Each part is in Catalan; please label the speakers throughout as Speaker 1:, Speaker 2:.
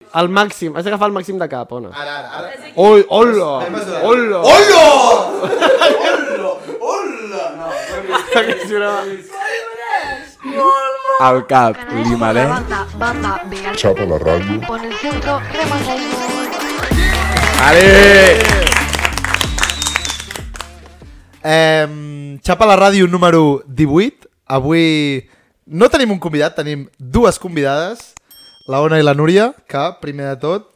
Speaker 1: El màxim, has d'agafar el màxim de cap, Ona.
Speaker 2: Ara, ara, ara.
Speaker 1: Oi, hola!
Speaker 2: Anem a-
Speaker 1: Hola!
Speaker 2: Ollo! Ollo! Ollo! No,
Speaker 3: Al cap li
Speaker 4: La
Speaker 3: maré.
Speaker 4: banda, banda, vea.
Speaker 5: Chapa la radio.
Speaker 4: Con el centro, remanga el mundo.
Speaker 3: Vale!
Speaker 2: Eh, xapa la ràdio número 18. Avui no tenim un convidat, tenim dues convidades, la Ona i la Núria, que, primer de tot,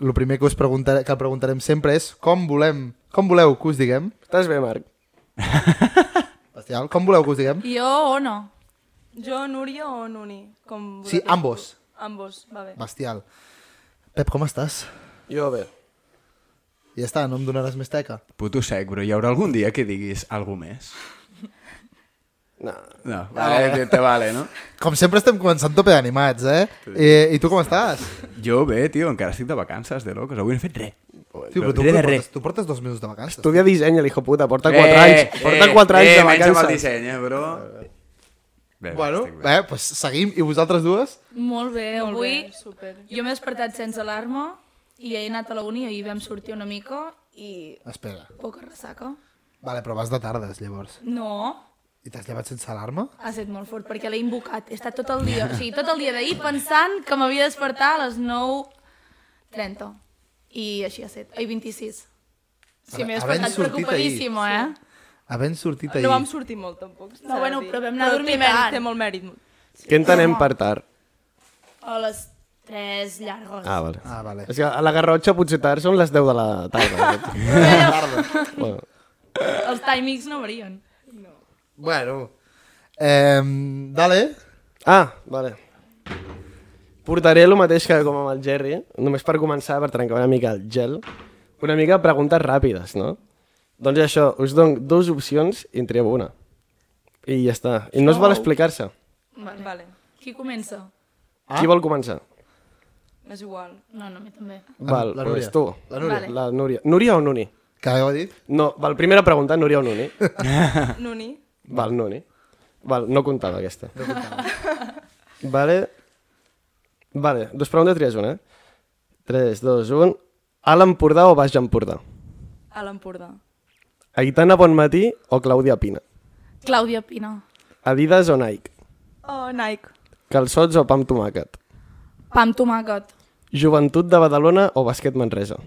Speaker 2: el primer que us preguntaré, que preguntarem sempre és com volem, com voleu que us diguem?
Speaker 1: Estàs bé, Marc?
Speaker 2: Bestial, com voleu que us diguem?
Speaker 6: Jo o no? Jo, Núria o Nuni? Com
Speaker 2: Sí,
Speaker 6: vulgueu.
Speaker 2: ambos.
Speaker 6: Ambos, va bé.
Speaker 2: Bestial. Pep, com estàs?
Speaker 1: Jo bé.
Speaker 2: Ja està, no em donaràs més teca.
Speaker 3: Puto sec, bro. Hi haurà algun dia que diguis algú més?
Speaker 1: No.
Speaker 3: No, vale, te vale, no?
Speaker 2: Com sempre estem començant tope d'animats, eh? I, I tu com estàs?
Speaker 3: Jo bé, tio, encara estic de vacances, de locos. Avui no he fet res.
Speaker 2: Tio, però tu,
Speaker 3: Res de
Speaker 2: portes,
Speaker 3: res.
Speaker 2: tu portes dos mesos de vacances.
Speaker 1: Estudia disseny, el hijo puta, porta 4 anys. Porta 4 anys
Speaker 3: eh,
Speaker 1: de
Speaker 3: menys amb el
Speaker 1: vacances.
Speaker 3: disseny, eh, bro. Bé, bé,
Speaker 2: Bueno,
Speaker 3: estic bé.
Speaker 2: eh, pues seguim. I vosaltres dues?
Speaker 6: Molt bé, Molt avui
Speaker 7: bé, super.
Speaker 6: jo m'he despertat sense alarma i he anat a la uni i vam sortir una mica i
Speaker 2: Espera.
Speaker 6: poca ressaca.
Speaker 2: Vale, però vas de tardes, llavors.
Speaker 6: No,
Speaker 2: I t'has llevat sense alarma?
Speaker 6: ha estat molt fort perquè l'he invocat. He estat tot el dia, o sigui, tot el dia d'ahir pensant que m'havia de despertar a les 9.30 i així ha estat. Ai, 26. Sí, m'he
Speaker 2: Havent
Speaker 6: despertat
Speaker 2: sortit ahir.
Speaker 6: preocupadíssima, eh?
Speaker 2: Havent sortit ahir...
Speaker 7: No vam sortir molt, tampoc. s'ha
Speaker 6: No,
Speaker 7: de
Speaker 6: bueno,
Speaker 7: dir.
Speaker 6: però vam anar a
Speaker 7: té
Speaker 6: dormir
Speaker 7: mèrit,
Speaker 6: tard.
Speaker 7: Té molt mèrit.
Speaker 1: Què entenem per tard?
Speaker 6: A les 3 llargos.
Speaker 1: Ah, vale.
Speaker 2: Ah, vale.
Speaker 1: És que a la Garrotxa potser tard són les 10 de la tarda. bueno,
Speaker 6: Els timings no varien.
Speaker 2: Bueno. Eh, dale.
Speaker 1: Ah, vale. Portaré el mateix que com amb el Jerry, eh? només per començar, per trencar una mica el gel, una mica preguntes ràpides, no? Doncs això, us dono dues opcions i en trieu una. I ja està. I no es vol explicar-se.
Speaker 6: Vale.
Speaker 7: Vale.
Speaker 6: Qui comença?
Speaker 1: Ah? Qui vol començar?
Speaker 7: M'és igual.
Speaker 6: No, no, a mi també.
Speaker 1: Val,
Speaker 2: la
Speaker 1: la pues
Speaker 2: Núria.
Speaker 1: tu.
Speaker 2: La Núria.
Speaker 6: Vale.
Speaker 1: La Núria. Núria o Nuni?
Speaker 2: Que heu dit?
Speaker 1: No, val, primera pregunta, Núria o Nuni?
Speaker 7: Nuni.
Speaker 1: val, Nuni. Val, no comptava aquesta. No comptava. Vale. Vale, dos preguntes, tries una, eh? 3, 2, 1. A l'Empordà o Baix Empordà?
Speaker 7: A l'Empordà.
Speaker 1: Aitana Bonmatí o Clàudia Pina?
Speaker 6: Clàudia Pina.
Speaker 1: Adidas o Nike?
Speaker 7: Oh, Nike.
Speaker 1: Calçots o pa amb tomàquet?
Speaker 6: Pa amb tomàquet.
Speaker 1: Joventut de Badalona o basquet Manresa?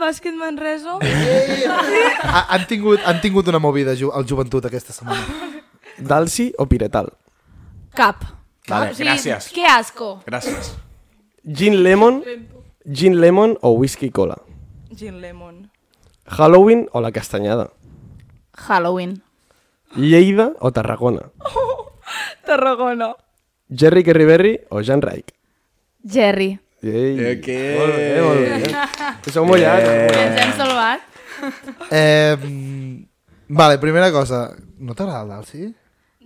Speaker 7: Bàsquet Manresa.
Speaker 2: Ha, han, tingut, han tingut una movida ju al joventut aquesta setmana.
Speaker 1: Dalsi o Piretal?
Speaker 6: Cap.
Speaker 3: Vale,
Speaker 6: O sigui,
Speaker 3: gràcies.
Speaker 6: Que asco.
Speaker 3: Gràcies.
Speaker 1: Gin Lemon? Gin Lemon o Whisky Cola?
Speaker 7: Gin Lemon.
Speaker 1: Halloween o la Castanyada?
Speaker 6: Halloween.
Speaker 1: Lleida o Tarragona?
Speaker 7: Tarragona.
Speaker 1: Jerry Kerriberri o Jan Reich?
Speaker 6: Jerry.
Speaker 1: Ei,
Speaker 3: Ok.
Speaker 1: Molt bé, molt bé. Que Sou mullats.
Speaker 6: Eh. Ens hem salvat.
Speaker 2: Eh, vale, primera cosa. No t'agrada el Dalsi?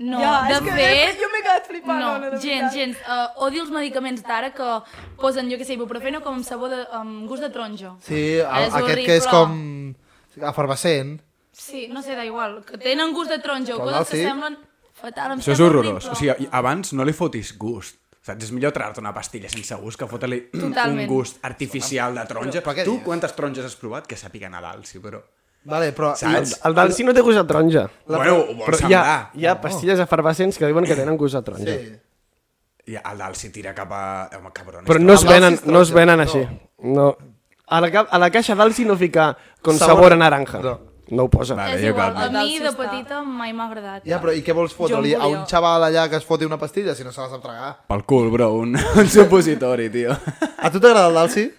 Speaker 6: No,
Speaker 7: Ja, és
Speaker 6: de
Speaker 7: que
Speaker 6: fet...
Speaker 7: jo m'he quedat flipant,
Speaker 6: No,
Speaker 7: Ona, de
Speaker 6: gens,
Speaker 7: veritat.
Speaker 6: gens. Uh, odio els medicaments d'ara que posen, jo què sé, ibuprofeno com amb sabó de, amb gust de taronja.
Speaker 2: Sí, a,
Speaker 6: És
Speaker 2: aquest que és
Speaker 6: horrible.
Speaker 2: com efervescent.
Speaker 6: Sí, no sé, da igual. Que tenen gust de taronja o
Speaker 2: Però
Speaker 6: coses que
Speaker 2: l'alci-
Speaker 6: semblen fatal. em
Speaker 3: Això és
Speaker 6: sembla
Speaker 3: horrorós.
Speaker 6: horrible.
Speaker 3: O sigui, abans no li fotis gust. Saps? És millor tragar-te una pastilla sense gust que fotre-li un
Speaker 6: Totalment.
Speaker 3: gust artificial de taronja.
Speaker 2: Però- però què
Speaker 3: tu
Speaker 2: dius?
Speaker 3: quantes taronges has provat que sàpiguen a dalt, sí, però...
Speaker 2: Vale, però...
Speaker 3: Saps?
Speaker 1: El Dalsi no té gust de taronja.
Speaker 3: bueno, ho vols
Speaker 1: Però hi ha,
Speaker 3: semblar.
Speaker 1: hi ha pastilles efervescents que diuen que tenen gust de taronja.
Speaker 2: Sí.
Speaker 3: I el dalt s'hi tira cap a... Home, cabron.
Speaker 1: Però
Speaker 3: és
Speaker 1: no
Speaker 3: que-
Speaker 1: es
Speaker 2: El Dalsi
Speaker 1: venen,
Speaker 2: és
Speaker 1: no es
Speaker 2: taronja,
Speaker 1: venen
Speaker 2: no.
Speaker 1: així. No. A la, ca- a la caixa d'Alsi no fica con
Speaker 2: Sabor-
Speaker 1: sabor, a naranja.
Speaker 2: No.
Speaker 1: No. no ho posa.
Speaker 3: Vale.
Speaker 6: És
Speaker 3: jo
Speaker 6: igual,
Speaker 3: cap.
Speaker 6: a mi de
Speaker 7: Dalt s'està.
Speaker 6: petita mai m'ha agradat.
Speaker 2: Ja, però i què vols fotre-li
Speaker 7: Jo em
Speaker 2: a un
Speaker 7: volia-
Speaker 2: xaval allà que es foti una pastilla si no se la sap tragar?
Speaker 3: Pel cul, bro, un, un supositori, tio.
Speaker 2: A tu t'agrada el Dalsi?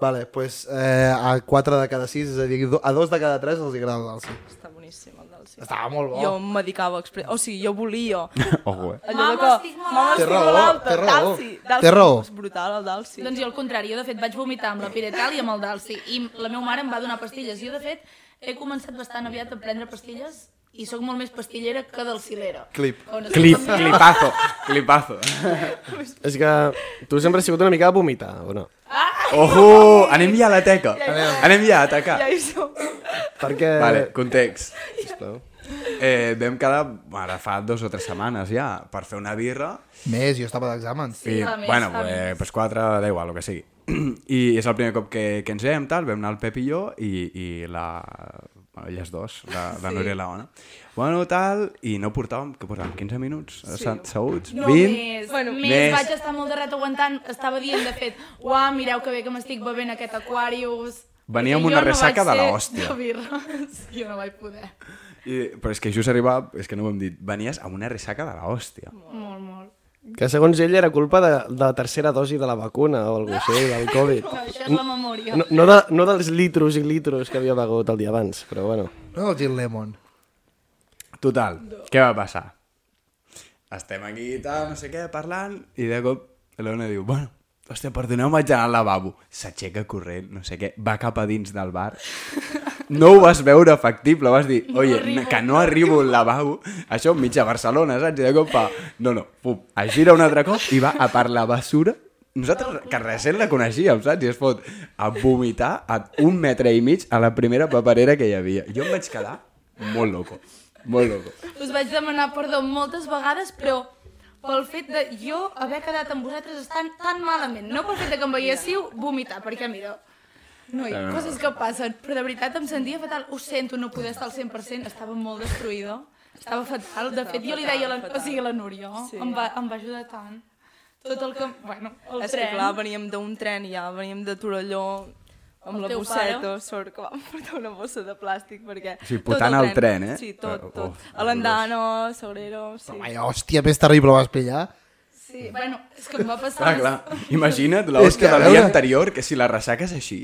Speaker 2: Vale, pues, eh, a 4 de cada 6, és a dir, do- a 2 de cada 3 els agrada el Dalsi.
Speaker 7: Està boníssim, el del sí.
Speaker 2: Estava molt bo.
Speaker 7: Jo em medicava expre... O sigui, jo volia.
Speaker 3: Ojo, eh?
Speaker 7: Allò de
Speaker 6: Mama,
Speaker 7: que...
Speaker 6: estic malalta.
Speaker 2: Té
Speaker 7: estic
Speaker 2: raó,
Speaker 7: malalta.
Speaker 2: té raó.
Speaker 7: Dalsi, Dalsi.
Speaker 2: Té raó.
Speaker 7: És brutal, el Dalsi.
Speaker 6: Doncs jo al contrari, jo de fet vaig vomitar amb la piretal i amb el dalsi i la meva mare em va donar pastilles. Jo de fet he començat bastant aviat a prendre pastilles i sóc molt més pastillera que dalsilera.
Speaker 2: Clip.
Speaker 6: On es-
Speaker 3: Clip, clipazo, clipazo.
Speaker 1: És que tu sempre has sigut una mica de vomitar, o no?
Speaker 3: Ojo, anem ja a la teca. Anem ja a atacar.
Speaker 7: Ja hi som.
Speaker 1: Perquè...
Speaker 3: Vale, context.
Speaker 1: sisplau.
Speaker 3: eh, vam quedar, ara fa dues o tres setmanes ja, per fer una birra
Speaker 2: Més, jo estava d'exàmens.
Speaker 6: Sí,
Speaker 3: I,
Speaker 6: a més,
Speaker 3: bueno,
Speaker 6: a
Speaker 3: eh, pues 4, da igual, el que sigui. I és el primer cop que, que ens veiem, tal, vam anar el Pep i jo i, i la... Bueno, elles dos, la, la sí. Núria i la Ona. Bueno, tal, i no portàvem, que portàvem 15 minuts, sí. asseguts,
Speaker 6: No,
Speaker 3: 20...
Speaker 6: més. Bueno,
Speaker 7: Bueno,
Speaker 6: més,
Speaker 3: més.
Speaker 6: més. Vaig estar molt de rato aguantant. Estava dient, de fet, uah, mireu que bé que m'estic bevent aquest Aquarius.
Speaker 3: Venia
Speaker 6: Perquè
Speaker 3: amb
Speaker 6: jo
Speaker 3: una
Speaker 6: no vaig
Speaker 3: ressaca de la
Speaker 6: ser
Speaker 3: hòstia.
Speaker 6: De birra. jo no vaig poder.
Speaker 3: I, però és que just arribava, és que no ho hem dit, venies amb una ressaca de l'hòstia.
Speaker 6: Molt, molt.
Speaker 1: Que segons ell era culpa de, de la tercera dosi de la vacuna o alguna cosa així, del Covid.
Speaker 6: No, això és la memòria.
Speaker 1: No, no, de, no dels litros i litros que havia begut el dia abans, però bueno.
Speaker 2: No el Gin Lemon.
Speaker 3: Total, què va passar? Estem aquí i tal, no sé què, parlant, i de cop l'Ona diu, bueno, hòstia, perdoneu, vaig anar al lavabo. S'aixeca corrent, no sé què, va cap a dins del bar. No ho vas veure factible, vas dir, oye,
Speaker 6: arribo,
Speaker 3: que no arribo al lavabo. Això enmig de Barcelona, saps? I de cop fa, no, no, pum, es gira un altre cop i va a per la basura. Nosaltres, que recent la coneixíem, saps? I es pot a vomitar a un metre i mig a la primera paperera que hi havia. Jo em vaig quedar molt loco, molt loco.
Speaker 6: Us vaig demanar perdó moltes vegades, però pel fet de jo haver quedat amb vosaltres estan tan malament. No pel fet de que em veiéssiu vomitar, perquè mira, no hi ha coses que passen, però de veritat em sentia fatal. Ho sento, no poder estar al 100%, estava molt destruïda. Estava fatal. De fet, jo li deia a la, o sigui, a la Núria, em, va, em va ajudar tant. Tot el que... Bueno, el
Speaker 7: És que
Speaker 6: tren.
Speaker 7: clar, veníem d'un tren ja, veníem de Torelló, amb
Speaker 6: El
Speaker 7: la
Speaker 6: teu
Speaker 7: bosseta,
Speaker 6: pare?
Speaker 7: sort que vam portar una bossa de plàstic perquè...
Speaker 3: Sí,
Speaker 7: tot
Speaker 3: portant el tren, eh?
Speaker 2: Ah,
Speaker 7: Sí, tot,
Speaker 2: oh,
Speaker 3: Eh,
Speaker 7: tot.
Speaker 3: uf,
Speaker 7: a l'Andano, Sagrero... Sí.
Speaker 2: Ai, hòstia, més terrible vas pillar.
Speaker 6: Sí, bueno, és que em va passar...
Speaker 3: Clar, clar. Imagina't
Speaker 2: És que,
Speaker 3: l'hòstia
Speaker 2: a
Speaker 3: de la dia
Speaker 2: veure-
Speaker 3: anterior, que si la ressaques així...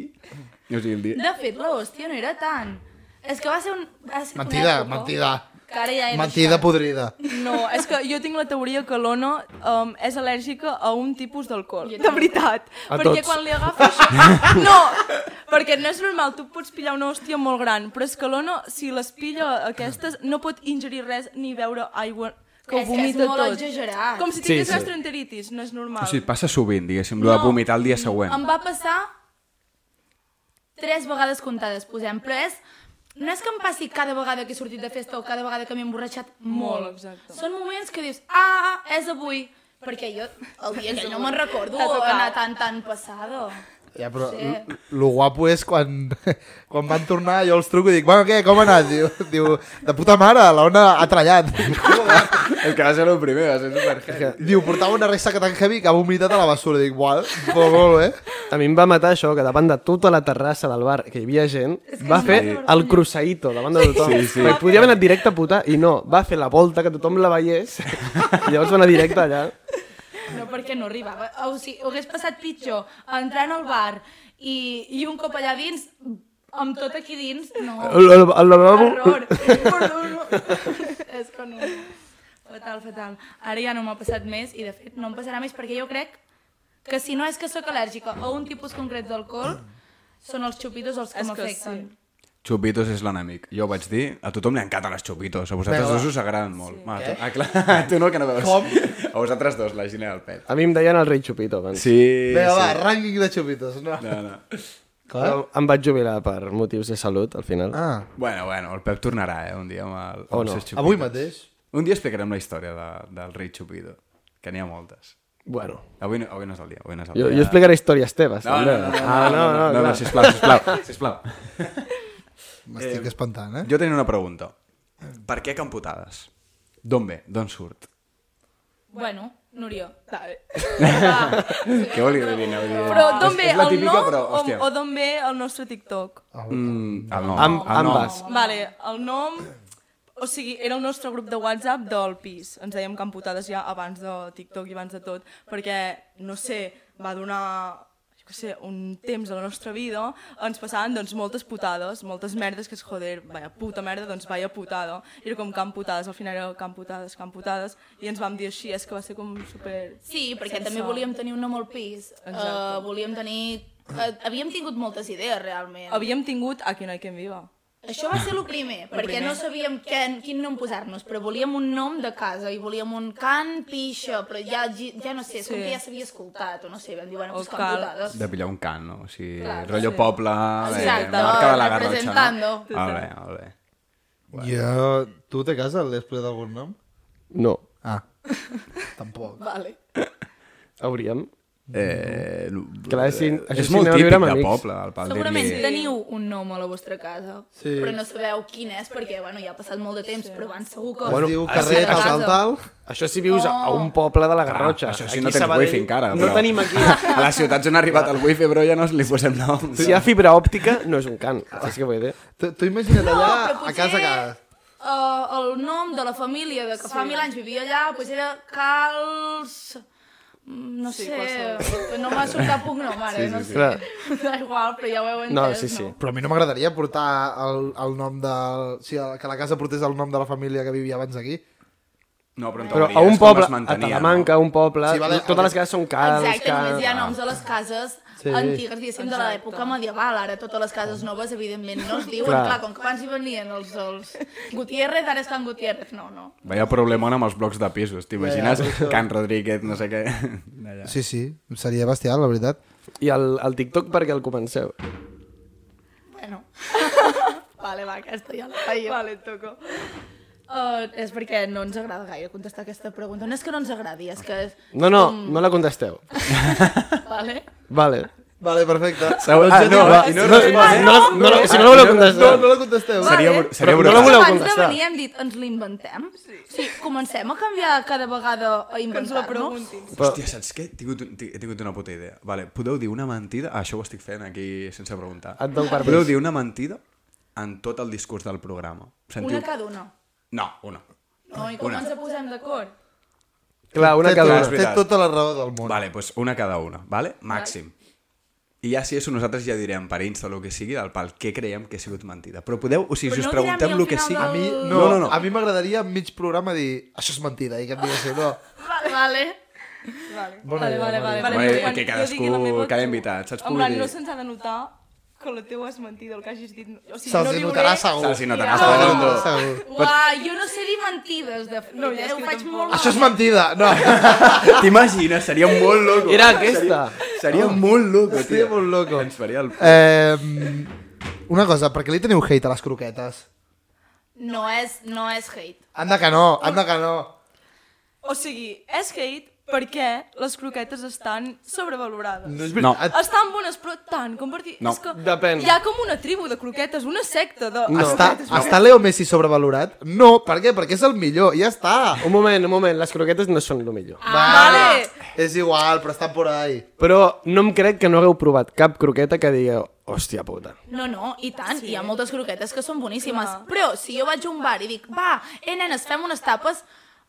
Speaker 3: O sigui, el dia...
Speaker 6: De fet, la hòstia no era tant. És que va ser un... Va ser una
Speaker 2: Mentida,
Speaker 6: època
Speaker 2: mentida.
Speaker 6: Que ara ja era
Speaker 2: Mentida
Speaker 6: xat.
Speaker 2: podrida.
Speaker 7: No, és que jo tinc la teoria que l'Ona um, és al·lèrgica a un tipus d'alcohol,
Speaker 6: Jo
Speaker 7: de
Speaker 6: també.
Speaker 7: veritat.
Speaker 1: A
Speaker 7: perquè
Speaker 1: tots.
Speaker 7: quan li agafa això... No, perquè no és normal, tu pots pillar una hòstia molt gran, però és que l'Ona, si les pilla aquestes, no pot ingerir res ni beure aigua
Speaker 6: És
Speaker 7: que ho
Speaker 6: que és
Speaker 7: vomita
Speaker 6: molt
Speaker 7: tot.
Speaker 6: exagerat.
Speaker 7: Com si
Speaker 1: Sí,
Speaker 7: tingués
Speaker 1: sí.
Speaker 7: sí, gastroenteritis, no és normal.
Speaker 3: O sigui, passa sovint, diguéssim, no. de vomitar el dia següent.
Speaker 6: Em va passar tres vegades comptades, posem, però és... No és que em passi cada vegada que he sortit de festa o cada vegada que m'he emborratxat molt.
Speaker 7: Molt, exacte.
Speaker 6: Són moments que dius, ah, és avui, perquè jo el dia que no me'n recordo
Speaker 7: T'ha tocat.
Speaker 6: anar tan, tan passada.
Speaker 2: Ja, però
Speaker 6: Sí.
Speaker 2: l- lo guapo és quan, quan van tornar, jo els truco i dic, bueno, què, com ha anat? Diu, diu de puta mare, la ona ha trallat.
Speaker 3: El que va ser el primer, va ser superheavy.
Speaker 2: diu, portava una ressaca tan heavy que ha vomitat a la basura. Dic, uau, però molt bé.
Speaker 1: A mi em va matar això, que davant de tota la terrassa del bar que hi havia gent, va fer el cruceïto davant de tothom.
Speaker 3: Sí, sí.
Speaker 1: Perquè Podia haver anat directe a putar i no, va fer la volta que tothom la veiés i llavors va anar directe allà.
Speaker 6: No, perquè no arribava. O sigui, ho hagués passat pitjor entrant al bar i, i un cop allà dins, amb tot aquí dins, no.
Speaker 1: El, el, el lavabo...
Speaker 6: Error. Perdono. És que no. Fatal, fatal. Ara ja no m'ha passat més i, de fet, no em passarà més perquè jo crec que si no és que sóc al·lèrgica a un tipus concret d'alcohol, són els xupitos els que
Speaker 7: És que
Speaker 6: m'afecten.
Speaker 3: Chupitos és l'enemic. Jo ho vaig dir, a tothom li encanten els chupitos, a vosaltres dos us agraden molt. Sí. Ah, tu, ah, clar, a tu no, que no veus. Com? A vosaltres dos, la Gina i el Pep.
Speaker 1: A mi em deien el rei Chupito abans.
Speaker 3: Sí,
Speaker 2: Vinga, va,
Speaker 3: sí. Eh,
Speaker 2: rànquing de xupitos. No.
Speaker 3: No, no.
Speaker 1: Però em vaig jubilar per motius de salut, al final.
Speaker 2: Ah,
Speaker 3: Bueno, bueno, el Pep tornarà, eh, un dia amb, el, amb
Speaker 1: O
Speaker 3: els
Speaker 1: no.
Speaker 3: seus chupitos.
Speaker 2: avui mateix.
Speaker 3: Un dia explicarem la història de, del rei Chupito, que n'hi ha moltes.
Speaker 1: Bueno,
Speaker 3: Avui no, avui no és el dia, avui no és el
Speaker 1: jo,
Speaker 3: dia.
Speaker 1: jo explicaré històries teves.
Speaker 3: No,
Speaker 1: també.
Speaker 3: no, no, no,
Speaker 1: Ah, no, no,
Speaker 3: no, no,
Speaker 1: clar.
Speaker 3: sisplau, sisplau, sisplau.
Speaker 2: M'estic espantant, eh?
Speaker 3: Jo tenia una pregunta. Per què Camputades? D'on ve? D'on surt?
Speaker 6: Bueno, Núria.
Speaker 7: Està bé.
Speaker 3: Què volia dir? No,
Speaker 7: Però d'on ve
Speaker 3: és la
Speaker 7: el
Speaker 3: típica,
Speaker 7: nom
Speaker 3: però,
Speaker 7: o,
Speaker 3: hòstia.
Speaker 7: o d'on ve el nostre TikTok?
Speaker 3: Mm, el nom.
Speaker 1: Am-
Speaker 3: el nom.
Speaker 1: ambas.
Speaker 7: Vale, el nom... O sigui, era el nostre grup de WhatsApp del pis. Ens dèiem Camputades ja abans de TikTok i abans de tot, perquè, no sé, va donar jo què sé, un temps de la nostra vida, ens passaven doncs, moltes putades, moltes merdes que és, joder, vaya puta merda, doncs vaya putada. I era com camputades, al final era camputades, camputades, i ens vam dir així, és que va ser com super...
Speaker 6: Sí, perquè també volíem tenir un nom al pis.
Speaker 7: Exacte.
Speaker 6: Uh, volíem tenir... Uh, havíem tingut moltes idees, realment.
Speaker 7: Havíem tingut Aquí no hay quien viva.
Speaker 6: Això va ser el primer, perquè
Speaker 7: primer.
Speaker 6: no sabíem què, quin nom posar-nos, però volíem un nom de casa i volíem un can pixa, però ja, gi- ja no sé, és com
Speaker 7: Sí.
Speaker 6: que ja s'havia escoltat, o no sé, vam dir, bueno,
Speaker 7: O
Speaker 6: pues com
Speaker 7: cal.
Speaker 6: putades.
Speaker 3: De pillar un cant, no? O sigui,
Speaker 6: Clar,
Speaker 3: rotllo
Speaker 6: sí.
Speaker 3: poble, de,
Speaker 6: Exacte,
Speaker 3: marca de la Garrotxa,
Speaker 6: representando.
Speaker 3: no? Molt bé, molt bé.
Speaker 2: Jo... Tu té casa? L'he explicat algun nom?
Speaker 1: No.
Speaker 2: Ah. Tampoc.
Speaker 6: Vale.
Speaker 1: Hauríem.
Speaker 3: Eh, no,
Speaker 1: Clar, si-
Speaker 3: eh,
Speaker 1: això
Speaker 3: és
Speaker 1: sí,
Speaker 3: molt
Speaker 1: anem a
Speaker 3: típic
Speaker 1: viure amb
Speaker 3: de
Speaker 1: amics.
Speaker 3: poble, el pal de
Speaker 6: Segurament
Speaker 3: dir...
Speaker 6: teniu un nom a la vostra casa,
Speaker 2: Sí.
Speaker 6: però no sabeu quin és perquè, bueno, ja ha passat molt de temps, però abans segur que...
Speaker 2: Bueno, es diu carrer
Speaker 6: a
Speaker 2: tal,
Speaker 6: casa.
Speaker 2: tal, tal.
Speaker 1: Això si vius a, a un poble de la Garrotxa.
Speaker 3: això sí,
Speaker 1: Aquí
Speaker 3: no
Speaker 1: a
Speaker 3: tens
Speaker 1: Sabadell
Speaker 3: wifi encara.
Speaker 1: No tenim aquí...
Speaker 3: A les ciutats on ha arribat el wifi, però ja no li posem nom.
Speaker 1: Si hi ha fibra òptica, no és un cant. Saps què vull dir?
Speaker 2: Tu, tu imagina't
Speaker 6: No,
Speaker 2: allà,
Speaker 6: però
Speaker 2: a casa, a casa.
Speaker 6: Uh, el nom de la família de que fa mil anys vivia allà, doncs era Cals... Mm, No sé, no m'ha sortit puc nom ara, sí, sí, no sé.
Speaker 1: Clar.
Speaker 6: Da igual, però ja ho heu entès,
Speaker 1: No, sí, sí.
Speaker 2: Però a mi no m'agradaria portar el, el nom de... O sigui, que la casa portés el nom de la família que vivia abans aquí.
Speaker 3: No, però, en
Speaker 1: Però
Speaker 3: teoria
Speaker 1: a un
Speaker 3: és com
Speaker 1: poble,
Speaker 3: es
Speaker 1: a
Speaker 3: mantenia,
Speaker 1: Talamanca, a un poble,
Speaker 2: Sí, vale,
Speaker 1: totes les cases són cals,
Speaker 6: Exacte, només hi ha
Speaker 7: Ah.
Speaker 1: cals...
Speaker 6: noms a les cases sí.
Speaker 2: Sí.
Speaker 6: antigues, diguéssim, de l'època medieval. Ara totes les cases noves, evidentment, no es diuen.
Speaker 1: Clar.
Speaker 6: Clar, com que abans hi venien els, els Gutiérrez, ara és Can Gutiérrez. No, no.
Speaker 3: No? Vaya problema amb els blocs de pisos, t'imagines? Can Rodríguez, no sé què. Allà.
Speaker 2: Sí, sí, seria bestial, la veritat.
Speaker 1: I el, el TikTok perquè el comenceu.
Speaker 6: Bueno. vale, va, aquesta ja la feia.
Speaker 7: Vale, et toco.
Speaker 6: Uh, és perquè no ens agrada gaire contestar aquesta pregunta. No és que no ens agradi, és que... És...
Speaker 1: No, no, no la contesteu.
Speaker 6: Vale?
Speaker 1: Vale.
Speaker 2: Vale, perfecte.
Speaker 3: Segons- Ah, no, va, i no
Speaker 1: no,
Speaker 3: respon, eh?
Speaker 1: no, no, no, si no la voleu contestar.
Speaker 2: No, no la contesteu.
Speaker 3: Seria, br- seria
Speaker 1: Però no
Speaker 3: brutal.
Speaker 1: la voleu-
Speaker 6: Abans de
Speaker 1: contestar.
Speaker 6: venir hem dit, ens l'inventem? Sí. sí. comencem a canviar cada vegada a
Speaker 7: Que ens la
Speaker 6: inventar-nos?
Speaker 7: preguntin.
Speaker 1: Però-
Speaker 3: Hòstia, saps què? He tingut, un- he tingut una puta idea. Vale, podeu dir una mentida... Ah, això ho estic fent aquí sense preguntar.
Speaker 1: Et dono permís.
Speaker 3: Podeu dir una mentida en tot el discurs del programa.
Speaker 6: Una cada una.
Speaker 3: No, una.
Speaker 6: No, i com
Speaker 3: Una.
Speaker 6: ens posem d'acord?
Speaker 1: Clar, una
Speaker 2: té,
Speaker 1: cada
Speaker 3: clar, és
Speaker 1: una.
Speaker 2: té
Speaker 3: veritat.
Speaker 2: tota la raó del món.
Speaker 3: Vale, pues una cada una, vale? Màxim. I ja si això nosaltres ja direm per Insta o el que sigui del pal què creiem que ha sigut mentida. Però podeu, o sigui,
Speaker 6: Però
Speaker 3: si us
Speaker 6: no direm ni
Speaker 3: preguntem
Speaker 6: al
Speaker 3: el que
Speaker 6: final
Speaker 3: sigui...
Speaker 2: A mi, no,
Speaker 3: no, no, no.
Speaker 2: a mi m'agradaria en mig programa dir això és mentida i que em diguessin no.
Speaker 6: Vale. vale.
Speaker 7: Vale.
Speaker 2: Bona idea, bona idea.
Speaker 3: Bueno,
Speaker 7: jo
Speaker 3: eh,
Speaker 7: quan
Speaker 3: que
Speaker 7: jo
Speaker 3: cadascú-
Speaker 7: digui la meva,
Speaker 3: cada
Speaker 7: tu-
Speaker 3: invitat, saps?
Speaker 7: En
Speaker 3: Vull
Speaker 7: plan,
Speaker 3: dir-
Speaker 7: no se'ns ha de notar que la teua és mentida, el que hagis dit. O sigui,
Speaker 2: Se'ls
Speaker 7: no
Speaker 2: hi
Speaker 7: viuré-
Speaker 2: notarà segur.
Speaker 3: Se'ls hi notarà
Speaker 2: Se'ls hi
Speaker 3: segur.
Speaker 2: notarà segur.
Speaker 6: Uau, jo no sé dir mentides, de fet.
Speaker 7: No,
Speaker 6: No,
Speaker 7: ja
Speaker 6: ja
Speaker 7: és
Speaker 6: ho
Speaker 7: que
Speaker 6: faig
Speaker 7: tampoc.
Speaker 6: molt
Speaker 2: Això és mentida. No,
Speaker 3: T'imagines? Seria molt loco.
Speaker 1: Era aquesta.
Speaker 3: Seria, seria molt loco, tio.
Speaker 2: estic molt loco.
Speaker 3: Ens faria el...
Speaker 2: Eh, una cosa, per què li teniu hate a les croquetes?
Speaker 6: No és, no és hate.
Speaker 2: Anda que no, anda que no.
Speaker 7: O sigui, és hate perquè les croquetes estan sobrevalorades.
Speaker 2: No és
Speaker 3: No.
Speaker 2: veritat.
Speaker 7: Estan bones, però tant com per dir...
Speaker 3: No.
Speaker 7: És que
Speaker 1: Depèn.
Speaker 7: Hi ha com una tribu de croquetes, una secta de...
Speaker 1: No.
Speaker 2: Està, està Leo Messi sobrevalorat? No, per què? Perquè és el millor, ja està.
Speaker 1: Un moment, un moment, les croquetes no són el millor.
Speaker 7: vale.
Speaker 2: És igual, però està por ahí.
Speaker 1: Però no em crec que no hagueu provat cap croqueta que digueu, hòstia puta.
Speaker 6: No, no, i tant, sí. hi ha moltes croquetes que són boníssimes. Però si jo vaig a un bar i dic, va, eh, nenes, fem unes tapes,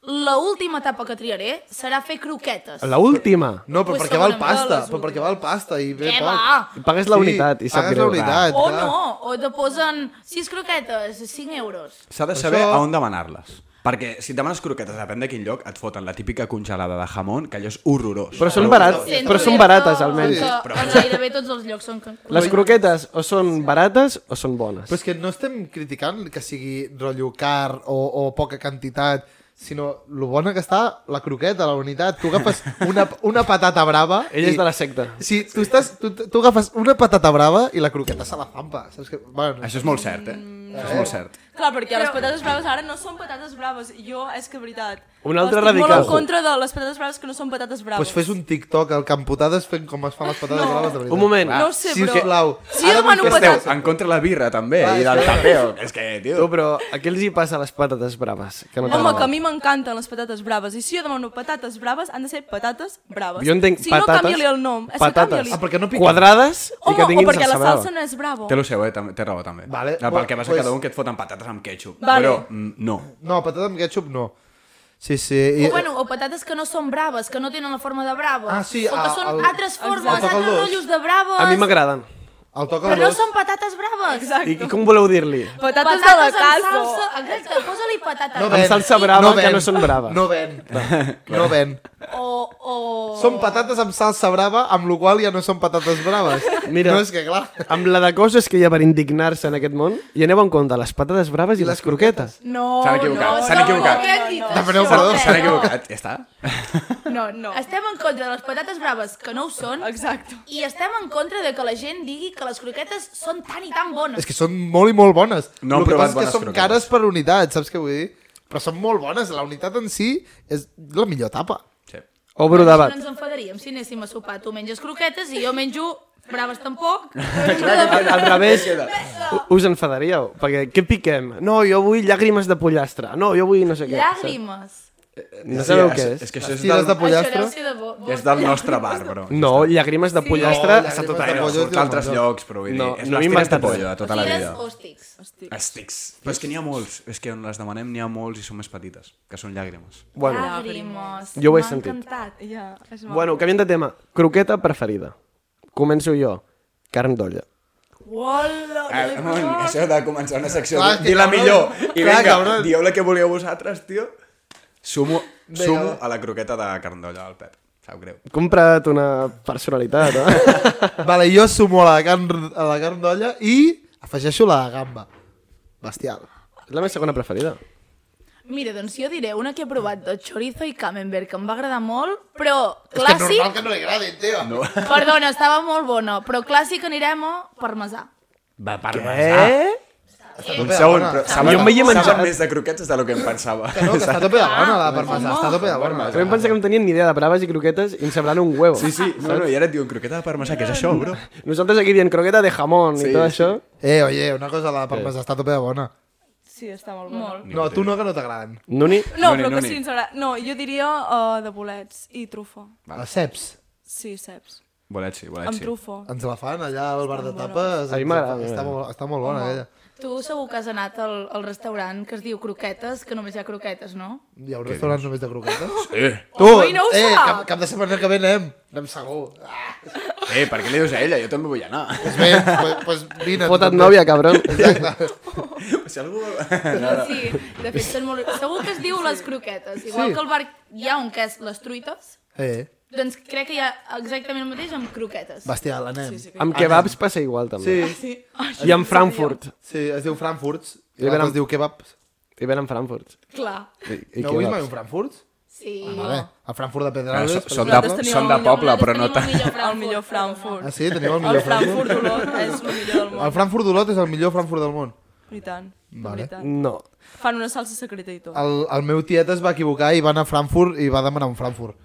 Speaker 6: la última etapa que triaré serà fer croquetes.
Speaker 1: La última.
Speaker 2: No, però
Speaker 6: Pues
Speaker 2: perquè va el
Speaker 6: segurament
Speaker 2: pasta,
Speaker 6: les
Speaker 2: però perquè va el pasta i ve
Speaker 6: Què
Speaker 2: poc.
Speaker 6: va?
Speaker 1: Pagues la unitat i sap
Speaker 2: pagues
Speaker 1: greu.
Speaker 2: la unitat,
Speaker 6: O
Speaker 2: clar.
Speaker 6: no, o te posen 6 croquetes, 5 euros.
Speaker 3: S'ha de
Speaker 2: Per
Speaker 3: saber
Speaker 2: això-
Speaker 3: a on demanar-les. Perquè si et demanes croquetes, depèn de quin lloc, et foten la típica congelada de jamón, que allò és horrorós.
Speaker 1: Però són barats, però són barates almenys.
Speaker 6: Que en gairebé tots els llocs són...
Speaker 1: Les croquetes o són barates o són bones.
Speaker 2: Però és que no estem criticant que sigui rotllo car o, o poca quantitat, sinó lo bona que està la croqueta, la unitat. Tu agafes una, una patata brava...
Speaker 1: Ell
Speaker 2: i-
Speaker 1: és de la secta.
Speaker 2: Sí, tu, estàs, tu, tu agafes una patata brava i la croqueta se la fampa. Saps que, bueno,
Speaker 3: Això és molt cert, eh? Això és molt cert.
Speaker 7: Clar, perquè les patates braves ara no són patates braves. Jo, és que veritat.
Speaker 1: Un altre
Speaker 7: estic
Speaker 1: radical.
Speaker 7: molt en contra de les patates braves que no són patates braves.
Speaker 2: Pues doncs fes un TikTok al Camputades fent com es fan les patates no. braves de veritat.
Speaker 1: Un moment.
Speaker 7: No ho sé, però...
Speaker 2: Sisplau.
Speaker 7: Si jo
Speaker 2: Ara vull
Speaker 7: demano
Speaker 2: que
Speaker 3: Esteu
Speaker 7: patates...
Speaker 3: en contra de la birra, també,
Speaker 2: Clar,
Speaker 3: i del
Speaker 2: és que-
Speaker 3: tapeo. És que,
Speaker 1: Tu,
Speaker 3: tio...
Speaker 1: però a què els hi passa a les patates braves? Que no
Speaker 7: Home,
Speaker 1: t'agraden?
Speaker 7: que a mi m'encanten les patates braves. I si jo demano patates braves, han de ser patates braves.
Speaker 1: Jo entenc
Speaker 7: si
Speaker 1: patates...
Speaker 7: no, canvia-li el nom. És
Speaker 1: patates
Speaker 7: que canvia-li.
Speaker 2: Ah, perquè no piquen.
Speaker 1: quadrades i
Speaker 7: Home,
Speaker 1: que
Speaker 7: o
Speaker 1: tinguin
Speaker 7: perquè la
Speaker 1: salsa brava.
Speaker 7: salsa no és bravo.
Speaker 3: Té lo seu, eh? tam- Té raó, també.
Speaker 2: Vale,
Speaker 3: Ah, Pel que passa
Speaker 2: pues-
Speaker 3: cada un que et foten patates amb ketchup.
Speaker 7: Vale.
Speaker 3: Però, mm, no.
Speaker 2: No, patata amb ketchup no. Sí, sí. I...
Speaker 6: O, Oh, bueno, o patates que no són braves, que no tenen la forma de braves.
Speaker 2: Ah, sí,
Speaker 6: o que
Speaker 2: a-
Speaker 6: són
Speaker 2: el-
Speaker 6: altres formes,
Speaker 2: Exacte.
Speaker 6: altres
Speaker 2: Toca'l dos.
Speaker 6: rotllos de braves.
Speaker 1: A mi m'agraden.
Speaker 2: El toca
Speaker 6: Però
Speaker 2: el
Speaker 6: no
Speaker 2: dos.
Speaker 6: són patates braves.
Speaker 1: I, I com voleu dir-li?
Speaker 7: Patates de la
Speaker 6: amb
Speaker 7: caldo.
Speaker 6: salsa. Exacte, posa-li patates.
Speaker 2: No
Speaker 1: Amb
Speaker 2: ven.
Speaker 1: salsa brava,
Speaker 2: ven.
Speaker 1: que no són braves.
Speaker 2: No ven. No ven.
Speaker 6: O, o...
Speaker 2: Oh. Són patates amb salsa brava, amb la qual ja no són patates braves.
Speaker 1: Mira.
Speaker 2: No, és que clar.
Speaker 1: Amb la de coses que hi ha per indignar-se en aquest món, i aneu en compte les patates braves i, les croquetes.
Speaker 6: No,
Speaker 3: S'han equivocat,
Speaker 6: no,
Speaker 3: s'han
Speaker 6: no,
Speaker 3: equivocat.
Speaker 6: no, no,
Speaker 2: Demaneu
Speaker 6: no,
Speaker 2: perdó.
Speaker 6: no,
Speaker 3: S'han equivocat, ja està.
Speaker 6: No, no. Estem en contra de les patates braves, que no ho són,
Speaker 7: Exacte.
Speaker 6: i estem en contra de que la gent digui que les croquetes són tan i tan bones.
Speaker 2: És que són molt i molt bones.
Speaker 3: No
Speaker 2: No,
Speaker 3: han
Speaker 2: el que
Speaker 3: provat
Speaker 2: passa és que
Speaker 3: bones
Speaker 2: són
Speaker 3: croquetes.
Speaker 2: cares per unitat, saps què vull dir? Però són molt bones. La unitat en si és la millor tapa.
Speaker 3: Sí.
Speaker 1: Obro
Speaker 6: No
Speaker 1: debat.
Speaker 6: ens enfadaríem si anéssim a sopar. Tu menges croquetes i jo menjo braves tampoc.
Speaker 1: Al, al revés, u- us enfadaríeu, perquè què piquem? No, jo vull llàgrimes de pollastre. No, jo vull no sé què.
Speaker 6: Llàgrimes.
Speaker 1: No sabeu què
Speaker 3: és,
Speaker 1: és?
Speaker 3: és que això és
Speaker 2: Tires
Speaker 3: del,
Speaker 2: de
Speaker 6: Això
Speaker 2: pollastre...
Speaker 6: deu ser de bo. bo.
Speaker 3: és del nostre bar, bro.
Speaker 1: No, llàgrimes de pollastre
Speaker 2: No,
Speaker 1: està
Speaker 2: llàgrimes
Speaker 1: tot
Speaker 2: de
Speaker 1: arreu.
Speaker 2: pollastre.
Speaker 3: Surt a altres llocs, però vull dir,
Speaker 1: No,
Speaker 3: és
Speaker 1: no
Speaker 3: no
Speaker 1: m'he
Speaker 3: les tires de
Speaker 1: inventat
Speaker 3: pollo de
Speaker 1: res.
Speaker 3: tota la vida.
Speaker 6: Tires hòstics.
Speaker 3: Estics. Però és que n'hi ha molts. És que on les demanem n'hi ha molts i són més petites, que són llàgrimes.
Speaker 1: Bueno,
Speaker 6: Llàgrimes.
Speaker 1: Jo ho he
Speaker 6: M'ha
Speaker 1: sentit.
Speaker 6: encantat.
Speaker 7: Ja, és maco.
Speaker 1: bueno, canviem de tema. Croqueta preferida. Començo jo. Carn d'olla.
Speaker 3: Ah, bueno, això de començar una secció,
Speaker 2: Clar,
Speaker 3: dir la
Speaker 2: cabrón.
Speaker 3: millor. I
Speaker 2: Clar,
Speaker 3: vinga,
Speaker 2: cabrón.
Speaker 3: dieu la que volíeu vosaltres, tio. Sumo, sumo a la croqueta de carn d'olla del Pep. Sap greu.
Speaker 1: Compra't una personalitat, eh?
Speaker 2: Vale, jo sumo a la carn, a la carn d'olla i afegeixo la gamba. Bestial.
Speaker 1: És la meva segona preferida.
Speaker 6: Mira, doncs jo diré una que he provat de chorizo i camembert, que em va agradar molt, però
Speaker 2: És que
Speaker 6: clàssic...
Speaker 2: normal que no li agradi, tio. No.
Speaker 6: Perdona, estava molt bona, però clàssic anirem a parmesà.
Speaker 3: Va, per
Speaker 1: Eh?
Speaker 3: Un segon, però saben,
Speaker 1: Jo em veia menjar-
Speaker 3: saben més de croquetes de lo que em pensava.
Speaker 2: Que no, que està a tope de bona, la parmesà. Està a tope de bona.
Speaker 1: Vam pensar que no tenien ni idea de braves i croquetes i em semblant un huevo.
Speaker 3: Sí, sí, no, no, i ara et diuen croqueta de parmesà, que és això, bro?
Speaker 1: Nosaltres aquí dient croqueta de jamón
Speaker 3: Sí,
Speaker 1: i tot
Speaker 3: sí.
Speaker 1: això.
Speaker 2: Eh, oye, una cosa, la parmesà està a tope de bona.
Speaker 7: Sí, està molt bona.
Speaker 6: Molt.
Speaker 2: No, tu no, que no t'agraden.
Speaker 1: Nuni,
Speaker 7: No,
Speaker 3: Noni,
Speaker 7: però que
Speaker 3: noni.
Speaker 7: sí, ens agrada. No, jo diria uh, de bolets i trufa.
Speaker 2: Les ceps.
Speaker 7: Sí, saps?
Speaker 3: Bolet sí,
Speaker 1: Ah,
Speaker 3: bolet
Speaker 7: Amb
Speaker 3: sí.
Speaker 7: trufo.
Speaker 2: Ens la fan allà al bar de tapes.
Speaker 1: A mi m'agrada,
Speaker 2: Està,
Speaker 1: m'agrada.
Speaker 2: molt, està molt bona, aquella.
Speaker 6: Tu segur que has anat al, al restaurant que es diu croquetes, que només hi ha croquetes, no?
Speaker 2: Hi ha un restaurant només de croquetes?
Speaker 3: Eh,
Speaker 2: Tu,
Speaker 6: Ui, no ho
Speaker 2: eh,
Speaker 6: sap!
Speaker 2: cap, cap de setmana que ve anem. Anem segur. Ah,
Speaker 3: eh, per què li dius a ella? Jo també vull anar.
Speaker 2: doncs bé, pues, pues vine.
Speaker 1: fota't nòvia, cabron.
Speaker 3: si algú... vol-
Speaker 6: No, no. Sí, de fet són molt... Segur que es diu les croquetes. Igual
Speaker 2: Sí.
Speaker 6: sí. que al bar hi ha un que és les truites,
Speaker 2: Eh,
Speaker 6: doncs crec que hi ha exactament el mateix amb croquetes.
Speaker 2: bestial, anem. Sí,
Speaker 1: Amb kebabs passa igual, també.
Speaker 2: sí.
Speaker 1: I amb Frankfurt.
Speaker 2: sí es diu Frankfurts.
Speaker 1: I
Speaker 2: I l'altre
Speaker 1: venen-
Speaker 2: es diu kebabs.
Speaker 1: I venen Frankfurt.
Speaker 6: Clar.
Speaker 1: I, i
Speaker 2: No vull mai un
Speaker 1: kebabs.
Speaker 2: Frankfurt?
Speaker 6: Sí.
Speaker 2: Ah, vale. El Frankfurt de
Speaker 3: Ah,
Speaker 2: Pedralbes.
Speaker 3: so-
Speaker 2: per
Speaker 3: Són
Speaker 2: exemple.
Speaker 3: de, són de poble, però no tant.
Speaker 7: El millor Frankfurt.
Speaker 2: Ah, sí? Teniu el
Speaker 7: El
Speaker 2: millor Frankfurt?
Speaker 7: Frankfurt d'Olot és el millor del
Speaker 2: El
Speaker 7: món.
Speaker 2: Frankfurt d'Olot és el millor Frankfurt del món.
Speaker 7: I tant. de
Speaker 2: Vale. Ah,
Speaker 7: veritat.
Speaker 1: No.
Speaker 7: Fan una salsa secreta i tot.
Speaker 2: El, el meu tiet es va equivocar i va anar a Frankfurt i va demanar un Frankfurt.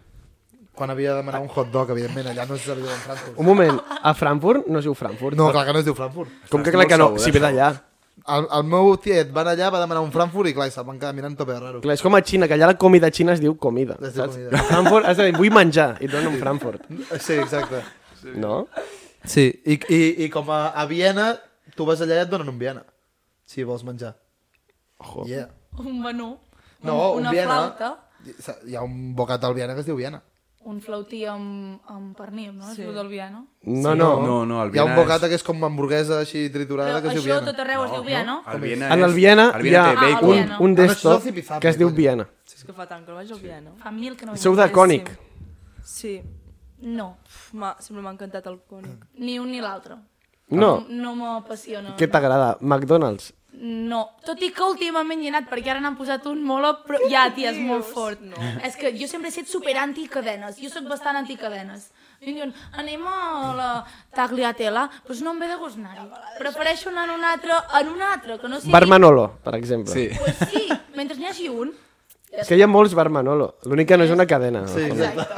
Speaker 2: Quan havia de demanar un hot dog, evidentment, allà no es servia un Frankfurt.
Speaker 1: Un moment, a Frankfurt no es diu Frankfurt.
Speaker 2: No, clar que no es diu Frankfurt.
Speaker 1: Com que
Speaker 3: Estàs
Speaker 1: clar que no,
Speaker 3: molt segur
Speaker 1: si ve
Speaker 3: d'això?
Speaker 1: d'allà.
Speaker 2: El, el meu tiet va anar allà, va demanar un Frankfurt i clar, se'l van quedar mirant tope de raro.
Speaker 1: Clar, és com a Xina, que allà la comida xina es diu comida.
Speaker 2: Es diu
Speaker 1: Saps?
Speaker 2: comida.
Speaker 1: A Frankfurt has de dir, vull menjar, i et donen un Frankfurt.
Speaker 2: Sí, exacte.
Speaker 1: No?
Speaker 2: Sí, i, i, i com a, a Viena, tu vas allà i et donen un Viena, si vols menjar.
Speaker 1: Ojo.
Speaker 2: Yeah.
Speaker 6: Un menú.
Speaker 2: No,
Speaker 6: una
Speaker 2: un Viena.
Speaker 6: flauta.
Speaker 2: Hi ha un bocat al Viena que es diu Viena.
Speaker 6: Un flautí amb, amb pernil, no? Sí. És el del Viano.
Speaker 1: No, no.
Speaker 3: No, no, el
Speaker 2: Hi ha un
Speaker 3: Viena
Speaker 2: bocat que és com hamburguesa així triturada
Speaker 6: Però
Speaker 2: que es
Speaker 6: això
Speaker 2: diu Viena.
Speaker 6: tot arreu es diu Viano.
Speaker 3: El Viena
Speaker 1: En el
Speaker 3: és-
Speaker 1: Viena
Speaker 3: el
Speaker 1: hi ha
Speaker 3: té bacon.
Speaker 1: un,
Speaker 6: Ah,
Speaker 1: un
Speaker 2: no, això és el
Speaker 1: desktop
Speaker 2: zipizape,
Speaker 1: que es diu
Speaker 2: coño.
Speaker 1: Viena.
Speaker 7: És que fa tant que no vaig al piano.
Speaker 6: Fa mil que no hi
Speaker 1: Sou de cònic.
Speaker 7: Sí.
Speaker 6: No,
Speaker 7: Pf, m'ha- Sempre m'ha encantat el cònic.
Speaker 6: ni un ni l'altre.
Speaker 1: No.
Speaker 6: No m'apassiona.
Speaker 1: Què t'agrada? McDonald's?
Speaker 6: No, tot i que últimament hi he anat, perquè ara n'han posat un molt a pro... Ja, tia, és molt fort. No. És que jo sempre he estat super anticadenes, jo sóc bastant anticadenes. I em diuen, anem a la tagliatela, doncs no em ve de gust anar-hi. Prefereixo anar en un altre, en un altre, que no sigui...
Speaker 1: Bar Manolo, per exemple.
Speaker 3: Sí.
Speaker 6: Pues sí, mentre n'hi hagi un.
Speaker 1: És que hi ha molts Bar Manolo. L'únic que no és una cadena.
Speaker 2: Sí, exacte.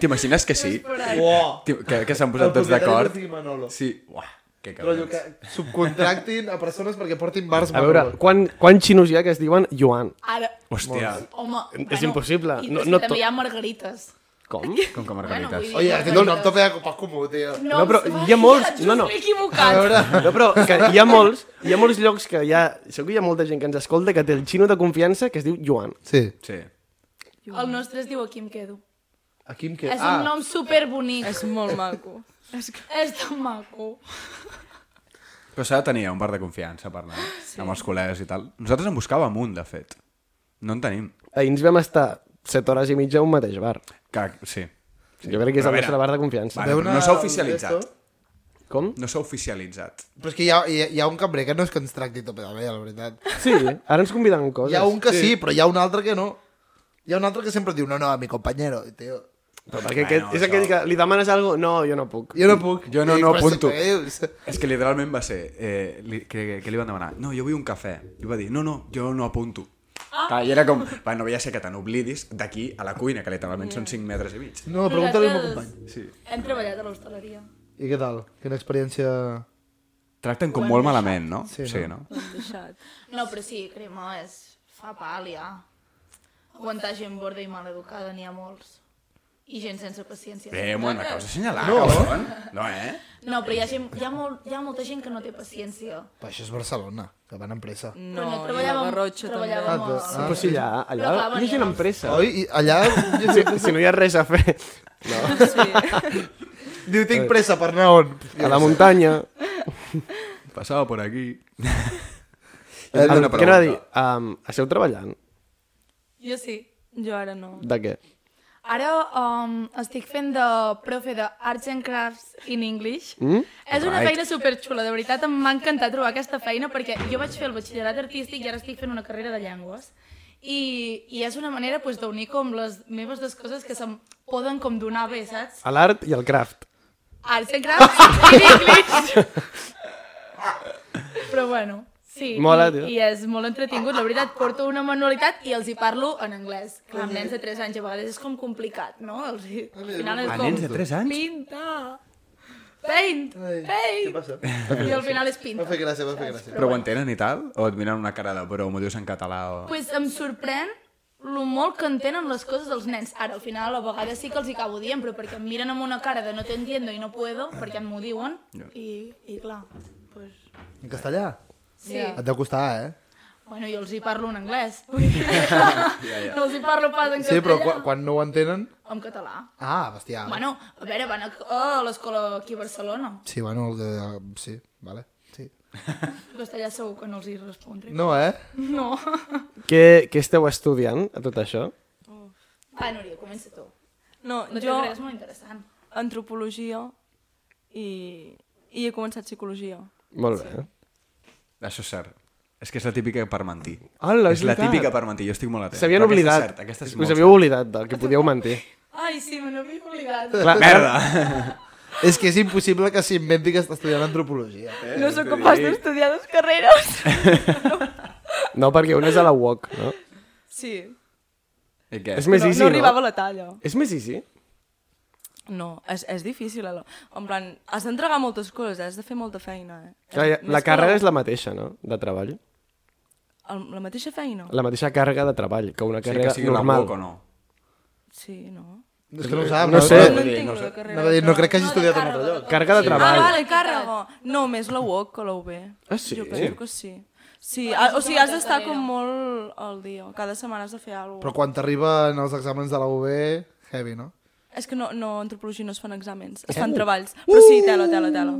Speaker 3: T'imagines que sí?
Speaker 2: Uah.
Speaker 3: Tio, Que, que s'han posat tots
Speaker 2: propietari
Speaker 3: d'acord?
Speaker 2: que sigui Manolo.
Speaker 3: Sí. Uah, que
Speaker 2: Rotllo que
Speaker 3: cabrons.
Speaker 2: subcontractin a persones perquè portin bars
Speaker 1: A veure,
Speaker 2: Manolo.
Speaker 1: quan, quan xinos hi ha que es diuen Joan?
Speaker 6: Ara,
Speaker 3: Hòstia,
Speaker 6: home...
Speaker 1: És impossible,
Speaker 6: I
Speaker 1: no-
Speaker 6: no,
Speaker 1: no
Speaker 6: no també
Speaker 1: to-
Speaker 6: hi ha margarites.
Speaker 1: Com?
Speaker 3: com que
Speaker 6: Bueno,
Speaker 3: margarites.
Speaker 6: vull dir-
Speaker 2: Oye, que té un nom tope de copa comú, tio.
Speaker 1: No, però hi ha molts- no, no.
Speaker 6: M'he equivocat.
Speaker 2: A veure,
Speaker 1: No, però que hi ha molts, hi ha molts llocs que hi ha... Segur que hi ha molta gent que ens escolta que té el xino de confiança que es diu Joan.
Speaker 2: Sí.
Speaker 3: Sí.
Speaker 6: El nostre es diu Aquí em quedo.
Speaker 2: Aquí em queda... Ah,
Speaker 6: És un nom superbonic.
Speaker 7: És molt maco. És que...
Speaker 6: És tan maco.
Speaker 3: Però s'ha de tenir un bar de confiança per anar sí. amb els col·legues i tal. Nosaltres en buscàvem un, de fet. No en tenim.
Speaker 1: Ahir ens vam estar set hores i mitja a un mateix bar.
Speaker 3: Que, sí. sí.
Speaker 1: Jo crec que és
Speaker 3: Però
Speaker 1: el
Speaker 3: a
Speaker 1: nostre
Speaker 3: veure,
Speaker 1: bar de confiança.
Speaker 3: Vale, però
Speaker 2: Veure
Speaker 3: no s'ha
Speaker 2: el
Speaker 3: oficialitzat.
Speaker 2: resto.
Speaker 1: Com?
Speaker 3: No s'ha oficialitzat.
Speaker 2: Però és que hi ha, hi ha, hi ha un cambrer que no és que ens tracti tot de bé, la veritat.
Speaker 1: Sí, ara ens conviden coses.
Speaker 2: Hi ha un que sí, però hi ha un altre que no. Hi ha un altre que sempre diu, no, no, a mi compañero, i tio.
Speaker 1: Però perquè aquest, és aquell que li demanes alguna cosa, no, jo no puc.
Speaker 2: Jo no puc.
Speaker 3: Jo no-
Speaker 2: I
Speaker 3: no
Speaker 2: dic, "Però
Speaker 3: apunto."
Speaker 2: què dius?
Speaker 3: És que literalment va ser... Eh, li, que, que li van demanar, no, jo vull un cafè. I va dir, no, no, jo no apunto. Ah. Clar, I era com, va, no veia ser que te n'oblidis d'aquí a la cuina, que literalment són 5 metres i mig.
Speaker 2: No, pregunta-li al meu company.
Speaker 3: Sí.
Speaker 6: Hem treballat a l'hostaleria.
Speaker 2: I què tal? Quina experiència...
Speaker 3: Tracten com molt malament, no?
Speaker 2: Sí,
Speaker 3: no?
Speaker 7: Deixat.
Speaker 6: No, però sí, crema, és... fa pàl·lia. Aguantar gent borda i maleducada n'hi ha molts. I gent sense paciència.
Speaker 3: Bé, bueno, acabes de senyalar, no. cabron. No, eh?
Speaker 6: No, però hi ha, gent, hi, ha molt, hi ha molta gent que no té paciència.
Speaker 2: Però això és Barcelona, que van amb pressa.
Speaker 7: No,
Speaker 6: Però no,
Speaker 7: i la
Speaker 6: treballàvem,
Speaker 7: Garrotxa
Speaker 6: treballàvem
Speaker 2: Ah,
Speaker 6: ah, molt.
Speaker 2: doncs,
Speaker 6: Ah.
Speaker 1: Però si allà, allà
Speaker 6: Però clar,
Speaker 1: hi ha gent amb
Speaker 6: venia-
Speaker 1: pressa.
Speaker 2: Oi? I allà... Jo
Speaker 1: Si, si no hi ha res a fer
Speaker 7: també. Sí.
Speaker 2: Diu, tinc pressa per anar on?
Speaker 1: a la muntanya...
Speaker 3: Passava per aquí.
Speaker 1: Què anava a dir? Um, esteu treballant?
Speaker 6: Jo sí.
Speaker 7: Jo ara no.
Speaker 1: De què?
Speaker 6: Ara um, estic fent de profe de Arts and Crafts in English.
Speaker 1: Mm?
Speaker 6: És una
Speaker 3: Right.
Speaker 6: feina superxula, de veritat em va encantar trobar aquesta feina perquè jo vaig fer el batxillerat artístic i ara estic fent una carrera de llengües. I, i és una manera pues, d'unir com les meves dues coses que se'm poden com donar bé, saps?
Speaker 1: A l'art i al craft.
Speaker 6: Arts and Crafts in English. Però bueno, sí.
Speaker 1: Mola,
Speaker 6: i,
Speaker 1: tio.
Speaker 6: I és molt entretingut. La veritat, porto una manualitat i els hi parlo en anglès. Que amb nens de 3 anys a vegades és com complicat, no? Els hi... Al final és
Speaker 3: A
Speaker 6: com...
Speaker 3: nens de 3 anys?
Speaker 6: Pinta! Paint!
Speaker 2: Què
Speaker 6: Paint!
Speaker 2: passa?
Speaker 6: I al final és
Speaker 2: Va
Speaker 6: pinta.
Speaker 2: fer gràcia, va fer gràcia.
Speaker 3: Però ho entenen i tal? O et miren una cara de però m'ho dius en català o...
Speaker 6: pues em sorprèn lo molt que entenen les coses dels nens. Ara, al final, a vegades sí que els hi acabo dient, però perquè em miren amb una cara de no t'entiendo i no puedo, perquè m'ho diuen, i, i clar, pues,
Speaker 2: En castellà?
Speaker 6: sí. Yeah.
Speaker 2: Et deu costar, eh?
Speaker 6: Bueno, jo els hi parlo en anglès. Vull dir, no els hi parlo pas en
Speaker 2: Sí,
Speaker 6: castellà.
Speaker 2: però quan, quan no ho entenen...
Speaker 6: En català.
Speaker 2: Ah, bestiar.
Speaker 6: Bueno, a veure, van a, Oh, a l'escola aquí a Barcelona.
Speaker 2: Sí, bueno, el de... Sí, vale. Sí.
Speaker 6: En castellà segur que no els hi respondré.
Speaker 2: No, eh?
Speaker 6: No.
Speaker 1: Què, què esteu estudiant a tot això?
Speaker 6: Va, Ah, Núria, comença tu.
Speaker 7: No,
Speaker 6: No jo...
Speaker 7: jo
Speaker 6: res molt interessant.
Speaker 7: antropologia i, i he començat psicologia.
Speaker 1: Molt bé.
Speaker 3: Això és cert. És que és la típica per mentir.
Speaker 1: Hola,
Speaker 3: és
Speaker 1: és
Speaker 3: la
Speaker 1: veritat.
Speaker 3: típica per mentir, jo estic molt atent.
Speaker 1: S'havien
Speaker 3: Però aquesta
Speaker 1: oblidat.
Speaker 3: És cert, aquesta és
Speaker 1: Us
Speaker 3: molt
Speaker 1: havíeu oblidat del que podíeu mentir.
Speaker 6: Ai, sí, me n'havia oblidat.
Speaker 1: Clar,
Speaker 3: Merda!
Speaker 2: És que és impossible que s'inventi que està estudiant antropologia.
Speaker 7: No sóc capaç d'estudiar dues carreres.
Speaker 1: no, perquè un és a la UOC, no?
Speaker 7: Sí.
Speaker 3: I què?
Speaker 1: És més
Speaker 7: no,
Speaker 1: easy,
Speaker 7: no
Speaker 1: no?
Speaker 7: arribava a la talla.
Speaker 1: És més easy?
Speaker 7: No, és, és difícil. Allò. En plan, has d'entregar moltes coses, has de fer molta feina. Eh?
Speaker 1: Clar, ja-
Speaker 7: Més
Speaker 1: la
Speaker 7: que
Speaker 1: càrrega és la mateixa, no? De treball.
Speaker 7: el, la mateixa feina?
Speaker 1: La mateixa càrrega de treball que una
Speaker 3: Sí, que
Speaker 1: càrrega
Speaker 3: sigui normal.
Speaker 1: normal.
Speaker 3: la boca o no.
Speaker 7: Sí, no?
Speaker 2: És que no ho sap.
Speaker 1: No sé.
Speaker 7: No
Speaker 1: vull
Speaker 7: entenc no, la carrera.
Speaker 2: Anava a dir, no crec que hagi estudiat en altre lloc.
Speaker 1: Càrrega de
Speaker 7: Ah,
Speaker 1: treball.
Speaker 7: vale, càrrega. No, més la UOC que la UB.
Speaker 1: Ah, sí?
Speaker 7: Jo penso que sí. Sí, a, o sigui, has d'estar com molt al dia. Cada setmana has de fer alguna
Speaker 2: Però quan t'arriben els exàmens de la UB, heavy, no?
Speaker 7: És que no, no, antropologia no es fan exàmens, es fan treballs. Però sí, tela, tela, tela.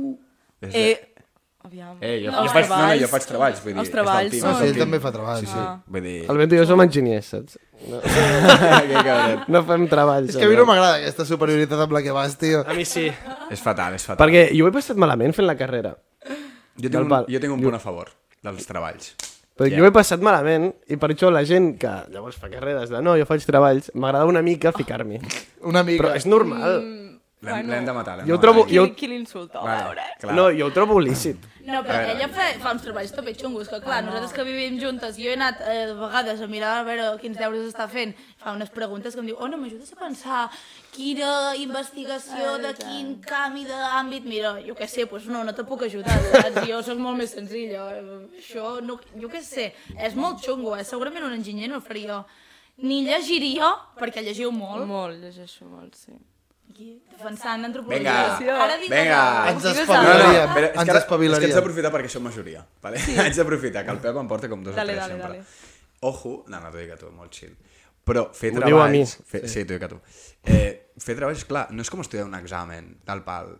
Speaker 3: És de-
Speaker 7: Eh, aviam.
Speaker 3: Eh, jo,
Speaker 7: No,
Speaker 3: jo
Speaker 7: els
Speaker 3: faig, no, no,
Speaker 7: treballs-
Speaker 3: jo faig treballs, vull dir,
Speaker 7: Els treballs
Speaker 3: és del
Speaker 2: No,
Speaker 3: team,
Speaker 2: sí,
Speaker 3: és
Speaker 2: ell
Speaker 3: del
Speaker 2: també fa treball. Sí, sí.
Speaker 3: team. Vull dir...
Speaker 1: Ah, El 20 i jo som enginyers, saps?
Speaker 3: que cabron.
Speaker 1: No fem treballs.
Speaker 2: És que a mi no m'agrada aquesta superioritat amb la que vas, tio.
Speaker 1: A mi sí.
Speaker 3: És fatal, és fatal.
Speaker 1: Perquè jo ho he passat malament fent la carrera.
Speaker 3: Jo
Speaker 1: Del
Speaker 3: tinc, un,
Speaker 1: pal.
Speaker 3: jo tinc un punt a favor dels treballs.
Speaker 1: Però
Speaker 3: Ja.
Speaker 1: jo ho he passat malament i per això la gent que llavors fa carreres de no, jo faig treballs, m'agrada una mica ficar-m'hi.
Speaker 2: Una mica.
Speaker 1: Però és normal.
Speaker 2: Mm.
Speaker 3: L'hem l'hem de matar. l'hem
Speaker 1: Jo
Speaker 3: de
Speaker 1: trobo-
Speaker 3: matar.
Speaker 7: Qui,
Speaker 1: Jo-
Speaker 7: qui l'insulta?
Speaker 3: Vale,
Speaker 7: Vale.
Speaker 3: clar.
Speaker 1: No, jo ho trobo lícit.
Speaker 2: Ah.
Speaker 6: No, però ella fa, fa uns treballs també xungos, que
Speaker 3: Ah,
Speaker 6: clar, nosaltres que vivim juntes, jo he anat eh, de vegades a mirar a veure quins deures està fent, fa unes preguntes que em diu, oh, no, m'ajudes a pensar quina investigació, de quin canvi d'àmbit, mira, jo què sé, doncs no, no te puc ajudar, saps? jo sóc molt més senzilla, eh, això, no, jo què sé, és molt xungo, eh? segurament un enginyer no el faria, ni llegiria, perquè llegiu molt,
Speaker 7: Molt, llegeixo molt, sí.
Speaker 6: aquí, defensant
Speaker 3: Vinga,
Speaker 6: antropologia. Ara dic-
Speaker 3: vinga.
Speaker 2: Ens
Speaker 3: No, no,
Speaker 2: espavilaríem.
Speaker 3: espera, és
Speaker 2: Ens
Speaker 3: que, ara, és que
Speaker 2: espavilaríem.
Speaker 3: haig d'aprofitar perquè som majoria. Vale? Sí. haig d'aprofitar, que el Pep em porta com dos
Speaker 7: Dale,
Speaker 3: o tres
Speaker 7: dale,
Speaker 3: sempre.
Speaker 7: dale.
Speaker 3: Ojo, no, no t'ho dic a tu, molt chill. Però fer
Speaker 1: M'ho diu a mi.
Speaker 3: treballs... Fer, sí, t'ho dic a tu. Eh, fer treballs, clar, no és com estudiar un examen del pal.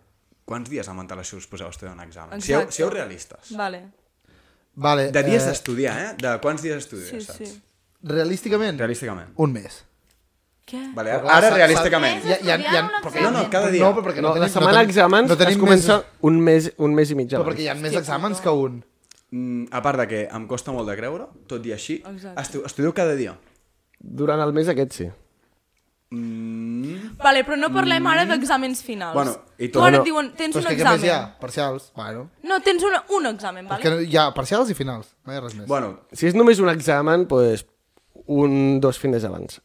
Speaker 3: Quants dies amb antelació us poseu a estudiar un examen? Sieu,
Speaker 7: Exacte.
Speaker 3: sieu realistes.
Speaker 7: Vale.
Speaker 2: Vale.
Speaker 3: De dies
Speaker 2: eh,
Speaker 3: d'estudiar, eh? De quants dies
Speaker 7: Sí,
Speaker 3: estudies,
Speaker 7: sí.
Speaker 3: saps?
Speaker 2: Realísticament,
Speaker 3: Realísticament.
Speaker 2: un mes.
Speaker 7: Què?
Speaker 3: Vale, ara realísticament.
Speaker 6: Mesos estudiant un
Speaker 2: perquè-
Speaker 3: No, no, cada dia.
Speaker 2: No, però perquè no,
Speaker 1: No,
Speaker 2: tenim,
Speaker 1: la setmana
Speaker 2: tenim-
Speaker 1: d'exàmens
Speaker 2: no tenim
Speaker 1: es comença
Speaker 2: Més,
Speaker 1: un, mes, un mes i mig
Speaker 2: però
Speaker 1: abans.
Speaker 2: perquè hi ha més exàmens que un.
Speaker 3: Mm, a part de que em costa molt de creure, tot i així,
Speaker 7: Exacte.
Speaker 3: estu estudio cada dia.
Speaker 1: Durant el mes aquest sí.
Speaker 3: Mm.
Speaker 7: Vale, però no parlem ara d'exàmens finals.
Speaker 3: Bueno, i tot-
Speaker 7: tu ara
Speaker 3: No,
Speaker 7: et diuen, tens
Speaker 2: Però
Speaker 7: un
Speaker 2: és que què més hi ha?
Speaker 7: examen.
Speaker 2: Parcials? Bueno.
Speaker 7: No, tens una, un examen,
Speaker 2: Vale.
Speaker 7: vale?
Speaker 2: Que no- hi ha parcials i finals. No hi ha res més.
Speaker 3: Bueno,
Speaker 1: Si és només un examen, doncs un, dos fines abans.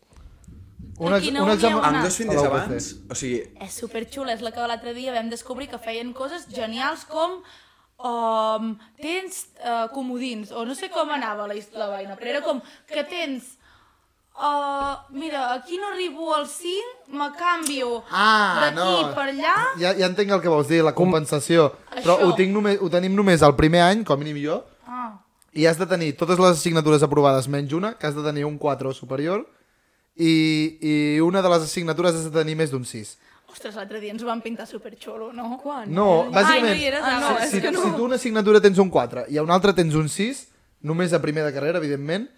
Speaker 2: un, ex,
Speaker 6: Aquí no
Speaker 2: un
Speaker 6: n'hi ha
Speaker 2: examen...
Speaker 6: una.
Speaker 3: amb dos fins
Speaker 2: A la UPC.
Speaker 3: abans, o sigui,
Speaker 6: És superxula, és la que l'altre dia vam descobrir que feien coses genials com um, tens uh, comodins, o no sé com anava la, his- la vaina, però era com que tens Uh, mira, aquí no arribo al 5, me canvio
Speaker 2: Ah,
Speaker 6: d'aquí
Speaker 2: no.
Speaker 6: per allà.
Speaker 2: Ja, ja entenc el que vols dir, la compensació. Però
Speaker 6: Això.
Speaker 2: ho, tinc només, ho tenim només el primer any, com a mínim jo,
Speaker 6: Ah,
Speaker 2: i has de tenir totes les assignatures aprovades menys una, que has de tenir un 4 o superior, i, i una de les assignatures has de tenir més d'un 6.
Speaker 6: ostres, l'altre dia ens ho van pintar superxulo, Oh, no?
Speaker 7: Quan?
Speaker 2: No, bàsicament,
Speaker 6: hi eres,
Speaker 7: Ah, no,
Speaker 6: ara.
Speaker 7: és
Speaker 2: si,
Speaker 7: que no.
Speaker 2: si tu una assignatura tens un 4 i a una altra tens un 6, només a primer de carrera, evidentment,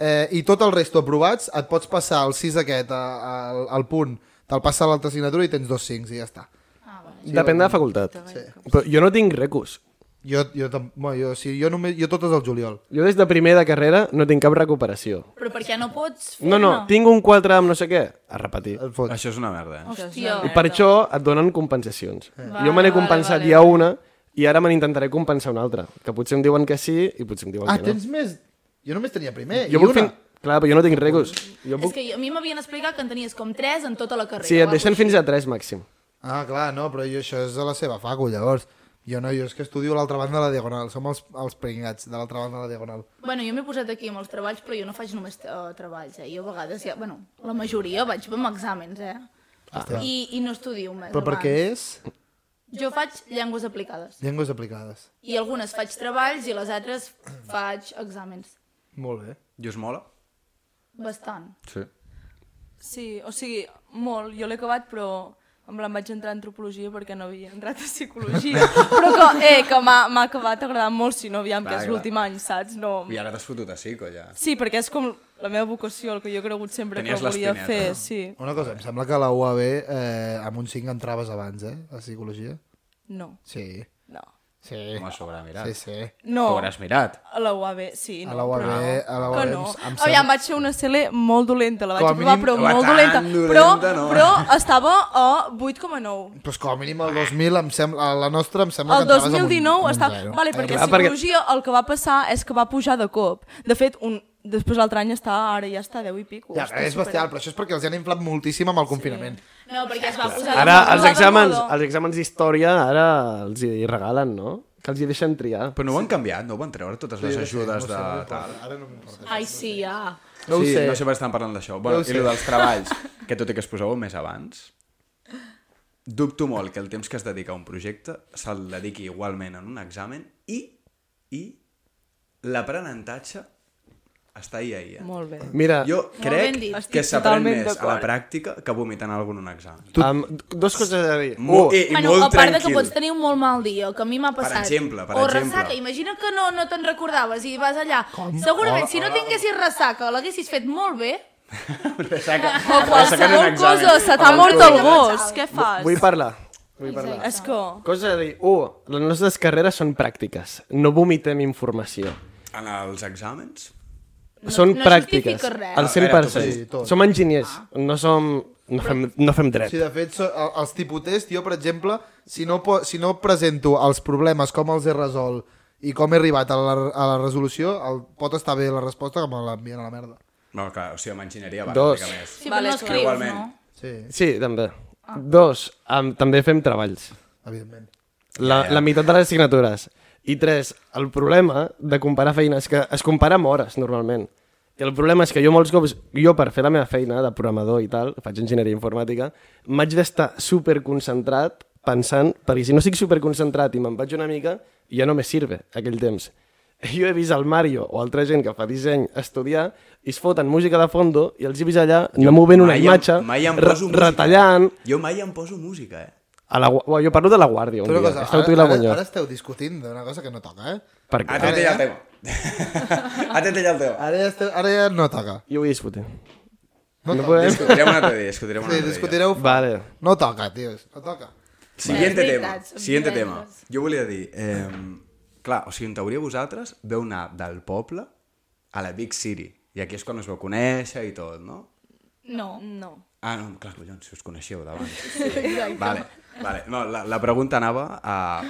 Speaker 2: eh, i tot el resto aprovats, et pots passar el 6 aquest a, a, al- al punt, te'l passa a l'altra assignatura i tens dos 5 i ja està.
Speaker 1: Sí, Depèn de la facultat. Sí. Però jo no tinc recurs.
Speaker 2: Jo, jo, tam- bueno, jo, si jo, només, jo tot és el juliol.
Speaker 1: Jo des de primer de carrera no tinc cap recuperació.
Speaker 6: Però per què no pots fer
Speaker 1: No, no, tinc un 4 amb no sé què, a repetir.
Speaker 2: Et fot.
Speaker 3: això és una merda, eh?
Speaker 6: Hòstia,
Speaker 1: I per això et donen compensacions. jo me n'he
Speaker 6: vale,
Speaker 1: compensat
Speaker 6: vale,
Speaker 1: ja una i ara me n'intentaré compensar una altra. Que potser em diuen que sí i potser em diuen
Speaker 2: Ah,
Speaker 1: que no.
Speaker 2: tens més? Jo només tenia primer.
Speaker 1: Jo
Speaker 2: I
Speaker 1: puc
Speaker 2: una.
Speaker 1: fer... Clar, però jo no tinc recurs. Jo
Speaker 6: és
Speaker 1: puc...
Speaker 6: que jo- a mi m'havien explicat que en tenies com 3 en tota la carrera.
Speaker 1: Sí,
Speaker 6: o
Speaker 1: et
Speaker 6: alguna
Speaker 1: deixen fins a 3 màxim.
Speaker 2: Ah, clar, no, però jo, això és a la seva facu, llavors. Jo no, jo és que estudio a l'altra banda de la diagonal. Som els, els pringats de l'altra banda de la diagonal.
Speaker 6: Bueno, jo m'he posat aquí amb els treballs, però jo no faig només uh, treballs, eh? Jo a vegades, ja, bueno, la majoria vaig amb exàmens, eh? Ah, I, I no estudio més.
Speaker 2: Però per què és?
Speaker 6: Jo faig llengües aplicades.
Speaker 2: Llengües aplicades.
Speaker 6: I algunes faig treballs i les altres faig exàmens.
Speaker 2: Molt bé.
Speaker 3: I us mola?
Speaker 6: Bastant.
Speaker 3: Sí.
Speaker 7: Sí, o sigui, molt. Jo l'he acabat, però em plan vaig entrar a antropologia perquè no havia entrat a psicologia. però que, eh, que m'ha m'ha acabat agradant molt, si no, aviam, que
Speaker 3: Clar,
Speaker 7: és
Speaker 3: clar.
Speaker 7: l'últim any, saps? No...
Speaker 3: I ara t'has fotut a psico, ja.
Speaker 7: Sí, perquè és com la meva vocació, el que jo he cregut sempre
Speaker 3: Tenies
Speaker 7: que volia
Speaker 3: l'espineta,
Speaker 7: fer.
Speaker 3: no?
Speaker 7: Sí.
Speaker 2: Una cosa, em sembla que a la UAB eh, amb un 5 entraves abans, eh? A psicologia.
Speaker 7: No,
Speaker 2: Sí.
Speaker 7: no.
Speaker 2: Sí.
Speaker 3: Com a sobre, mirat.
Speaker 2: Sí, sí.
Speaker 7: No,
Speaker 3: T'ho hauràs mirat.
Speaker 7: a la UAB, sí. No,
Speaker 2: A la UAB,
Speaker 7: però...
Speaker 2: a la
Speaker 7: Que
Speaker 2: UAB
Speaker 7: no.
Speaker 2: em- em sembla-
Speaker 7: Aviam, vaig fer una CL molt dolenta, la vaig
Speaker 2: Com a
Speaker 7: aprovar,
Speaker 2: mínim-
Speaker 7: però
Speaker 3: Home,
Speaker 7: molt
Speaker 3: tan
Speaker 7: dolenta.
Speaker 3: dolenta
Speaker 7: Però,
Speaker 3: no.
Speaker 7: però estava a 8,9.
Speaker 2: Pues com a mínim el 2000 em sembla, a la nostra em sembla
Speaker 7: El
Speaker 2: que entraves
Speaker 7: 2019
Speaker 2: amb un,
Speaker 7: està...
Speaker 2: amb un zero. Ah,
Speaker 7: Vale, perquè
Speaker 1: clar, perquè-
Speaker 7: psicologia el que va passar és que va pujar de cop. De fet, un... després l'altre any està, ara ja està a 10 i pico.
Speaker 2: Ja,
Speaker 7: Està
Speaker 2: és bestial, però això és perquè els han inflat moltíssim amb el confinament.
Speaker 6: No, perquè es va posar...
Speaker 1: Ara,
Speaker 6: de
Speaker 1: els
Speaker 6: moda.
Speaker 1: exàmens,
Speaker 7: moda.
Speaker 1: els exàmens d'història, ara els hi regalen, no? Que els hi deixen triar.
Speaker 3: Però no ho han canviat, no ho van treure, totes les ajudes de tal.
Speaker 6: Ai, sí, ja.
Speaker 2: No ho
Speaker 3: sí,
Speaker 2: sé.
Speaker 3: no sé per què estan parlant d'això. Bueno, I
Speaker 2: ho sé.
Speaker 3: el dels treballs, que tot i que es poseu més abans, dubto molt que el temps que es dedica a un projecte se'l dediqui igualment en un examen i, i l'aprenentatge està ahí, ahí. Eh?
Speaker 7: Molt bé.
Speaker 1: Mira,
Speaker 3: Jo
Speaker 6: ben
Speaker 3: crec
Speaker 6: dit.
Speaker 3: que
Speaker 7: Estic
Speaker 3: s'aprèn
Speaker 7: totalment
Speaker 3: més a la
Speaker 7: d'acord.
Speaker 3: pràctica que vomitant algun un examen.
Speaker 1: tu... um, dos coses a dir.
Speaker 3: Mo
Speaker 1: Un,
Speaker 3: I, i
Speaker 6: bueno,
Speaker 3: molt
Speaker 6: a part de que
Speaker 3: tranquil.
Speaker 6: pots tenir un molt mal dia, que a mi m'ha passat.
Speaker 3: exemple, per
Speaker 6: o
Speaker 3: exemple.
Speaker 6: ressaca, imagina que no, no te'n recordaves i vas allà. Com? Segurament, si no tinguessis ressaca, l'haguessis fet molt bé,
Speaker 3: Ressaca,
Speaker 7: O
Speaker 3: ressaca en un examen.
Speaker 7: qualsevol cosa, se t'ha
Speaker 3: Abans
Speaker 7: mort
Speaker 3: de-
Speaker 7: el gos, què fas?
Speaker 1: vull parlar. Vull parlar.
Speaker 7: És que...
Speaker 1: Cosa a dir. Un, les nostres carreres són pràctiques. No vomitem informació.
Speaker 3: En els exàmens?
Speaker 1: No, són
Speaker 6: no
Speaker 1: pràctiques.
Speaker 6: justifica res.
Speaker 1: Al
Speaker 3: Ah,
Speaker 1: 100%.
Speaker 2: sí, tot.
Speaker 1: Som enginyers. No som... No fem, no fem dret.
Speaker 2: Sí, de fet, so, el- els tipotest, jo, per exemple, si no, po- si no presento els problemes, com els he resolt i com he arribat a la, a la resolució, el, pot estar bé la resposta que me l'envien a la merda.
Speaker 3: No, clar, o sigui, amb enginyeria va
Speaker 1: Dos.
Speaker 3: una mica més.
Speaker 6: si
Speaker 7: Vale,
Speaker 6: no
Speaker 7: clar.
Speaker 6: escrius,
Speaker 3: Igualment.
Speaker 6: no?
Speaker 2: Sí,
Speaker 1: Sí, també. Dos, um, també fem treballs.
Speaker 2: evidentment.
Speaker 1: La, la meitat de les assignatures. I tres, el problema de comparar feines, que es compara amb hores, normalment. I el problema és que jo molts cops, jo per fer la meva feina de programador i tal, faig enginyeria informàtica, m'haig d'estar superconcentrat pensant, perquè si no estic superconcentrat i me'n vaig una mica, ja no me sirve aquell temps. Jo he vist el Mario o altra gent que fa disseny estudiar i es foten música de fondo i els he vist allà no movent una
Speaker 3: Mai em-
Speaker 1: imatge,
Speaker 3: mai em
Speaker 1: re-
Speaker 3: poso música.
Speaker 1: retallant...
Speaker 3: Jo mai em poso música, eh?
Speaker 1: A la, gua- jo parlo de la Guàrdia un dia.
Speaker 2: Però una cosa,
Speaker 1: Esteu
Speaker 2: ara,
Speaker 1: tu i la
Speaker 2: ara,
Speaker 1: Bunyol.
Speaker 2: ara esteu discutint d'una cosa que no toca, eh?
Speaker 1: Per què?
Speaker 3: Atente ja el tema. Atente ja el tema.
Speaker 2: Ara ja, esteu, ara ja no toca.
Speaker 1: Jo vull discutir.
Speaker 2: No,
Speaker 1: No
Speaker 2: toca.
Speaker 1: podem...
Speaker 3: Discutirem un altre dia, discutirem un
Speaker 2: Sí,
Speaker 3: altre dia.
Speaker 2: discutireu...
Speaker 1: Vale.
Speaker 2: No toca, tios, no toca.
Speaker 3: Siguiente
Speaker 6: Bueno, és
Speaker 3: tema.
Speaker 6: veritat, són
Speaker 3: Siguiente tema.
Speaker 6: divendres.
Speaker 3: Jo volia dir... Eh, clar, o sigui, en teoria vosaltres veu anar del poble a la Big City. I aquí és quan us vau conèixer i tot, no?
Speaker 6: No.
Speaker 7: No.
Speaker 3: Ah, no, clar, collons, si us coneixeu d'abans. Vale, vale. No, la, la pregunta anava a...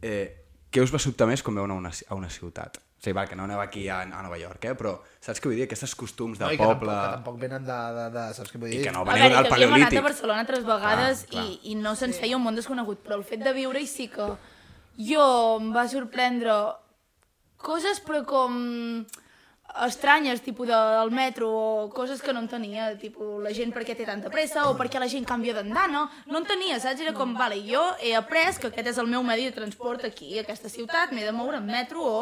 Speaker 3: Eh, què us va sobtar més quan veu anar a una, ci- a una ciutat? O sigui, val, que no anava aquí a, a Nova York, eh? Però saps què vull dir? Aquests costums de
Speaker 2: No, i que
Speaker 3: poble...
Speaker 2: Tampoc, que tampoc venen de, de, de... Saps què vull dir?
Speaker 3: I que no
Speaker 6: A
Speaker 3: veniu
Speaker 6: veure, que havíem anat
Speaker 3: del
Speaker 6: a
Speaker 3: paleolític. Ah,
Speaker 6: Barcelona tres vegades
Speaker 3: clar.
Speaker 6: i, i no se'ns feia un món desconegut, però el fet de viure-hi sí que jo em va sorprendre coses però com estranyes, tipus de, del metro o coses que no entenia, tipus la gent per què té tanta pressa o per què la gent canvia d'andana, no entenia, saps? Era com, vale, jo he après que aquest és el meu medi de transport aquí, a aquesta ciutat, m'he de moure amb metro o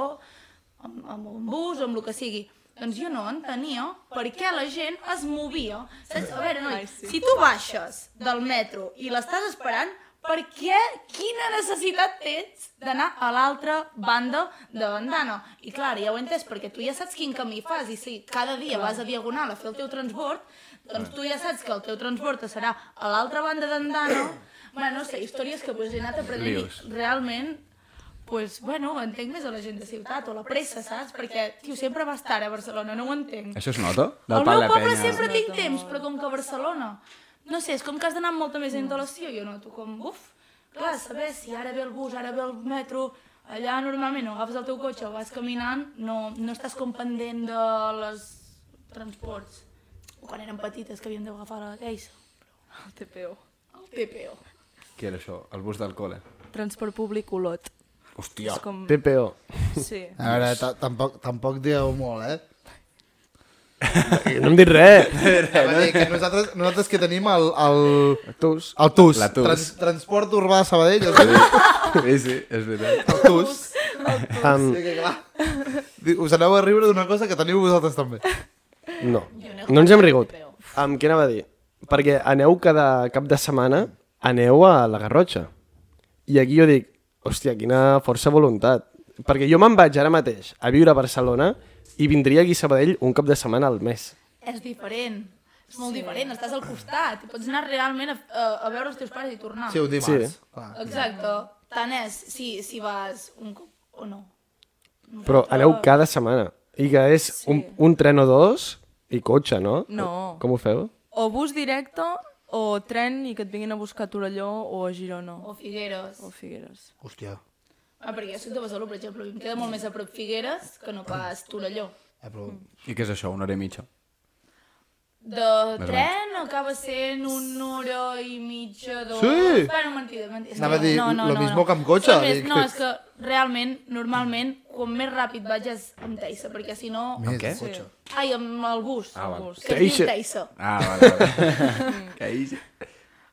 Speaker 6: amb, amb un bus o amb el que sigui. Doncs jo no entenia per què la gent es movia. Saps? A veure, noi, si tu baixes del metro i l'estàs esperant, per què, quina necessitat tens d'anar a l'altra banda de bandana? I clar, ja ho he entès, perquè tu ja saps quin camí fas, i si cada dia vas a Diagonal a fer el teu transbord, doncs tu ja saps que el teu transbord serà a l'altra banda d'andana. bueno, no sé, històries que pues, he anat aprenent
Speaker 3: Líos.
Speaker 6: i realment pues, bueno, entenc més a la gent de ciutat o la pressa, saps? Perquè, tio, sempre vas tard a Barcelona, no ho entenc.
Speaker 3: Això es nota?
Speaker 6: Al meu
Speaker 3: Pal de
Speaker 6: poble
Speaker 3: Penya.
Speaker 6: sempre tinc temps, però com que a Barcelona... No sé, és com que has d'anar amb molta més antelació, jo noto com, uf, clar, saber si ara ve el bus, ara ve el metro, allà normalment o agafes el teu cotxe o vas caminant, no, no estàs com pendent de les transports. O quan érem petites que havíem d'agafar la Geisa.
Speaker 7: El TPO.
Speaker 6: El TPO.
Speaker 3: Què era això? El bus del col·le.
Speaker 7: Transport públic Olot.
Speaker 3: Hòstia.
Speaker 7: És com...
Speaker 1: TPO.
Speaker 7: Sí.
Speaker 2: A veure, ta- tampoc, tampoc digueu molt, eh?
Speaker 1: No hem dit res.
Speaker 2: Anava a dir que nosaltres, nosaltres que tenim el, el,
Speaker 1: Tus.
Speaker 2: el TUS,
Speaker 3: La TUS.
Speaker 2: Trans, Transport Urbà de Sabadell, es diu
Speaker 3: Sí, sí, és veritat.
Speaker 2: el TUS.
Speaker 1: Um,
Speaker 2: Sí, que clar. Diu, Us aneu a riure d'una cosa que teniu vosaltres també.
Speaker 1: no. No ens hem rigut. Um, què anava a dir? Perquè aneu cada cap de setmana, aneu a la Garrotxa. I aquí jo dic, hòstia, quina força voluntat. Perquè jo me'n vaig ara mateix a viure a Barcelona i vindria aquí a Sabadell un cap de setmana al mes.
Speaker 6: És diferent. És molt diferent, estàs al costat. i Pots anar realment a, a, a veure els teus pares i tornar.
Speaker 2: Sí, un dimarts.
Speaker 1: Sí.
Speaker 2: Clar.
Speaker 6: Exacte. Tant és si, si vas un cop o no.
Speaker 1: Però aneu cada setmana. I que és un, un tren o dos i cotxe, no?
Speaker 7: No.
Speaker 1: Com ho feu?
Speaker 7: O bus directe, o tren i que et vinguin a buscar a Torelló o a Girona.
Speaker 6: O Figueres.
Speaker 7: O Figueres.
Speaker 2: Hòstia.
Speaker 6: Ah, perquè jo soc de Besalú, per exemple, i em queda molt més a prop Figueres que no pas Torelló.
Speaker 2: Eh, però...
Speaker 3: I què és això? Una hora i mitja?
Speaker 6: De tren acaba sent una hora i mitja, dos...
Speaker 2: Sí!
Speaker 6: Bueno, mentida, mentida. És
Speaker 2: Anava
Speaker 6: que
Speaker 2: a dir,
Speaker 6: no, no,
Speaker 2: lo
Speaker 6: no,
Speaker 2: mismo
Speaker 6: no.
Speaker 2: que amb cotxe,
Speaker 6: Són Més,
Speaker 2: dic.
Speaker 6: no, és que realment, normalment, com més ràpid vaig és amb Teissa, perquè si no...
Speaker 2: Més
Speaker 3: què?
Speaker 2: cotxe.
Speaker 6: Ai, amb el bus.
Speaker 3: Ah, val.
Speaker 6: que es
Speaker 1: Teissa.
Speaker 6: diu Teissa.
Speaker 3: Ah, vale, vale. que ahir...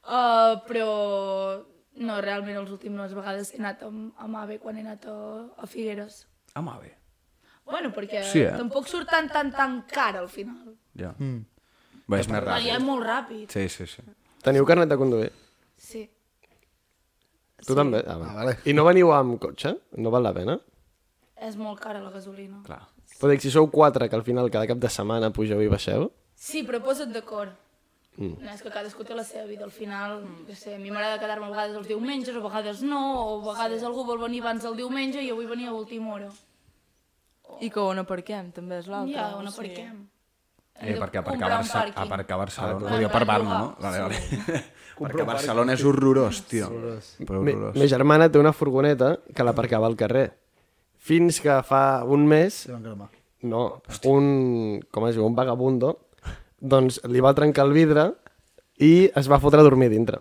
Speaker 6: Uh, però no, realment, les últimes vegades he anat amb, amb AVE quan he anat a, a Figueres.
Speaker 3: Home, bé.
Speaker 6: Bueno, perquè
Speaker 3: Sí, eh?
Speaker 6: tampoc surt tan, tan, tan car al final.
Speaker 3: Ja. Mm. Bé, és més
Speaker 6: Ah, ja
Speaker 3: ràpid.
Speaker 6: és molt ràpid.
Speaker 3: Sí, sí, sí.
Speaker 1: Teniu carnet de conduir?
Speaker 6: Sí.
Speaker 1: Tu també? Ah, va.
Speaker 2: Ah, vale.
Speaker 1: I no veniu amb cotxe? No val la pena?
Speaker 6: És molt cara la gasolina.
Speaker 3: Clar.
Speaker 1: Però dic, si sou quatre, que al final cada cap de setmana pugeu i baixeu...
Speaker 6: Sí, però posa't d'acord. Mm. No, és que cadascú té la seva vida. Al final, mm. sé, a mi m'agrada quedar-me a vegades els diumenges, a vegades no, o a vegades algú vol venir abans del diumenge i jo vull venir a última hora.
Speaker 7: I que on aparquem, també és l'altre.
Speaker 6: Ja, on
Speaker 7: o sigui.
Speaker 6: aparquem? Hem
Speaker 3: Eh,
Speaker 6: de
Speaker 3: perquè aparcar,
Speaker 6: comprar un
Speaker 3: Barça,
Speaker 6: pàrquing.
Speaker 3: aparcar Barcelona...
Speaker 6: Ah, clar.
Speaker 3: Vull dir, per Barna, no? Vale, vale. perquè Barcelona és horrorós, tio. Però
Speaker 1: Mi,
Speaker 3: horrorós.
Speaker 1: ma germana té una furgoneta que l'aparcava al carrer. Fins que fa un mes,
Speaker 2: Te van cremar.
Speaker 1: no, un, com es diu, un vagabundo, doncs li va trencar el vidre i es va fotre a dormir a dintre.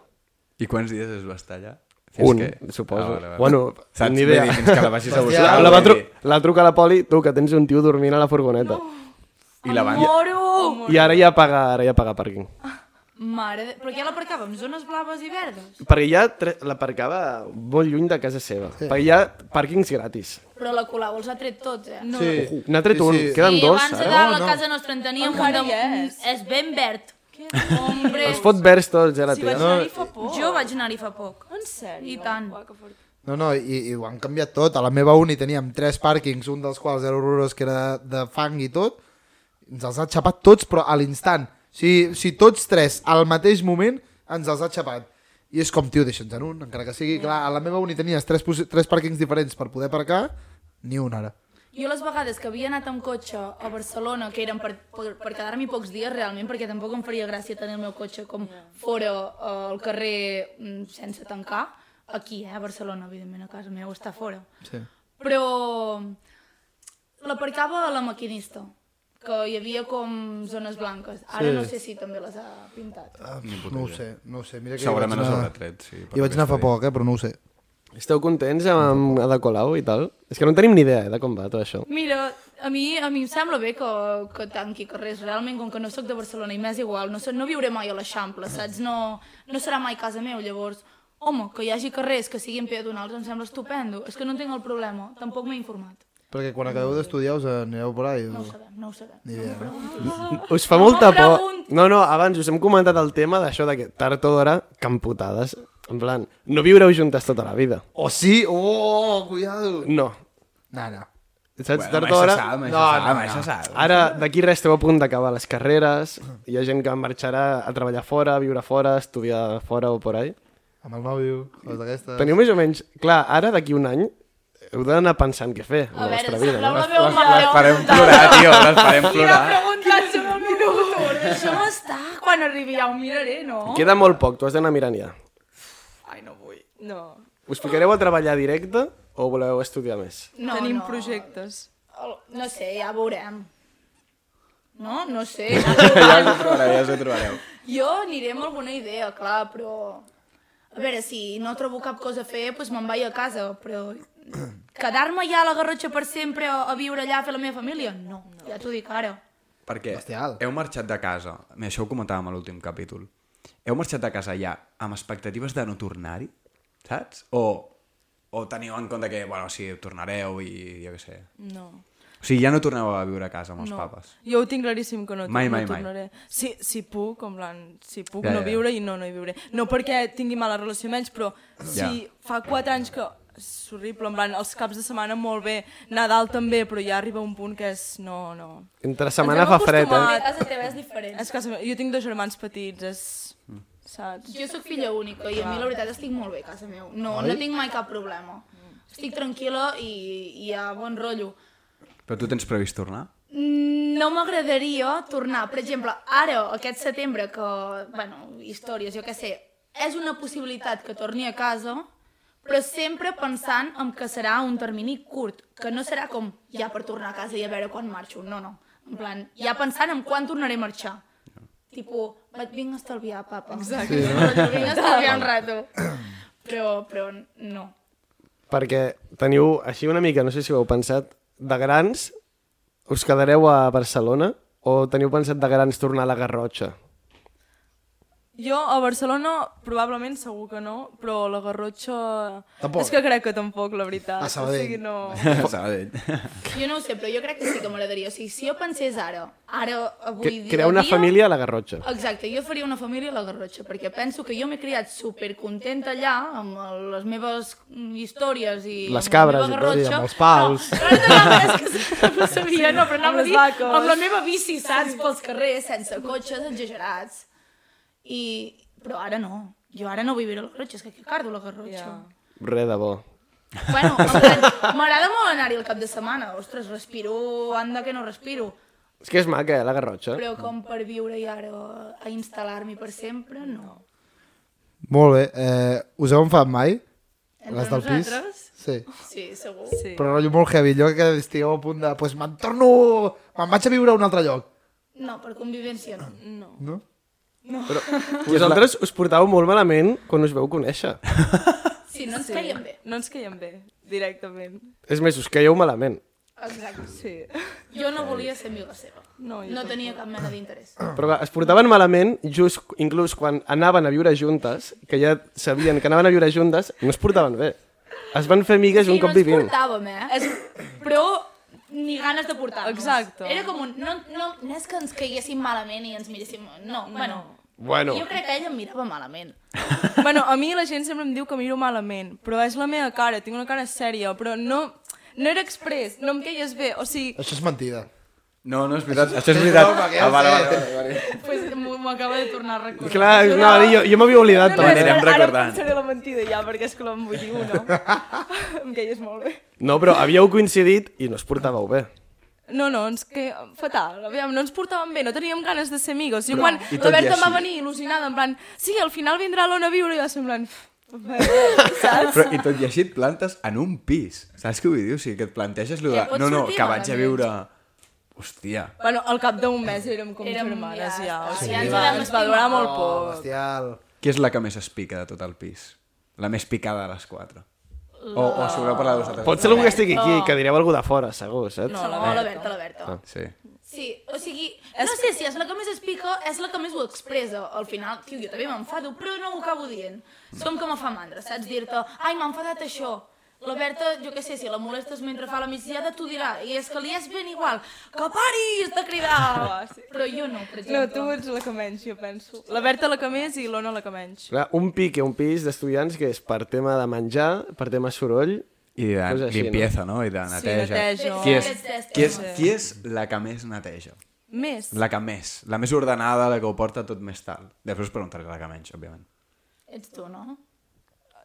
Speaker 3: I quants dies es va estar allà?
Speaker 1: Un, suposo. Bueno,
Speaker 3: Ah, Saps?
Speaker 1: ni
Speaker 3: Vull
Speaker 1: idea.
Speaker 3: dir, Fins que la vagis a buscar.
Speaker 1: La, la, va
Speaker 3: vull
Speaker 1: tru
Speaker 3: dir.
Speaker 1: la truca a la poli, tu, que tens un tio dormint a la furgoneta.
Speaker 3: I la van...
Speaker 6: Moro!
Speaker 1: I ara ja paga, ara ja paga pàrquing.
Speaker 6: Mare de... Però ja l'aparcàvem, zones blaves i verdes.
Speaker 1: Perquè ja tre- l'aparcava molt lluny de casa seva. Sí. Perquè hi ha pàrquings gratis.
Speaker 6: Però la Colau els ha tret tots, eh? No.
Speaker 2: Sí.
Speaker 1: N'ha tret
Speaker 2: Sí,
Speaker 1: un,
Speaker 2: sí.
Speaker 1: queden
Speaker 6: I
Speaker 1: dos.
Speaker 6: abans de
Speaker 1: Ara.
Speaker 6: dalt,
Speaker 2: No,
Speaker 6: a
Speaker 2: no.
Speaker 6: casa nostra en teníem un
Speaker 7: Encara
Speaker 6: de...
Speaker 7: hi és.
Speaker 6: És ben verd. Hombre,
Speaker 1: Es fot vers tots, ja la
Speaker 7: Si vaig
Speaker 1: tia.
Speaker 7: anar-hi fa poc.
Speaker 6: jo vaig anar-hi fa poc.
Speaker 7: En sèrio?
Speaker 6: I tant.
Speaker 7: Uah, que fort.
Speaker 2: No, no, i, i ho han canviat tot. A la meva uni teníem tres pàrquings, un dels quals era horrorós, que era de, de fang i tot. Ens els ha xapat tots, però a l'instant. Si, si tots tres al mateix moment ens els ha xapat. I és com, tio, deixa'ns en un, encara que sigui. Clar, a la meva uni tenies tres, posi- tres pàrquings diferents per poder aparcar, ni un ara.
Speaker 6: Jo les vegades que havia anat amb cotxe a Barcelona, que eren per, per, per quedar-m'hi pocs dies realment, perquè tampoc em faria gràcia tenir el meu cotxe com fora eh, al carrer mm, sense tancar, aquí, eh, a Barcelona, evidentment, a casa meva està fora.
Speaker 2: Sí.
Speaker 6: Però l'aparcava a la maquinista, que hi havia com zones blanques. Ara
Speaker 2: Sí. Ah.
Speaker 6: no sé si també les ha pintat.
Speaker 2: No ho sé, no ho sé. Mira que hi
Speaker 3: Segurament
Speaker 2: vaig
Speaker 3: es
Speaker 2: anar-
Speaker 3: retret, sí. per
Speaker 2: Hi vaig anar fa
Speaker 3: aquesta
Speaker 2: poc, eh, però no ho sé.
Speaker 1: Esteu contents amb, amb Ada Colau i tal? És que no tenim ni idea eh, de com va tot això.
Speaker 6: Mira, a mi, a mi em sembla bé que, que tanqui carrers. Realment, com que no sóc de Barcelona i m'és igual, no, so- no viuré mai a l'Eixample, saps? No, no serà mai casa meu, llavors. Home, que hi hagi carrers que siguin peatonals em sembla estupendo. És que no entenc el problema, tampoc m'he informat.
Speaker 2: Perquè quan acabeu d'estudiar us anireu por ahí.
Speaker 6: No ho sabem, no ho sabem.
Speaker 2: Ni idea. no?
Speaker 1: Us fa molta
Speaker 6: No
Speaker 1: por...
Speaker 6: pregunto.
Speaker 1: No, no, abans us hem comentat el tema d'això de que tard o d'hora, camputades. En plan, no viureu juntes tota la vida.
Speaker 2: O sí, oh, cuidado.
Speaker 1: No.
Speaker 2: No, no.
Speaker 1: Saps?
Speaker 3: Bueno,
Speaker 1: tard o
Speaker 3: això
Speaker 1: d'hora...
Speaker 3: sap, això
Speaker 2: No,
Speaker 3: sap,
Speaker 2: no,
Speaker 3: això
Speaker 2: no.
Speaker 3: sap.
Speaker 1: Ara, d'aquí res, esteu a punt d'acabar les carreres, hi ha gent que marxarà a treballar fora, a viure fora, a estudiar fora o por ahí.
Speaker 2: Amb el nòvio, coses d'aquestes.
Speaker 1: Teniu més o menys... Clar, ara, d'aquí un any, heu d'anar pensant què fer amb
Speaker 6: A
Speaker 1: la
Speaker 6: veure,
Speaker 1: vostra vida.
Speaker 6: sembleu
Speaker 1: No?
Speaker 6: la meva
Speaker 3: Les farem
Speaker 6: mare.
Speaker 3: plorar, tio, les farem plorar.
Speaker 6: Preguntant sobre el meu futur, això m'està. Quan arribi ja ho miraré, no?
Speaker 1: Queda molt poc, tu has d'anar mirant ja.
Speaker 7: Ai, no vull. No.
Speaker 1: Us ficareu a treballar directe o voleu estudiar més?
Speaker 6: No,
Speaker 7: Tenim
Speaker 6: no.
Speaker 7: projectes.
Speaker 6: El- No sé, ja veurem. No? No sé. ja
Speaker 3: Ja us ho trobareu, ja us ho trobareu.
Speaker 6: Jo aniré amb alguna idea, clar, però... A veure, si no trobo cap cosa a fer, doncs me'n vaig a casa, però... Quedar-me ja a la Garrotxa per sempre a a viure allà a fer la meva família? No, ja t'ho dic ara.
Speaker 3: Perquè
Speaker 2: Bestial.
Speaker 3: heu marxat de casa, Mira, això ho comentàvem a l'últim capítol, heu marxat de casa ja amb expectatives de no tornar-hi, saps? O, o teniu en compte que, bueno, sí, tornareu i jo què sé.
Speaker 7: No.
Speaker 3: O sigui, ja no torneu a viure a casa amb els
Speaker 7: no.
Speaker 3: papes.
Speaker 7: Jo ho tinc claríssim que no,
Speaker 3: Mai,
Speaker 7: mai, no
Speaker 3: mai, mai.
Speaker 7: tornaré. Si, si puc, com plan, si puc
Speaker 3: Ja,
Speaker 7: no
Speaker 3: ja.
Speaker 7: viure i no, no hi viuré. No perquè tingui mala relació amb ells, però si
Speaker 3: Ja.
Speaker 7: fa quatre anys que és horrible, en plan, els caps de setmana molt bé, Nadal també, però ja arriba un punt que és... No, no.
Speaker 1: Entre setmana fa fred, eh?
Speaker 7: acostumat.
Speaker 6: casa teva és diferent.
Speaker 7: És casa meva. Jo tinc dos germans petits, és... Saps?
Speaker 6: Jo sóc filla única i a mi la veritat estic molt bé a casa meu. No, no tinc mai cap problema. Estic tranquil·la i, i hi ha bon rotllo.
Speaker 3: Però tu tens previst tornar?
Speaker 6: No m'agradaria tornar, per exemple, ara, aquest setembre, que, bueno, històries, jo què sé, és una possibilitat que torni a casa, però sempre pensant en que serà un termini curt, que no serà com ja per tornar a casa i a veure quan marxo, no, no. En plan, ja pensant en quan tornaré a marxar. Tipo, vaig vinc a estalviar, papa. Exacte. Sí, no? Vinc a estalviar un rato. Però, però no.
Speaker 1: Perquè teniu així una mica, no sé si ho heu pensat, de grans us quedareu a Barcelona o teniu pensat de grans tornar a la Garrotxa?
Speaker 7: Jo a Barcelona probablement segur que no, però a la Garrotxa...
Speaker 2: Tampoc.
Speaker 7: És que crec que tampoc, la veritat.
Speaker 2: A Sabadell.
Speaker 7: O sigui, no...
Speaker 3: Sabadell.
Speaker 6: Jo no ho sé, però jo crec que sí que m'agradaria. O sigui, si jo pensés ara, ara, avui
Speaker 1: Que,
Speaker 6: dia...
Speaker 1: crear una
Speaker 6: dia,
Speaker 1: família a la Garrotxa.
Speaker 6: Exacte, jo faria una família a la Garrotxa, perquè penso que jo m'he criat supercontenta allà, amb el- les meves mm, històries i...
Speaker 1: Les
Speaker 6: amb la
Speaker 1: cabres
Speaker 6: meva
Speaker 1: i tot, i
Speaker 6: Garrotxa.
Speaker 1: amb els pals.
Speaker 6: No, no, no, no, és que no ho sabia, no, però anava a
Speaker 7: Amb les
Speaker 6: dir
Speaker 7: vaques.
Speaker 6: amb la meva bici, saps, pels carrers, sense cotxes, exagerats. I... Però ara no. Jo ara no viuré a la Garrotxa, és que que cardo la Garrotxa.
Speaker 7: Ja.
Speaker 1: Re de bo.
Speaker 6: Bueno, en plan, m'agrada molt anar-hi el cap de setmana. Ostres, respiro, anda que no respiro.
Speaker 1: És que és maca, eh, la Garrotxa.
Speaker 6: Però com per viure i ara a instal·lar-m'hi per sempre, no.
Speaker 2: Molt bé. Eh, us heu enfat mai? Les del pis?
Speaker 7: nosaltres?
Speaker 2: Sí.
Speaker 6: Sí, segur.
Speaker 7: Sí.
Speaker 2: Però rotllo molt heavy. Jo que estigueu a punt de... Doncs pues me'n torno... Me'n vaig a viure a un altre lloc.
Speaker 6: No, per convivència no.
Speaker 7: No.
Speaker 2: No?
Speaker 1: Vosaltres us portàveu molt malament quan us veu conèixer.
Speaker 6: Sí, no ens caiem bé.
Speaker 7: No ens caiem bé, directament.
Speaker 1: És més, us caieu malament.
Speaker 6: Exacte.
Speaker 7: Sí.
Speaker 6: Jo no volia ser amiga seva.
Speaker 7: No, jo
Speaker 6: No tenia cap mena d'interès.
Speaker 1: Però clar, es portaven malament just inclús quan anaven a viure juntes, que ja sabien que anaven a viure juntes, no es portaven bé. Es van fer amigues un
Speaker 6: no
Speaker 1: cop
Speaker 6: ens
Speaker 1: vivint.
Speaker 6: portàvem, eh? És... Però ni ganes de portar-nos.
Speaker 7: Exacte.
Speaker 6: Era com un... No, no, no és que ens caiguéssim malament i ens miréssim... No, bueno...
Speaker 1: Bueno,
Speaker 6: Jo crec que ella em mirava malament.
Speaker 7: Bueno, a mi la gent sempre em diu que miro malament, però és la meva cara, tinc una cara sèria, però no, no era express, no em caies bé, o sigui,
Speaker 2: Això és mentida.
Speaker 3: No, no, és veritat. Això és veritat.
Speaker 2: broma, que ja
Speaker 3: Ah,
Speaker 2: ho
Speaker 3: vale,
Speaker 2: sé.
Speaker 3: vale, vale, vale.
Speaker 6: Pues m'ho m'ho acaba de tornar a recordar.
Speaker 1: Clar, no, jo, jo m'havia oblidat.
Speaker 3: no,
Speaker 1: No,
Speaker 3: Anirem
Speaker 7: ara, ara
Speaker 3: recordant.
Speaker 7: em pensaré la mentida ja, perquè és que l'embullir una. em queies molt bé.
Speaker 1: no, però havíeu coincidit i no es portàveu bé.
Speaker 7: No, no, ens que... fatal. Aviam, no ens portàvem bé, no teníem ganes de ser amigos. Jo
Speaker 3: Però-
Speaker 7: quan
Speaker 3: i tot
Speaker 7: la
Speaker 3: i
Speaker 7: Berta em va
Speaker 3: així.
Speaker 7: venir il·lusionada, en plan, sí, al final vindrà l'Ona a viure, i jo semblant... Saps?
Speaker 3: Però, I tot i així et plantes en un pis. Saps què vull dir? O sigui, que et planteges allò
Speaker 6: Que
Speaker 3: de...
Speaker 6: pot
Speaker 3: No, no,
Speaker 6: sortir
Speaker 3: que vaig a
Speaker 6: malament."
Speaker 3: viure... Hòstia.
Speaker 7: Bueno, al cap d'un mes érem com
Speaker 6: Érem-
Speaker 7: érem, germanes,
Speaker 6: ja
Speaker 7: ja.
Speaker 6: està,
Speaker 7: O sigui,
Speaker 6: ja ens
Speaker 7: va,
Speaker 6: vam
Speaker 7: ens va durar
Speaker 6: estimar.
Speaker 7: molt poc.
Speaker 2: Bestial.
Speaker 3: Qui és la que més es pica de tot el pis? La més picada de les quatre. O, o si voleu parlar de vosaltres.
Speaker 1: Pot ser algú que estigui aquí, que direu algú de fora, segur, saps?
Speaker 6: No, la Berta, la Berta.
Speaker 3: Ah, Sí.
Speaker 6: Sí, o sigui, no sé si és la que més explica, és la que més ho expressa. Al final, tio, jo també m'enfado, però no ho acabo dient. Som que me fa mandra, saps? Dir-te, ai, m'ha enfadat això. La Berta, jo què sé, si la molestes mentre fa la migdiada, t'ho dirà. I és que li és ben igual. Que paris de cridar! Però jo no, per
Speaker 7: No,
Speaker 6: exemple.
Speaker 7: tu ets la que menys, jo penso. La Berta la que més i l'Ona la que menys.
Speaker 1: Clar, un pic, un pis d'estudiants que és per tema de menjar, per tema soroll...
Speaker 3: I de
Speaker 1: Coses així,
Speaker 3: limpieza, no? I de
Speaker 7: Sí,
Speaker 3: neteja.
Speaker 7: neteja.
Speaker 3: Qui és,
Speaker 6: Aquests
Speaker 3: qui, és,
Speaker 6: testos.
Speaker 3: qui és la que més neteja?
Speaker 7: Més.
Speaker 3: La que més. La més ordenada, la que ho porta tot més tal. Després preguntaré la que menys, òbviament.
Speaker 6: Ets tu, no?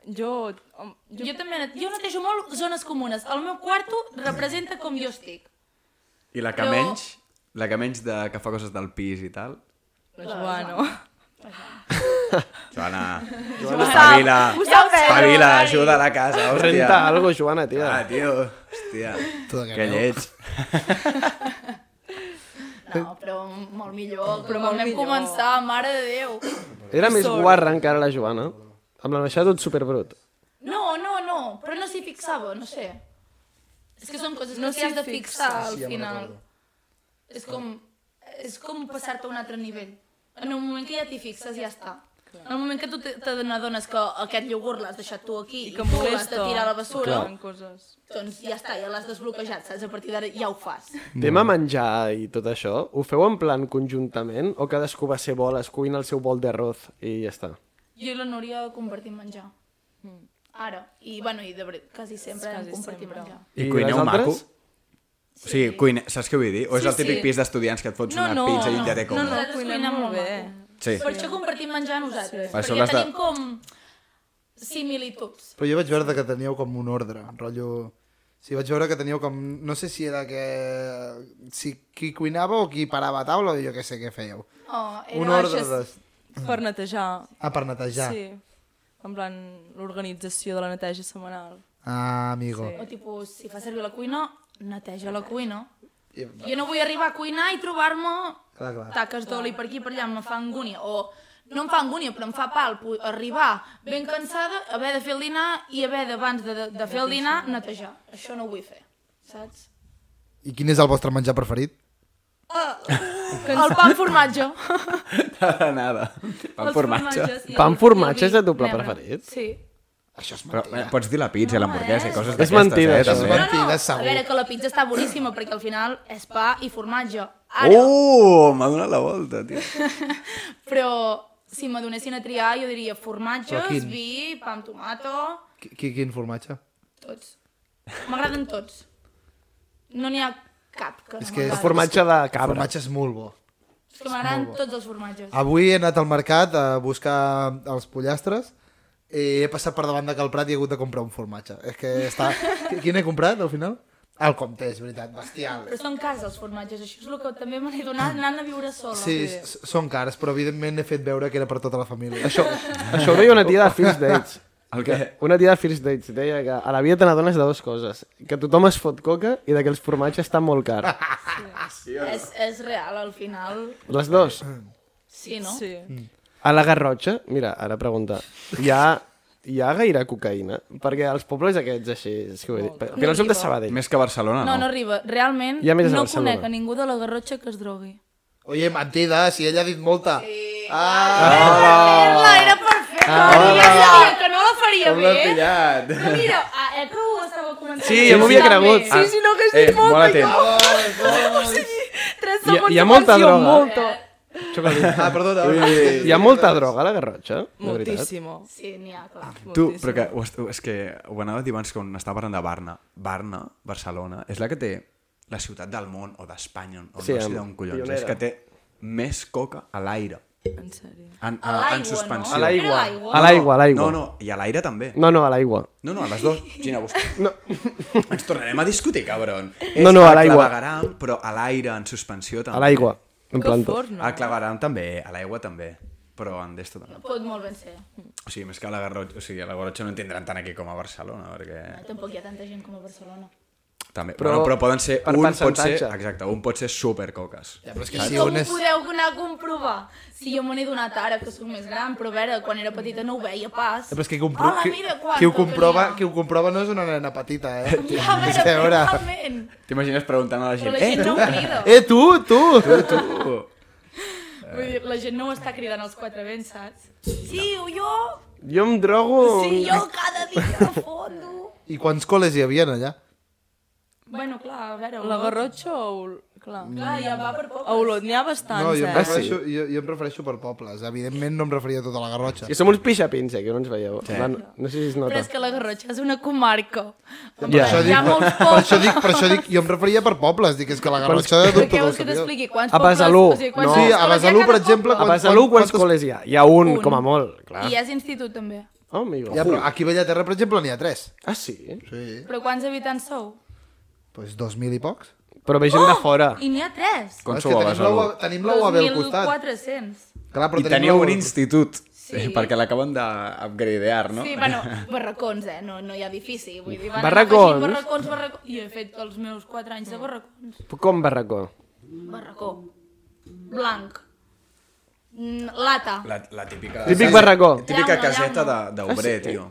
Speaker 7: Jo... hom,
Speaker 6: Jo, jo també net- jo netejo molt zones comunes. El meu quarto representa com jo estic.
Speaker 3: I la que
Speaker 6: Però-
Speaker 3: menys? La que menys de, que fa coses del pis i tal?
Speaker 7: La Joana.
Speaker 3: Joana, Joana. espavila,
Speaker 7: Ho sap,
Speaker 3: espavila, ajuda a la casa, hòstia.
Speaker 1: Renta algo, Joana,
Speaker 3: Ah,
Speaker 1: tia.
Speaker 3: tio, hòstia,
Speaker 2: Tot
Speaker 3: que
Speaker 2: aquell, no?
Speaker 3: lleig.
Speaker 6: No, però molt millor. Però
Speaker 7: Eh. molt
Speaker 6: quan vam
Speaker 7: millor.
Speaker 6: començar, mare de Déu.
Speaker 1: Era més guarra encara la Joana. Amb la baixada tot superbrut.
Speaker 6: No, no, no, però no s'hi fixava, no sé. És que són coses que
Speaker 7: No
Speaker 6: no t'hi has
Speaker 7: s'hi
Speaker 6: de fixar
Speaker 7: fixa.
Speaker 6: al final. És com, és com passar-te a un altre nivell. En el moment que ja t'hi fixes, ja està. En el moment que tu te te n'adones que aquest iogurt l'has deixat tu aquí i,
Speaker 7: I
Speaker 6: que
Speaker 7: que
Speaker 6: tu l'has de
Speaker 7: molesta.
Speaker 6: tirar a la bessura,
Speaker 7: Fan coses.
Speaker 6: doncs ja està, ja l'has desbloquejat, saps? A partir d'ara ja ho fas.
Speaker 1: Tema menjar i tot això, ho feu en plan conjuntament o cadascú va ser bol, es cuina el seu bol d'arroz i ja està?
Speaker 6: Jo i la Núria compartim menjar. Ara. I, bueno, i de veritat, quasi sempre
Speaker 7: Mm. Quasi
Speaker 6: compartim
Speaker 7: sempre.
Speaker 6: menjar.
Speaker 3: I,
Speaker 1: I
Speaker 3: cuineu
Speaker 1: les
Speaker 3: maco?
Speaker 1: altres?
Speaker 3: O sigui, cuine... saps què vull dir? O és
Speaker 6: Sí,
Speaker 3: el típic
Speaker 6: sí.
Speaker 3: pis d'estudiants que et fots
Speaker 7: No,
Speaker 3: una
Speaker 7: no,
Speaker 3: pizza i
Speaker 7: no,
Speaker 3: ja té com...
Speaker 6: no, nosaltres
Speaker 7: cuinem
Speaker 6: cuinem
Speaker 7: molt
Speaker 6: molt
Speaker 7: bé.
Speaker 3: Sí.
Speaker 6: Per això compartim menjar nosaltres.
Speaker 3: Per això
Speaker 6: Perquè ja
Speaker 3: l'has de-
Speaker 6: tenim com similituds.
Speaker 2: Però jo vaig veure que teníeu com un ordre, rotllo... Sí, vaig veure que teníeu com... No sé si era que... Si qui cuinava o qui parava a taula o jo què sé què fèieu.
Speaker 6: Oh, era
Speaker 2: Un ordre
Speaker 6: això
Speaker 2: de...
Speaker 6: és-
Speaker 7: Per netejar.
Speaker 2: Ah, per netejar.
Speaker 7: Sí. En plan, l'organització de la neteja setmanal.
Speaker 2: Ah, amigo.
Speaker 6: O tipus, si fa servir la cuina, neteja la cuina.
Speaker 2: I-
Speaker 6: Jo no vull arribar a cuinar i trobar-me
Speaker 2: Clar, clar.
Speaker 6: taques d'oli per aquí i per allà, em fa angúnia. O no em fa angúnia, però em fa pal pu- arribar ben cansada, haver de fer el dinar i haver d'abans de, de, de fer el dinar netejar. Això no ho vull fer, saps?
Speaker 2: I quin és el vostre menjar preferit?
Speaker 6: El pa amb formatge.
Speaker 3: De nada. Pan
Speaker 6: Els
Speaker 3: formatge.
Speaker 6: formatges i el-
Speaker 1: Pa amb
Speaker 6: i el
Speaker 1: formatge és
Speaker 6: vi
Speaker 1: el teu pla
Speaker 6: negre.
Speaker 1: preferit?
Speaker 6: Sí.
Speaker 2: Això és
Speaker 3: Però, eh, pots dir la pizza, no, l'hamburguesa i coses
Speaker 1: És
Speaker 3: d'aquestes,
Speaker 1: mentida,
Speaker 3: eh,
Speaker 1: això.
Speaker 3: també.
Speaker 2: És mentida. Mentides,
Speaker 6: a
Speaker 2: segur.
Speaker 6: veure, que la pizza està boníssima, perquè al final és pa i formatge. Ara,
Speaker 3: Uh, m'ha donat la volta, tio.
Speaker 6: però si me donessin a triar, jo diria formatges,
Speaker 2: Però quin?
Speaker 6: vi, pa amb tomato,
Speaker 2: Qui- qui- Quin formatge?
Speaker 6: tots. M'agraden tots. No n'hi ha cap que
Speaker 2: És
Speaker 6: no
Speaker 2: que és
Speaker 6: m'agradi.
Speaker 1: Formatge de
Speaker 2: El
Speaker 1: cabra.
Speaker 2: formatge és molt bo.
Speaker 6: És que m'agraden tots els formatges.
Speaker 2: Avui he anat al mercat a buscar els pollastres i he passat per davant de Calprat i he hagut de comprar un formatge. És que està... Qui- Quin he comprat, al final? El Comte, és veritat, bestial.
Speaker 6: Però són cars els formatges, això és el que també me n'he donat anant a viure sola.
Speaker 2: Mm. Sí, s- són cars, però evidentment he fet veure que era per tota la família.
Speaker 1: Això, això ho deia una tia de First Dates.
Speaker 3: El que...
Speaker 1: Una tia de First Dates deia que a la vida te n'adones de dues coses. Que tothom es fot coca i de que els formatges estan molt cars.
Speaker 6: És, és real, al final,
Speaker 1: Les dues.
Speaker 6: sí, no?
Speaker 7: Sí.
Speaker 1: Mm. A la Garrotxa, mira, ara pregunta, hi ha, hi ha gaire cocaïna? Perquè els pobles aquests així, és que vull dir, però no som de Sabadell.
Speaker 3: Més que Barcelona,
Speaker 6: No, no arriba. Realment,
Speaker 1: Hi ha més a
Speaker 6: no
Speaker 1: Barcelona.
Speaker 6: conec a ningú de la Garrotxa que es drogui.
Speaker 2: Oye, mentida, si ella ha dit molta.
Speaker 6: Carla, era per fer-la! Ah, ja sabia que no la faria
Speaker 3: Com l'he
Speaker 6: bé.
Speaker 3: pillat?
Speaker 6: Però mira, ah, eh, que ho estava comentant.
Speaker 1: Sí, jo m'ho havia cregut.
Speaker 7: Sí, sí, no, que has dit molt,
Speaker 3: molt atent.
Speaker 7: Tres
Speaker 1: Eh, Hi ha-
Speaker 7: segons
Speaker 1: hi ha molta
Speaker 7: de pensió,
Speaker 1: droga. eh?
Speaker 7: Molto.
Speaker 1: Xocolata.
Speaker 2: Ah, perdona.
Speaker 1: Hi ha molta droga a la Garrotxa, de veritat.
Speaker 7: Moltíssimo.
Speaker 6: Sí, n'hi ha, clar.
Speaker 3: Tu, però que, ho est- ho- és que ho anava a dir abans quan estava parlant de Barna. Barna, Barcelona, és la que té la ciutat del món o d'Espanya, o
Speaker 1: Sí,
Speaker 3: no sé
Speaker 1: amb-
Speaker 3: d'on collons,
Speaker 1: pionera.
Speaker 3: és que té més coca a l'aire.
Speaker 7: En sèrio.
Speaker 3: En,
Speaker 6: A
Speaker 3: a, en
Speaker 6: l'aigua,
Speaker 3: suspensió.
Speaker 6: no?
Speaker 1: A l'aigua.
Speaker 6: Era l'aigua.
Speaker 1: A l'aigua, a l'aigua.
Speaker 3: No, no, i a l'aire també.
Speaker 1: No, no, a l'aigua.
Speaker 3: No, no, a les dues. Gina, busca. No. Ens tornarem a discutir, cabron.
Speaker 1: No, no, a l'aigua.
Speaker 3: A clavegaram, però a l'aire, en suspensió també.
Speaker 1: A l'aigua. En
Speaker 7: Que
Speaker 1: planta.
Speaker 7: fort, no?
Speaker 3: A clavegaram també, a l'aigua també. Però en d'esto també.
Speaker 6: Pot molt ben ser.
Speaker 3: O sigui, més que a la Garrotxa, o sigui, a la Garrotxa no en tindran tant aquí com a Barcelona, perquè...
Speaker 6: Tampoc hi ha tanta gent com a Barcelona.
Speaker 3: També.
Speaker 1: Però
Speaker 3: Però, bueno, però poden ser...
Speaker 1: per
Speaker 3: un pot ser...
Speaker 1: percentatge.
Speaker 3: Exacte, un pot ser supercoques.
Speaker 2: Ja, però és que
Speaker 6: I
Speaker 2: si
Speaker 6: com
Speaker 2: un
Speaker 6: ho
Speaker 2: és...
Speaker 6: podeu anar a comprovar? Si jo me n'he donat ara, que sóc més gran, però a veure, quan era petita no ho veia pas.
Speaker 2: Però és que compro...
Speaker 6: Hola,
Speaker 2: qui-
Speaker 6: mira,
Speaker 2: qui, ho comprova, qui ho comprova no és una nena petita, eh?
Speaker 6: Ja, a
Speaker 2: És que, a
Speaker 6: veure,
Speaker 2: veure...
Speaker 6: realment.
Speaker 3: T'imagines preguntant a la
Speaker 6: Però
Speaker 3: gent...
Speaker 6: la gent
Speaker 3: eh,
Speaker 6: no ho crida.
Speaker 2: Eh, tu, tu!
Speaker 3: tu!
Speaker 6: Vull dir, la gent no ho està cridant als quatre vents, saps? Sí, jo...
Speaker 1: Jo em drogo...
Speaker 6: Sí, jo cada dia fondo.
Speaker 2: I quants col·les hi havia allà?
Speaker 6: Bueno, clar, a veure...
Speaker 7: La
Speaker 6: Olot-
Speaker 7: Garrotxa o... Ol- Clar.
Speaker 1: Mm.
Speaker 6: Clar, ja va per
Speaker 7: A
Speaker 6: poc.
Speaker 7: Olot n'hi ha bastants,
Speaker 2: No, jo em,
Speaker 7: eh?
Speaker 1: sí?
Speaker 2: refereixo, jo, jo em refereixo per pobles. Evidentment no em referia a tota la Garrotxa.
Speaker 1: Que som uns pixapins, eh, que no ens veieu. Sí. No, no sé si es nota.
Speaker 6: Però és que la Garrotxa és una comarca.
Speaker 1: Ja.
Speaker 2: Per això
Speaker 6: Hi ha molts
Speaker 2: Per
Speaker 6: pobles.
Speaker 2: això dic, per això dic, jo em referia per pobles, dic, és que la Garrotxa de
Speaker 6: Però
Speaker 2: tot
Speaker 6: què
Speaker 2: tot el
Speaker 6: vols que
Speaker 2: que
Speaker 6: t'expliqui? Quants
Speaker 1: A
Speaker 6: pobles...
Speaker 1: Besalú, no.
Speaker 6: quants
Speaker 2: Sí, a
Speaker 6: pobles hi ha
Speaker 2: Besalú, per
Speaker 6: cada
Speaker 2: exemple,
Speaker 1: A
Speaker 6: poble?
Speaker 2: quan-
Speaker 1: Besalú quants
Speaker 2: quantes-
Speaker 1: col·les hi ha? Hi ha un,
Speaker 6: Un.
Speaker 1: com a molt, clar.
Speaker 6: I és institut, també.
Speaker 1: Oh, amigo.
Speaker 2: Ja, però aquí a Bellaterra, per exemple, n'hi ha tres.
Speaker 1: Ah, sí?
Speaker 2: Sí.
Speaker 6: Però quants habitants sou?
Speaker 2: Doncs dos mil i pocs.
Speaker 1: Però ve gent
Speaker 6: Oh,
Speaker 1: de fora.
Speaker 6: I n'hi ha tres.
Speaker 3: Com
Speaker 2: Clar, és
Speaker 3: sou
Speaker 2: que
Speaker 3: a
Speaker 2: tenim la
Speaker 3: Besalú?
Speaker 2: UAB tenim la UAB al costat.
Speaker 6: 2.400.
Speaker 2: Clar, però
Speaker 3: I
Speaker 2: tenim
Speaker 3: teniu
Speaker 2: la
Speaker 3: un
Speaker 2: UAB.
Speaker 3: institut.
Speaker 6: Sí.
Speaker 3: Sí. Perquè l'acaben d'upgradear, no?
Speaker 6: Sí, bueno, barracons, eh? No, no hi ha edifici. Vull dir, van
Speaker 1: Barracons?
Speaker 6: afegint Barracons, barracons. Jo he fet els meus 4 anys de barracons.
Speaker 1: Com barracó?
Speaker 6: Barracó. Blanc. Mm, Lata.
Speaker 3: La, la típica...
Speaker 1: Típic barracó. Ah,
Speaker 3: Típica
Speaker 6: Llauna,
Speaker 3: caseta
Speaker 6: llauna.
Speaker 3: de- d'obrer, tio.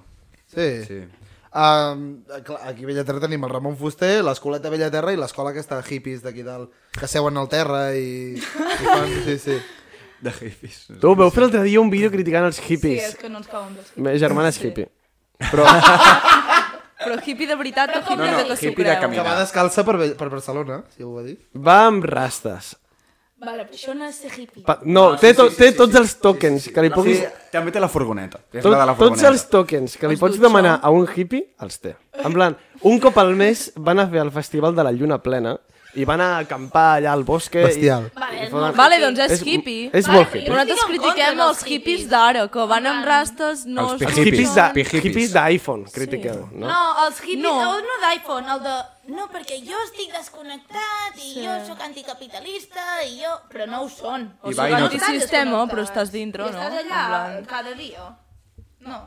Speaker 2: Sí. sí.
Speaker 3: Sí.
Speaker 2: Um, clar, aquí a Bellaterra tenim el Ramon Fuster, l'escoleta Bellaterra i l'escola que està hippies d'aquí dalt, que seuen al terra i... i fan... Sí, sí.
Speaker 3: De hippies.
Speaker 1: Tu, veu fer l'altre dia un vídeo criticant els
Speaker 6: Sí, és
Speaker 1: hippies.
Speaker 6: que no ens cauen dos.
Speaker 1: Ma germana és hippie.
Speaker 7: Però hippie de veritat o
Speaker 6: Però com
Speaker 7: hippie
Speaker 6: no?
Speaker 7: de que s'ho
Speaker 3: Hippie de
Speaker 7: creu?
Speaker 2: Que
Speaker 3: Mira.
Speaker 2: va descalça per, Be- per Barcelona, si ho va dir.
Speaker 1: Va amb rastes.
Speaker 6: Vale, però això no és ser hippie.
Speaker 1: Pa
Speaker 3: Ah,
Speaker 1: no, té, to té tots els tokens que li
Speaker 3: Sí,
Speaker 1: puguis...
Speaker 3: també té la furgoneta. És
Speaker 1: Tot,
Speaker 3: la de la
Speaker 1: tots
Speaker 3: furgoneta.
Speaker 1: els tokens que li pots demanar a un hippie, els té. En plan, un cop al mes van a fer el festival de la lluna plena i van a acampar allà al bosque...
Speaker 2: Bestial.
Speaker 1: I,
Speaker 6: Vale,
Speaker 1: i
Speaker 6: és
Speaker 1: foten-
Speaker 6: molt
Speaker 7: Vale, doncs és hippie.
Speaker 1: És molt
Speaker 6: Vale,
Speaker 1: hippie.
Speaker 7: Però
Speaker 6: Jo estic en
Speaker 7: nosaltres
Speaker 6: contra
Speaker 7: critiquem
Speaker 6: dels
Speaker 7: els hippies
Speaker 6: hippies.
Speaker 7: d'ara, que van amb rastes, no...
Speaker 3: Els
Speaker 7: es-
Speaker 1: Els
Speaker 3: Hippies.
Speaker 1: hippies de-
Speaker 3: Hippies.
Speaker 1: hippies d'iPhone, critiqueu, no?
Speaker 6: No, els hippies,
Speaker 7: No.
Speaker 6: no, no d'iPhone, el de... No, perquè jo estic desconnectat i jo sóc anticapitalista i jo... Però no ho són.
Speaker 7: O
Speaker 3: I
Speaker 7: sigui,
Speaker 3: va, i no-
Speaker 7: antisistema, però
Speaker 6: desconnectats.
Speaker 7: estàs dintre,
Speaker 6: I
Speaker 7: no?
Speaker 6: Estàs
Speaker 7: En
Speaker 6: allà
Speaker 7: plan-
Speaker 6: cada dia. No.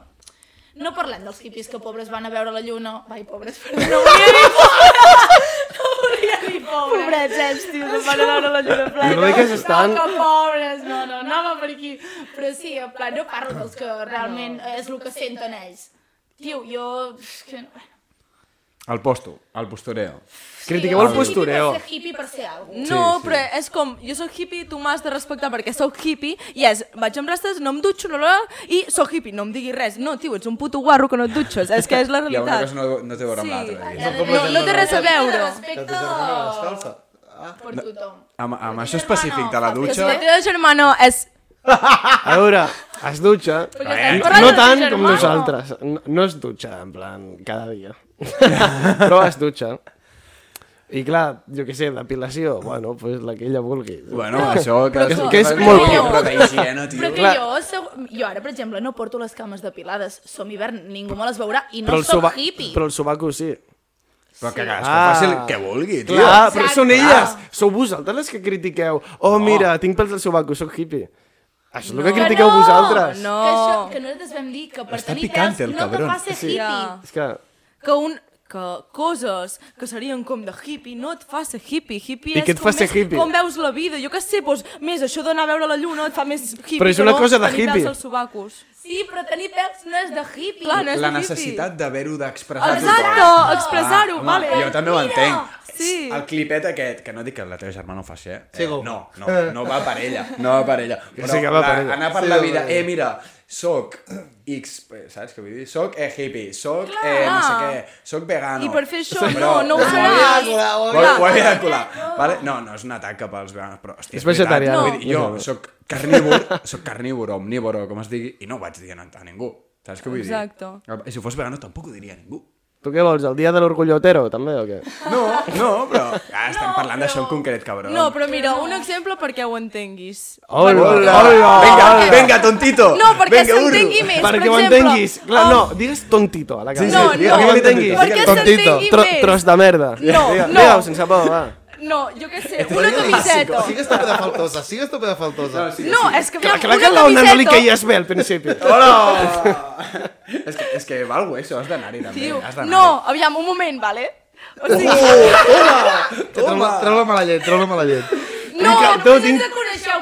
Speaker 6: No parlem dels hippies que pobres van a veure la lluna. Vai, pobres, perdó. No volia dir pobres. No volia dir pobres.
Speaker 7: Pobrets, ells, tio, se'n van a veure la lluna plena.
Speaker 1: Lo bé que s'estan...
Speaker 6: No, que pobres, no, no, anava per aquí. Però sí, en plan, no parlo dels que realment és el que senten ells. Tio, jo... és Que... no-
Speaker 3: El posto, el postureo.
Speaker 1: Critiqueu el postureo.
Speaker 6: Ser hippie per ser algo.
Speaker 7: No, però és com, jo sóc hippie, tu m'has de respectar perquè sóc hippie, i és, vaig amb rastes, no em dutxo, no, no, no, i sóc hippie, no em diguis res. No, tio, ets un puto guarro que no et dutxes, és que és
Speaker 3: Hi
Speaker 7: la
Speaker 3: ha una cosa
Speaker 7: realitat.
Speaker 3: no, no té a veure amb l'altra.
Speaker 7: No, no té res a veure.
Speaker 2: Que
Speaker 6: Respecte
Speaker 2: ta germana va descalça.
Speaker 6: per tothom.
Speaker 3: Amb, amb això específic de la
Speaker 7: Que si la
Speaker 3: dutxa...
Speaker 7: teva germana és...
Speaker 1: A veure, es dutxa.
Speaker 6: Perquè
Speaker 1: No
Speaker 6: estàs parlant de la
Speaker 1: tant com
Speaker 6: germana.
Speaker 1: nosaltres. No, no es dutxa, en plan, cada dia. Però es dutxa. I clar, jo què sé, depilació, bueno, pues la que ella vulgui.
Speaker 3: Bueno, això...
Speaker 1: que-
Speaker 3: cadascú
Speaker 1: que és
Speaker 3: fa el
Speaker 1: molt
Speaker 3: que
Speaker 1: pio.
Speaker 3: vol, Però d'higiene,
Speaker 6: Però
Speaker 3: tio.
Speaker 6: que
Speaker 1: Clar.
Speaker 6: jo, segu- jo ara, per exemple, no porto les cames depilades. Som hivern, ningú me les veurà i no
Speaker 1: però el,
Speaker 6: sóc
Speaker 1: soba...
Speaker 6: hippie.
Speaker 1: però el sobaco sí.
Speaker 3: Però que cadascú
Speaker 1: Ah.
Speaker 3: faci el que vulgui, tio.
Speaker 1: Clar, però
Speaker 6: Exacte.
Speaker 1: són elles. Sou vosaltres les que critiqueu. Oh, mira, tinc pels al sobaco, sóc hippie. Això és el que critiqueu
Speaker 7: no,
Speaker 1: vosaltres.
Speaker 7: no.
Speaker 6: Que, això, que nosaltres vam dir que per
Speaker 3: Està
Speaker 6: tenir
Speaker 3: picante,
Speaker 6: pèls
Speaker 3: el
Speaker 6: no te
Speaker 3: cabrón.
Speaker 6: fa ser
Speaker 1: Sí.
Speaker 6: hippie.
Speaker 7: Ja.
Speaker 1: És que...
Speaker 7: que un que coses que serien com de hippie no et fa ser hippie. Hippie
Speaker 1: I què
Speaker 7: és
Speaker 1: et
Speaker 7: com,
Speaker 1: fa ser
Speaker 7: més,
Speaker 1: hippie?
Speaker 7: com veus la vida. Jo què sé, doncs, més això d'anar a veure la lluna et fa més hippie.
Speaker 1: Però és una
Speaker 7: que no
Speaker 1: cosa de
Speaker 7: tenir pèls
Speaker 1: hippie.
Speaker 7: als sobacos.
Speaker 6: Sí, però tenir pèls no és de hippie.
Speaker 7: Clar, Ah, no és
Speaker 3: La
Speaker 7: de
Speaker 3: necessitat d'haver-ho d'expressar.
Speaker 7: hippie. Exacte,
Speaker 3: tothom.
Speaker 7: expressar-ho,
Speaker 3: Ah, home,
Speaker 7: vale.
Speaker 3: Jo també ho entenc.
Speaker 7: Sí.
Speaker 3: El clipet aquest, que no dic que la teva germana ho faci, eh? eh
Speaker 2: Sigo.
Speaker 3: no, no, no va per ella, no va per ella. Però
Speaker 1: sí que va
Speaker 3: la-
Speaker 1: per ella.
Speaker 3: anar per
Speaker 2: Sí,
Speaker 3: la
Speaker 2: va
Speaker 3: vida,
Speaker 2: per ella.
Speaker 3: eh, mira, soc X, eh, saps què vull dir? Soc eh, hippie, soc eh, no sé què, soc vegano.
Speaker 7: I per fer això,
Speaker 3: Però
Speaker 7: no, no ho
Speaker 3: ho havia de
Speaker 7: seràs.
Speaker 2: Ah,
Speaker 3: colar, Ho havia- ho havia de colar. Vale? No, no és un atac cap als veganos, però... Hòstia,
Speaker 1: És vegetarià.
Speaker 3: veritat,
Speaker 1: No.
Speaker 3: vull dir, Jo soc carnívor, soc carnívor, omnívoro, com es digui, i no ho vaig dir Eh, a ningú. Saps què vull
Speaker 7: Exacte.
Speaker 3: dir? I si fos vegano tampoc ho diria a ningú.
Speaker 1: Tu què vols, el dia de l'orgullotero, també, o què?
Speaker 3: No, no, però ah, estem parlant d'això en concret, cabrón.
Speaker 7: No, però mira, un exemple perquè ho entenguis.
Speaker 1: Hola!
Speaker 3: Hola. Venga, venga, tontito.
Speaker 7: No, perquè
Speaker 3: Venga, burro.
Speaker 7: s'entengui més, per
Speaker 1: Perquè ho
Speaker 7: exemple...
Speaker 1: entenguis. Clar,
Speaker 7: el-
Speaker 1: no, digues tontito a la cara.
Speaker 3: Sí, sí,
Speaker 7: No,
Speaker 3: digue-
Speaker 7: no.
Speaker 3: digue-li
Speaker 1: Perquè Perquè
Speaker 3: tontito,
Speaker 7: Perquè
Speaker 3: digue-li tontito.
Speaker 2: Tontito.
Speaker 7: s'entengui
Speaker 1: Tro,
Speaker 7: més.
Speaker 1: tros de merda.
Speaker 7: No, no.
Speaker 1: Digue-ho sense por, va.
Speaker 7: No, jo què sé, una camiseta.
Speaker 2: Sigues tope de faltosa, sigues tope de faltosa.
Speaker 7: No, és que
Speaker 1: Clar,
Speaker 7: aviam,
Speaker 1: clar que a
Speaker 7: una
Speaker 1: la onda no li
Speaker 7: camiseta...
Speaker 1: caies bé al principi.
Speaker 3: És que, és que valgo això, has d'anar-hi també.
Speaker 7: Tio,
Speaker 3: has d'anar-hi.
Speaker 7: no, aviam, un moment, vale? O sigui,
Speaker 2: Treu-la treu mala llet, treu-la mala llet.
Speaker 1: Tinc ca-
Speaker 6: No, no,
Speaker 1: no,
Speaker 6: vosaltres
Speaker 1: tinc-
Speaker 6: tinc... coneixeu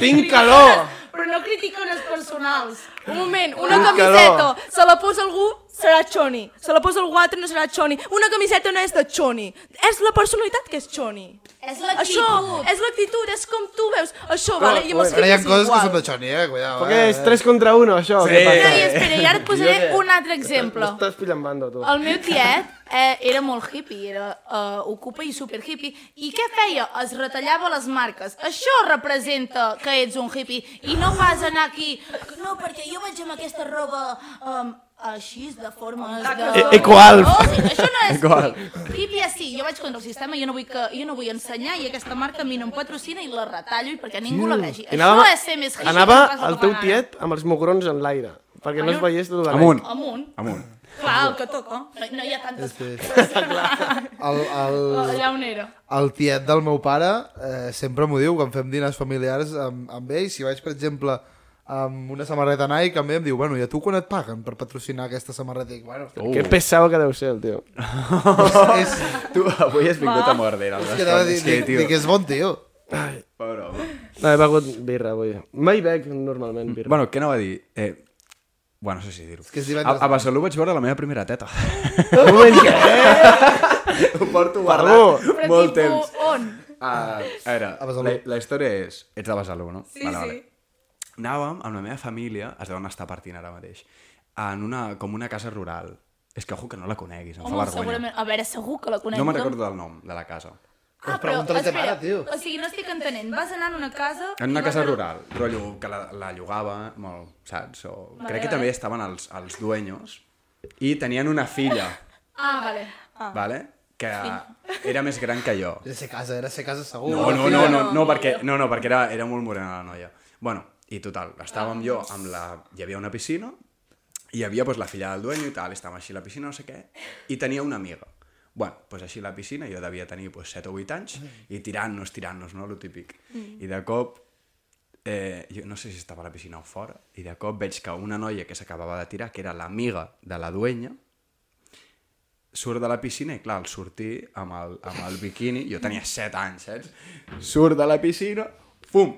Speaker 1: tinc
Speaker 6: criticones,
Speaker 7: Ah.
Speaker 1: calor.
Speaker 6: Però no criticones personals.
Speaker 7: un moment, una
Speaker 1: Tinc
Speaker 7: camiseta,
Speaker 1: calor.
Speaker 7: se la posa algú, serà Choni. Se la posa algú altre, no serà Choni. Una camiseta no és de Choni. És la personalitat que és Choni.
Speaker 6: És
Speaker 7: Això és l'actitud, és com tu veus. Això, vale, i amb els
Speaker 2: Ara hi ha
Speaker 7: fills és
Speaker 2: coses que són
Speaker 7: igual.
Speaker 2: de Xoni, eh? Cuidao,
Speaker 1: Què és?
Speaker 2: eh?
Speaker 1: 3 contra 1, això? Sí. Què
Speaker 6: No,
Speaker 1: passa?
Speaker 6: i espera, i ara et posaré un altre exemple.
Speaker 1: Estàs pillant bando, tu.
Speaker 6: El meu tiet eh, era molt hippie, era eh, ocupa i super hippie. I què feia? Es retallava les marques. Això representa que ets un hippie i no vas anar aquí. No, perquè jo vaig amb aquesta roba um, així de formes de...
Speaker 1: E- Ecoalf.
Speaker 6: Oh, sí, això no és
Speaker 3: Ecoalf.
Speaker 6: hippie. Hippie és sí, jo vaig contra el sistema, jo no vull, que, jo no vull ensenyar i aquesta marca a mi no em patrocina i la retallo i perquè ningú la vegi.
Speaker 1: I
Speaker 6: Això
Speaker 1: anava-
Speaker 6: és ser més hippie.
Speaker 1: Anava
Speaker 6: que no pas
Speaker 1: el
Speaker 6: que
Speaker 1: teu
Speaker 6: fan ara.
Speaker 1: tiet amb els mugrons en l'aire, perquè no es veiés tot l'arreu.
Speaker 3: Amunt,
Speaker 6: Amunt.
Speaker 3: amunt.
Speaker 6: Clar, el que toca. No, no hi ha tantes...
Speaker 2: El, el,
Speaker 6: Allà on era.
Speaker 2: el tiet del meu pare eh, sempre m'ho diu quan fem dinars familiars amb, amb ell. Si vaig, per exemple, amb una samarreta Nike, amb ell em diu, bueno, i a tu quan et paguen per patrocinar aquesta samarreta? I dic, bueno,
Speaker 1: Uh. Que pesava que deu ser, el tio.
Speaker 2: és, és,
Speaker 3: Tu avui has vingut a morder.
Speaker 2: és que anava a dir, dic, dic, és bon tio.
Speaker 3: Pobre home.
Speaker 1: No, he begut birra avui. Mai bec normalment birra.
Speaker 3: Bueno, què anava a dir? Eh, bueno, no sé si dir-ho.
Speaker 2: que és
Speaker 3: A,
Speaker 2: divendres.
Speaker 3: a Besalú vaig veure la meva primera teta.
Speaker 1: Un moment, què?
Speaker 3: Ho porto
Speaker 1: guardat
Speaker 6: Però tipus,
Speaker 3: molt temps.
Speaker 6: on?
Speaker 3: Ah, a veure,
Speaker 2: A Besalú.
Speaker 3: la, la història és... Ets de Besalú, no? Sí, vale, vale. Anàvem amb la meva família, es deuen estar partint ara mateix, en una, com una casa rural. És que, ojo, que no la coneguis, em fa
Speaker 6: Home,
Speaker 3: vergonya.
Speaker 6: segurament... A veure, segur que la conec.
Speaker 3: No me'n recordo del nom de la casa.
Speaker 6: Ah, però,
Speaker 2: Pregunta-li a ta
Speaker 6: espera,
Speaker 2: mare, tio.
Speaker 6: o sigui, no estic entenent. Vas anar en una casa...
Speaker 3: En
Speaker 6: i
Speaker 3: una
Speaker 6: vas
Speaker 3: casa
Speaker 6: anar-
Speaker 3: rural, rotllo que la, la llogava molt, saps? O... Crec
Speaker 6: vale.
Speaker 3: que també estaven els, els dueños i tenien una filla,
Speaker 6: Ah, vale.
Speaker 3: vale? que era més gran que jo.
Speaker 2: Era ser casa, era ser casa segur.
Speaker 3: No, no, no, no, no, perquè, no, no, perquè era, era molt morena la noia. Bueno, i total, estàvem jo amb la... Hi havia una piscina, i hi havia pues, la filla del dueño i tal, estàvem així a la piscina, no sé què, i tenia una amiga. Bueno, pues així a la piscina, jo devia tenir pues, 7 o 8 anys, i tirant-nos, tirant-nos, no?, lo típic. I de cop, eh, jo no sé si estava a la piscina o fora, i de cop veig que una noia que s'acabava de tirar, que era l'amiga de la dueña, surt de la piscina i clar, al sortir amb el, amb el biquini, jo tenia 7 anys, saps? Surt de la piscina, fum,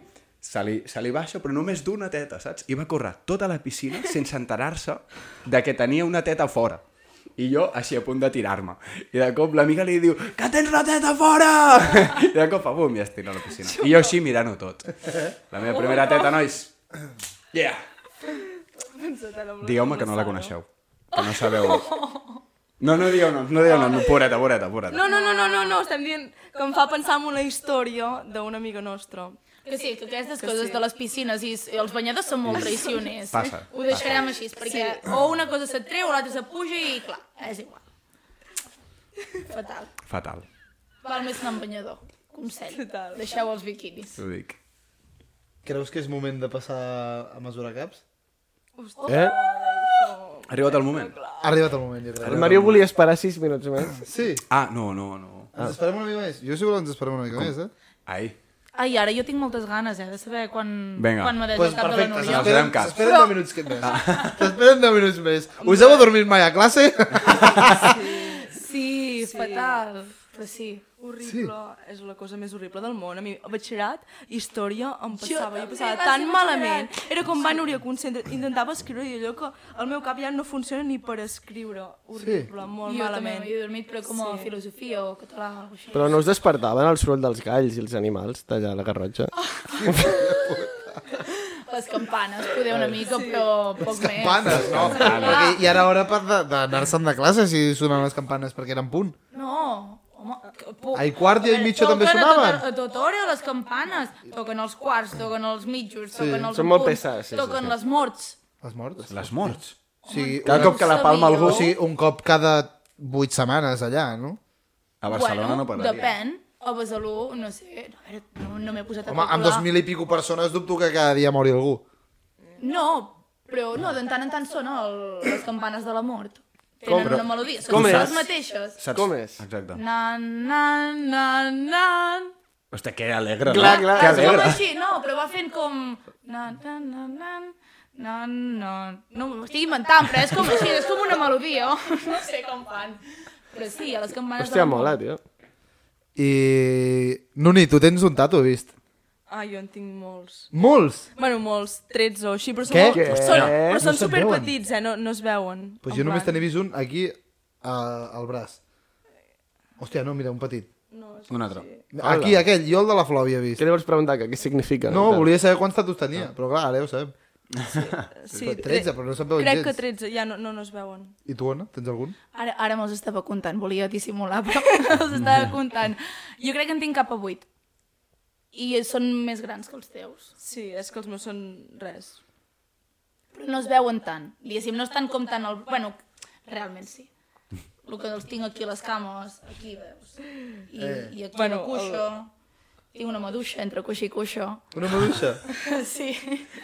Speaker 3: se li, se li baixa, però només d'una teta, saps? I va córrer tota la piscina sense enterar-se de que tenia una teta fora. I jo així a punt de tirar-me. I de cop l'amiga li diu, que tens la teta fora! I de cop, bum, ja es tira a la piscina. I jo així mirant-ho tot. La meva primera teta, nois. Yeah! Digueu-me que no la coneixeu. Que no sabeu... No, no digueu noms, no digueu noms. Pobreta, pobreta, pobreta.
Speaker 7: No, no, no, no, no, no, estem dient que em fa pensar en una història d'un amigo nostre.
Speaker 6: Que sí, que aquestes coses de les piscines i s- i els banyadors són molt traicioners.
Speaker 3: Passa,
Speaker 6: Ho deixarem així, perquè o una cosa se't treu o l'altra se't puja i, clar, és igual. Fatal.
Speaker 3: Fatal,
Speaker 6: Val més anar amb banyador. Consell.
Speaker 7: Total.
Speaker 6: Deixeu els biquinis.
Speaker 3: t'ho dic.
Speaker 2: Creus que és moment de passar a mesurar caps?
Speaker 1: Eh?
Speaker 6: Oh,
Speaker 3: Ha arribat el moment?
Speaker 2: Ha arribat el moment, jo crec.
Speaker 1: El Mario volia esperar 6 minuts més.
Speaker 2: Sí,
Speaker 3: Ah, no, no, no.
Speaker 2: ens esperem una mica més. Jo si voleu ens esperem una mica més, eh?
Speaker 3: Ai,
Speaker 6: Ai, ara jo tinc moltes ganes, eh, de saber quan,
Speaker 3: Vinga.
Speaker 6: quan m'ha de
Speaker 2: Pues
Speaker 6: el cap de la
Speaker 2: perfecte,
Speaker 6: Núria.
Speaker 3: Farem
Speaker 2: s'esperen
Speaker 3: caps.
Speaker 2: s'esperen 10 minuts que més. S'esperen 10 minuts més. Us heu adormit mai a classe?
Speaker 6: Sí, sí, fatal. Però sí.
Speaker 7: Horrible, sí. és la cosa més horrible del món. A mi, a batxillerat, història em passava, jo,
Speaker 6: també
Speaker 7: passava
Speaker 6: vaig
Speaker 7: tan
Speaker 6: ser
Speaker 7: malament. Era com va Núria Concentra, intentava escriure i allò que el meu cap ja no funciona ni per escriure. Horrible, sí. molt
Speaker 6: jo
Speaker 7: malament.
Speaker 6: també m'he dormit, però com a filosofia o català o alguna cosa així.
Speaker 1: Però no us despertaven el soroll dels galls i els animals d'allà a la Garrotxa?
Speaker 6: Ah, Les campanes, poder una mica, però poc més.
Speaker 2: Eh, Campanes, no? Perquè ja era hora per de- d'anar-se'n de classe si sonaven les campanes, perquè eren punt.
Speaker 6: No, home, que por.
Speaker 2: Ai, quart i ai,
Speaker 6: A veure,
Speaker 2: mitja també
Speaker 6: toquen a
Speaker 2: sonaven.
Speaker 6: tota- A tota hora les campanes. Toquen els quarts, toquen els mitjos, toquen els
Speaker 1: Són molt
Speaker 6: punts,
Speaker 1: pesades, sí, sí,
Speaker 6: toquen
Speaker 1: sí.
Speaker 6: les morts.
Speaker 2: Les morts?
Speaker 3: les morts.
Speaker 2: O sigui,
Speaker 3: Cada
Speaker 2: una-
Speaker 3: cop que la palma
Speaker 6: sabia.
Speaker 3: algú...
Speaker 2: o sigui, un cop cada vuit setmanes allà, no?
Speaker 3: A Barcelona no parlaria.
Speaker 6: Depèn. A Besalú, no sé, a veure, no, no m'he posat a
Speaker 2: Home, amb
Speaker 6: calcular.
Speaker 2: dos mil i pico persones dubto que cada dia mori algú.
Speaker 6: No, però no, de tant en tant sona el, les campanes de la mort.
Speaker 1: Com?
Speaker 6: Tenen
Speaker 1: Però-
Speaker 6: una melodia,
Speaker 1: com
Speaker 6: són les
Speaker 1: és?
Speaker 6: mateixes.
Speaker 3: Saps?
Speaker 1: Com és?
Speaker 3: Exacte.
Speaker 6: Nan, nan, nan, nan...
Speaker 3: Hòstia, que alegre,
Speaker 1: Clar,
Speaker 3: no?
Speaker 1: clar.
Speaker 3: Que
Speaker 6: És com
Speaker 3: alegre.
Speaker 6: així, no, però va fent com... Nan, nan, nan, nan... Nan, nan... No m'ho estic inventant, però és com així, és com una melodia, oh? no sé com fan. Però sí, a les campanes
Speaker 1: Hòstia,
Speaker 6: de la mort.
Speaker 1: mola, tio.
Speaker 2: I... Nuni, tu tens un tatu, he vist.
Speaker 7: Ah, jo en tinc molts.
Speaker 2: Molts!
Speaker 7: Bueno, molts, 13 o així, però són,
Speaker 2: Què?
Speaker 7: molt,
Speaker 2: Què?
Speaker 7: són, però
Speaker 2: No
Speaker 7: són
Speaker 2: se't
Speaker 7: superpetits, eh? No, no es veuen.
Speaker 2: Pues
Speaker 7: En
Speaker 2: jo només
Speaker 7: plan-
Speaker 2: n'he vist un aquí a, al braç. Hòstia, no, mira, un petit.
Speaker 3: Un altre.
Speaker 2: Aquí, aquell, jo el de la flor havia vist.
Speaker 1: Què li vols preguntar? Que, què significa?
Speaker 2: No,
Speaker 1: en realitat?
Speaker 2: volia saber quants tatus tenia, però clar, ara ja ho sabem.
Speaker 7: Sí, eh,
Speaker 2: Però 13, però no se'n veuen
Speaker 7: Crec
Speaker 2: gens.
Speaker 7: que 13, ja no, no, no es veuen.
Speaker 2: I tu, Ona, tens algun?
Speaker 6: Ara, ara me'ls estava comptant, volia dissimular, però me'ls estava comptant. Jo crec que en tinc cap a vuit. I són més grans que els teus.
Speaker 7: Sí, és que els meus són res.
Speaker 6: Però no es veuen tant. Diguéssim, no estan com tant el... Bueno, realment sí. El que els tinc aquí a les cames, aquí veus. I, eh. i aquí bueno,
Speaker 7: Bueno,
Speaker 6: a cuixo. Tinc una maduixa entre cuixa i cuixo.
Speaker 2: Una maduixa?
Speaker 6: Sí,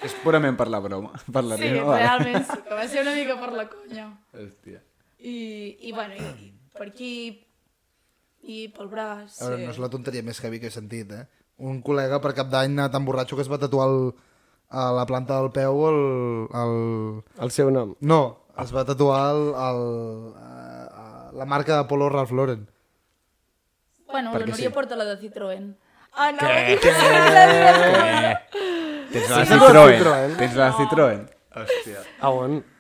Speaker 3: És purament per la broma. Per la
Speaker 6: sí,
Speaker 3: rima, vale.
Speaker 6: realment sí, que va ser una mica per la conya.
Speaker 3: Hòstia.
Speaker 6: I, i bueno, i, i per aquí, i pel braç.
Speaker 3: Ah,
Speaker 2: A veure, no és la tonteria més heavy que he sentit, eh? Un col·lega per cap d'any anat tan borratxo que es va tatuar el, a la planta del peu el... el...
Speaker 1: El seu nom.
Speaker 2: No, es va tatuar el, el, eh, la marca de Polo Ralph Lauren.
Speaker 6: Bueno, la
Speaker 3: Perquè
Speaker 6: Núria
Speaker 3: sí.
Speaker 6: porta la de Citroën.
Speaker 7: Ah, no,
Speaker 3: Tens la
Speaker 1: Sí.
Speaker 3: Citroën.
Speaker 1: Citroën.
Speaker 3: Tens la Citroën. Hòstia.
Speaker 1: A on?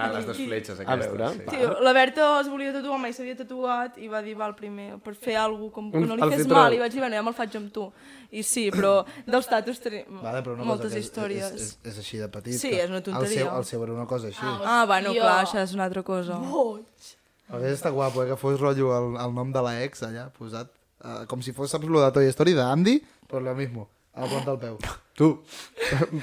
Speaker 3: Ah, les dues fletxes
Speaker 1: A
Speaker 3: aquestes.
Speaker 1: veure.
Speaker 3: sí.
Speaker 7: Tio, la Berta es volia tatuar, mai s'havia tatuat i va dir, val, primer, per fer alguna com que
Speaker 1: Un-
Speaker 7: no li
Speaker 1: el
Speaker 7: fes
Speaker 1: Citroën.
Speaker 7: mal. I vaig dir, bueno, ja me'l faig amb tu. I sí, però dels tatus tenim
Speaker 2: Vale, però una
Speaker 7: moltes
Speaker 2: cosa que
Speaker 7: històries.
Speaker 2: És, és, és, així de petit.
Speaker 7: Sí,
Speaker 2: que
Speaker 7: és una tonteria.
Speaker 2: El seu, el seu era una cosa així. Ah,
Speaker 7: Ah, bueno,
Speaker 6: Hòstia.
Speaker 7: clar, això és una altra cosa.
Speaker 2: Hauria estat guapo, eh, que fos rotllo el, el nom de la ex allà, posat. Uh, com si fos, saps, lo de Toy Story d'Andy, però lo mismo, a la planta del peu.
Speaker 3: Tu,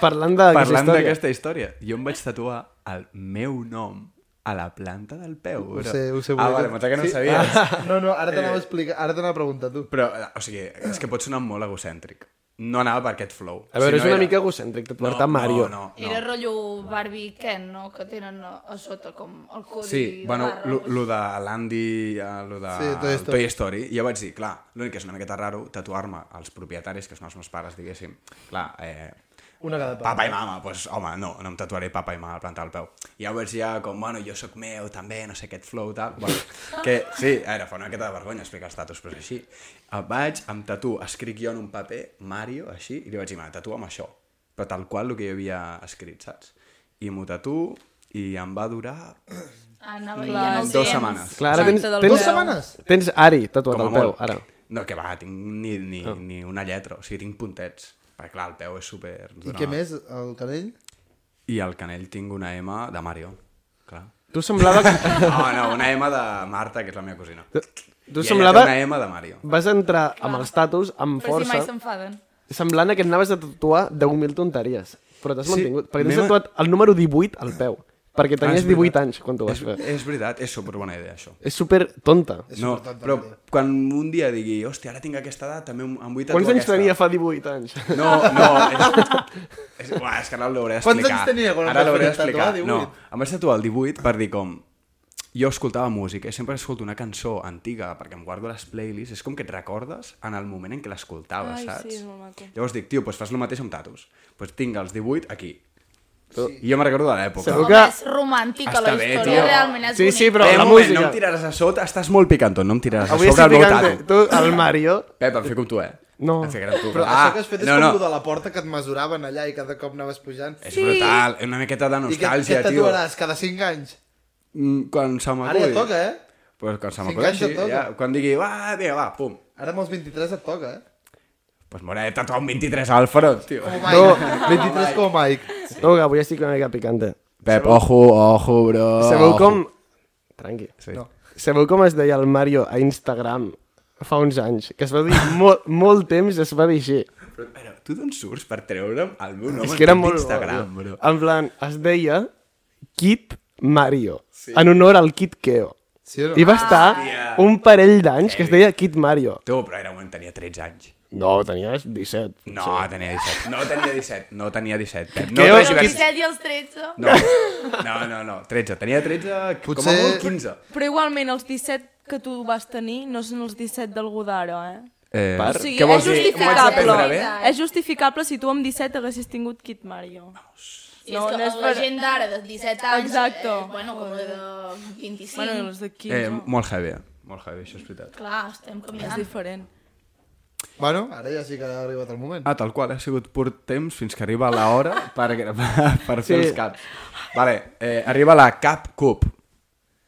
Speaker 1: Parlant d'aquesta
Speaker 3: parlant
Speaker 1: història.
Speaker 3: d'aquesta història, jo em vaig tatuar el meu nom a la planta del peu.
Speaker 2: Ho
Speaker 3: bro.
Speaker 2: sé, ho sé.
Speaker 3: Ah,
Speaker 2: volia
Speaker 3: vale, pensava
Speaker 2: que-
Speaker 3: que no
Speaker 2: Sí.
Speaker 3: ho
Speaker 2: Ah.
Speaker 3: sabies. Eh.
Speaker 2: No, no, ara t'anava a explicar, ara t'anava a preguntar tu.
Speaker 3: Però, eh, o sigui, és que pot sonar molt egocèntric. No anava per aquest flow.
Speaker 1: A veure,
Speaker 3: Si no
Speaker 1: és una
Speaker 3: era-
Speaker 1: mica egocèntric, tot no, Mario.
Speaker 3: No, no,
Speaker 6: Era
Speaker 3: no.
Speaker 6: rotllo Barbie i Ken, no? Que tenen a, a sota com el codi
Speaker 3: Sí,
Speaker 6: de
Speaker 3: bueno,
Speaker 6: barra.
Speaker 3: lo, lo de l'Andy, eh, lo de
Speaker 2: Sí, Toy
Speaker 3: el
Speaker 2: Story.
Speaker 3: Toy Story, jo vaig dir, clar, l'únic que és una miqueta raro, tatuar-me als propietaris, que són els meus pares, diguéssim. Clar, eh,
Speaker 2: Una cada part.
Speaker 3: papa i mama, doncs, home, no, no em tatuaré papa i mama al plantar el peu. I ja ho vaig dir ja com, bueno, jo sóc meu, també, no sé, aquest flow, tal. Bueno, que, sí, era, fa una miqueta de vergonya explicar els tatus, però és així. Eh, Vaig, em tatu, escric jo en un paper, Mario, així, i li vaig dir, mira, tatua'm això. Però tal qual el que jo havia escrit, saps? I m'ho tatu, i em va durar
Speaker 6: Anava
Speaker 7: Clar,
Speaker 6: ja no el
Speaker 3: dues
Speaker 6: temps.
Speaker 3: setmanes.
Speaker 1: Clar, ara tens,
Speaker 7: Planta del
Speaker 1: tens,
Speaker 2: Dues setmanes?
Speaker 1: tens Ari tatuat
Speaker 3: Com a
Speaker 1: al peu,
Speaker 3: molt.
Speaker 1: ara.
Speaker 3: No, que va, tinc ni, ni, oh. ni una lletra, o sigui, tinc puntets. Perquè clar, el peu és super...
Speaker 2: I què més, el canell?
Speaker 3: Ah, I al canell tinc una M de Mario, clar.
Speaker 1: Tu semblava que...
Speaker 3: No, no, una M de Marta, que és la meva cosina.
Speaker 1: Tu,
Speaker 3: I
Speaker 1: tu
Speaker 3: ella
Speaker 1: semblava...
Speaker 3: té una M de Mario.
Speaker 1: Vas entrar amb els tatus, amb
Speaker 6: Però si
Speaker 1: força,
Speaker 6: mai s'enfaden.
Speaker 1: semblant a que anaves a tatuar 10.000 tonteries. Però t'has
Speaker 3: Sí,
Speaker 1: mantingut, perquè t'has
Speaker 3: m'he-
Speaker 1: tatuat el número 18 al peu. Perquè
Speaker 3: Ah, és
Speaker 1: tenies
Speaker 3: veritat.
Speaker 1: 18 anys quan t'ho vas
Speaker 3: és,
Speaker 1: fer.
Speaker 3: És veritat, és superbona idea, això.
Speaker 1: És super tonta.
Speaker 3: No,
Speaker 2: supertonta,
Speaker 3: però
Speaker 2: Mario.
Speaker 3: quan un dia digui, hòstia, ara tinc aquesta edat, també em em vull tatuar
Speaker 1: Quants anys
Speaker 3: aquesta.
Speaker 1: tenia fa 18 anys?
Speaker 3: No, no, és... és, uah, és que ara l'hauré
Speaker 2: Quants
Speaker 3: d'explicar.
Speaker 2: anys tenia quan et
Speaker 3: ara
Speaker 2: vas
Speaker 3: l'hauré
Speaker 2: fer tatuar,
Speaker 3: d'explicar. No,
Speaker 2: 18?
Speaker 3: em vaig tatuar el 18 per dir com... Jo escoltava música i sempre escolto una cançó antiga perquè em guardo les playlists. És com que et recordes en el moment en què l'escoltaves,
Speaker 7: Ai, sí,
Speaker 3: saps?
Speaker 7: és molt maco.
Speaker 3: Llavors dic, tio, doncs fas el mateix amb tatus. Doncs tinc els 18 aquí. Sí. I jo me'n recordo de l'època.
Speaker 1: Segur
Speaker 6: Home,
Speaker 1: que-
Speaker 6: és romàntica
Speaker 3: Està
Speaker 6: la
Speaker 3: bé,
Speaker 6: història,
Speaker 3: tio.
Speaker 6: realment és
Speaker 1: Sí, sí,
Speaker 6: bonic.
Speaker 1: però
Speaker 3: eh,
Speaker 1: la
Speaker 3: un moment,
Speaker 1: música...
Speaker 3: no em tiraràs a sota, estàs molt picantó, no em tiraràs
Speaker 1: Avui
Speaker 3: a sobre
Speaker 1: estic
Speaker 3: el meu
Speaker 1: picant
Speaker 3: tatu.
Speaker 1: tu, el Mario,
Speaker 3: Pep, em fico amb tu, eh?
Speaker 1: No.
Speaker 3: Em ficaré amb tu.
Speaker 2: Però ah,
Speaker 3: ah,
Speaker 2: això que has fet és
Speaker 3: no,
Speaker 2: com
Speaker 3: no.
Speaker 2: tu de la porta que et mesuraven allà i cada cop anaves pujant.
Speaker 3: És brutal, una miqueta de
Speaker 2: I què, què
Speaker 3: nostàlgia,
Speaker 2: et
Speaker 3: tio.
Speaker 2: tatuaràs cada 5 anys?
Speaker 3: Mm, Quan se m'acull.
Speaker 2: Ara ja toca, eh?
Speaker 3: Pues quan se
Speaker 2: Cinc
Speaker 3: m'acull,
Speaker 2: anys
Speaker 3: sí.
Speaker 2: ja toca.
Speaker 3: Ja, quan digui, va, vinga, va, pum.
Speaker 2: Ara amb els 23 et toca, eh?
Speaker 3: Pues m'hauré de tatuar un 23 al front, tio.
Speaker 1: Oh
Speaker 2: Com
Speaker 3: Pep,
Speaker 2: Mike. No. 23 com Mike.
Speaker 1: no, que avui estic una mica picante.
Speaker 3: ojo, ojo, bro.
Speaker 1: Sabeu com... Tranqui.
Speaker 3: Oh. Sí. No.
Speaker 1: Sabeu com es deia el Mario a Instagram fa uns anys? Que es va dir molt, molt temps es va dir així.
Speaker 3: Però, però, tu d'on surts per treure'm el meu nom
Speaker 1: és que era
Speaker 3: en tot
Speaker 1: molt... bo,
Speaker 3: Instagram,
Speaker 1: tio.
Speaker 3: bro?
Speaker 1: En plan, es deia Kid Mario, sí. en honor al Kid Keo.
Speaker 2: Sí o no?
Speaker 1: I va estar un parell d'anys que es deia Kid Mario.
Speaker 3: Tu, però era quan tenia 13 anys.
Speaker 1: No, tenies 17.
Speaker 3: No, tenia 17. No tenia 17. No tenia 17. Pep,
Speaker 1: Que
Speaker 3: No,
Speaker 1: jo-
Speaker 3: no,
Speaker 6: Però els
Speaker 3: no,
Speaker 6: 17 i els 13...
Speaker 3: no, no, no, 13. Tenia 13, com a
Speaker 2: Potser-
Speaker 3: molt 15.
Speaker 7: Però igualment, els 17 que tu vas tenir no són els 17 d'algú d'ara, eh?
Speaker 3: Eh,
Speaker 1: Per-
Speaker 7: O sigui,
Speaker 3: què vols dir? M'ho
Speaker 7: és
Speaker 3: haig de
Speaker 7: justificable.
Speaker 3: prendre bé?
Speaker 7: És justificable si tu amb 17 haguessis tingut Kid Mario.
Speaker 6: Sí, no, és que la
Speaker 7: per-
Speaker 6: gent d'ara, de 17 anys,
Speaker 7: Exacte.
Speaker 6: eh, bueno, com de 25,
Speaker 7: Bueno, i
Speaker 6: bueno,
Speaker 7: els de 15.
Speaker 3: Eh,
Speaker 7: Eh,
Speaker 3: molt heavy, eh? molt heavy, això és veritat.
Speaker 6: clar, estem
Speaker 7: és
Speaker 6: canviant.
Speaker 7: diferent.
Speaker 2: Bueno, ara ja sí que ha arribat el moment.
Speaker 3: Ah, tal qual, ha sigut pur temps fins que arriba l'hora per, per, per fer
Speaker 1: Sí.
Speaker 3: els caps. Vale, eh, arriba la cap cup.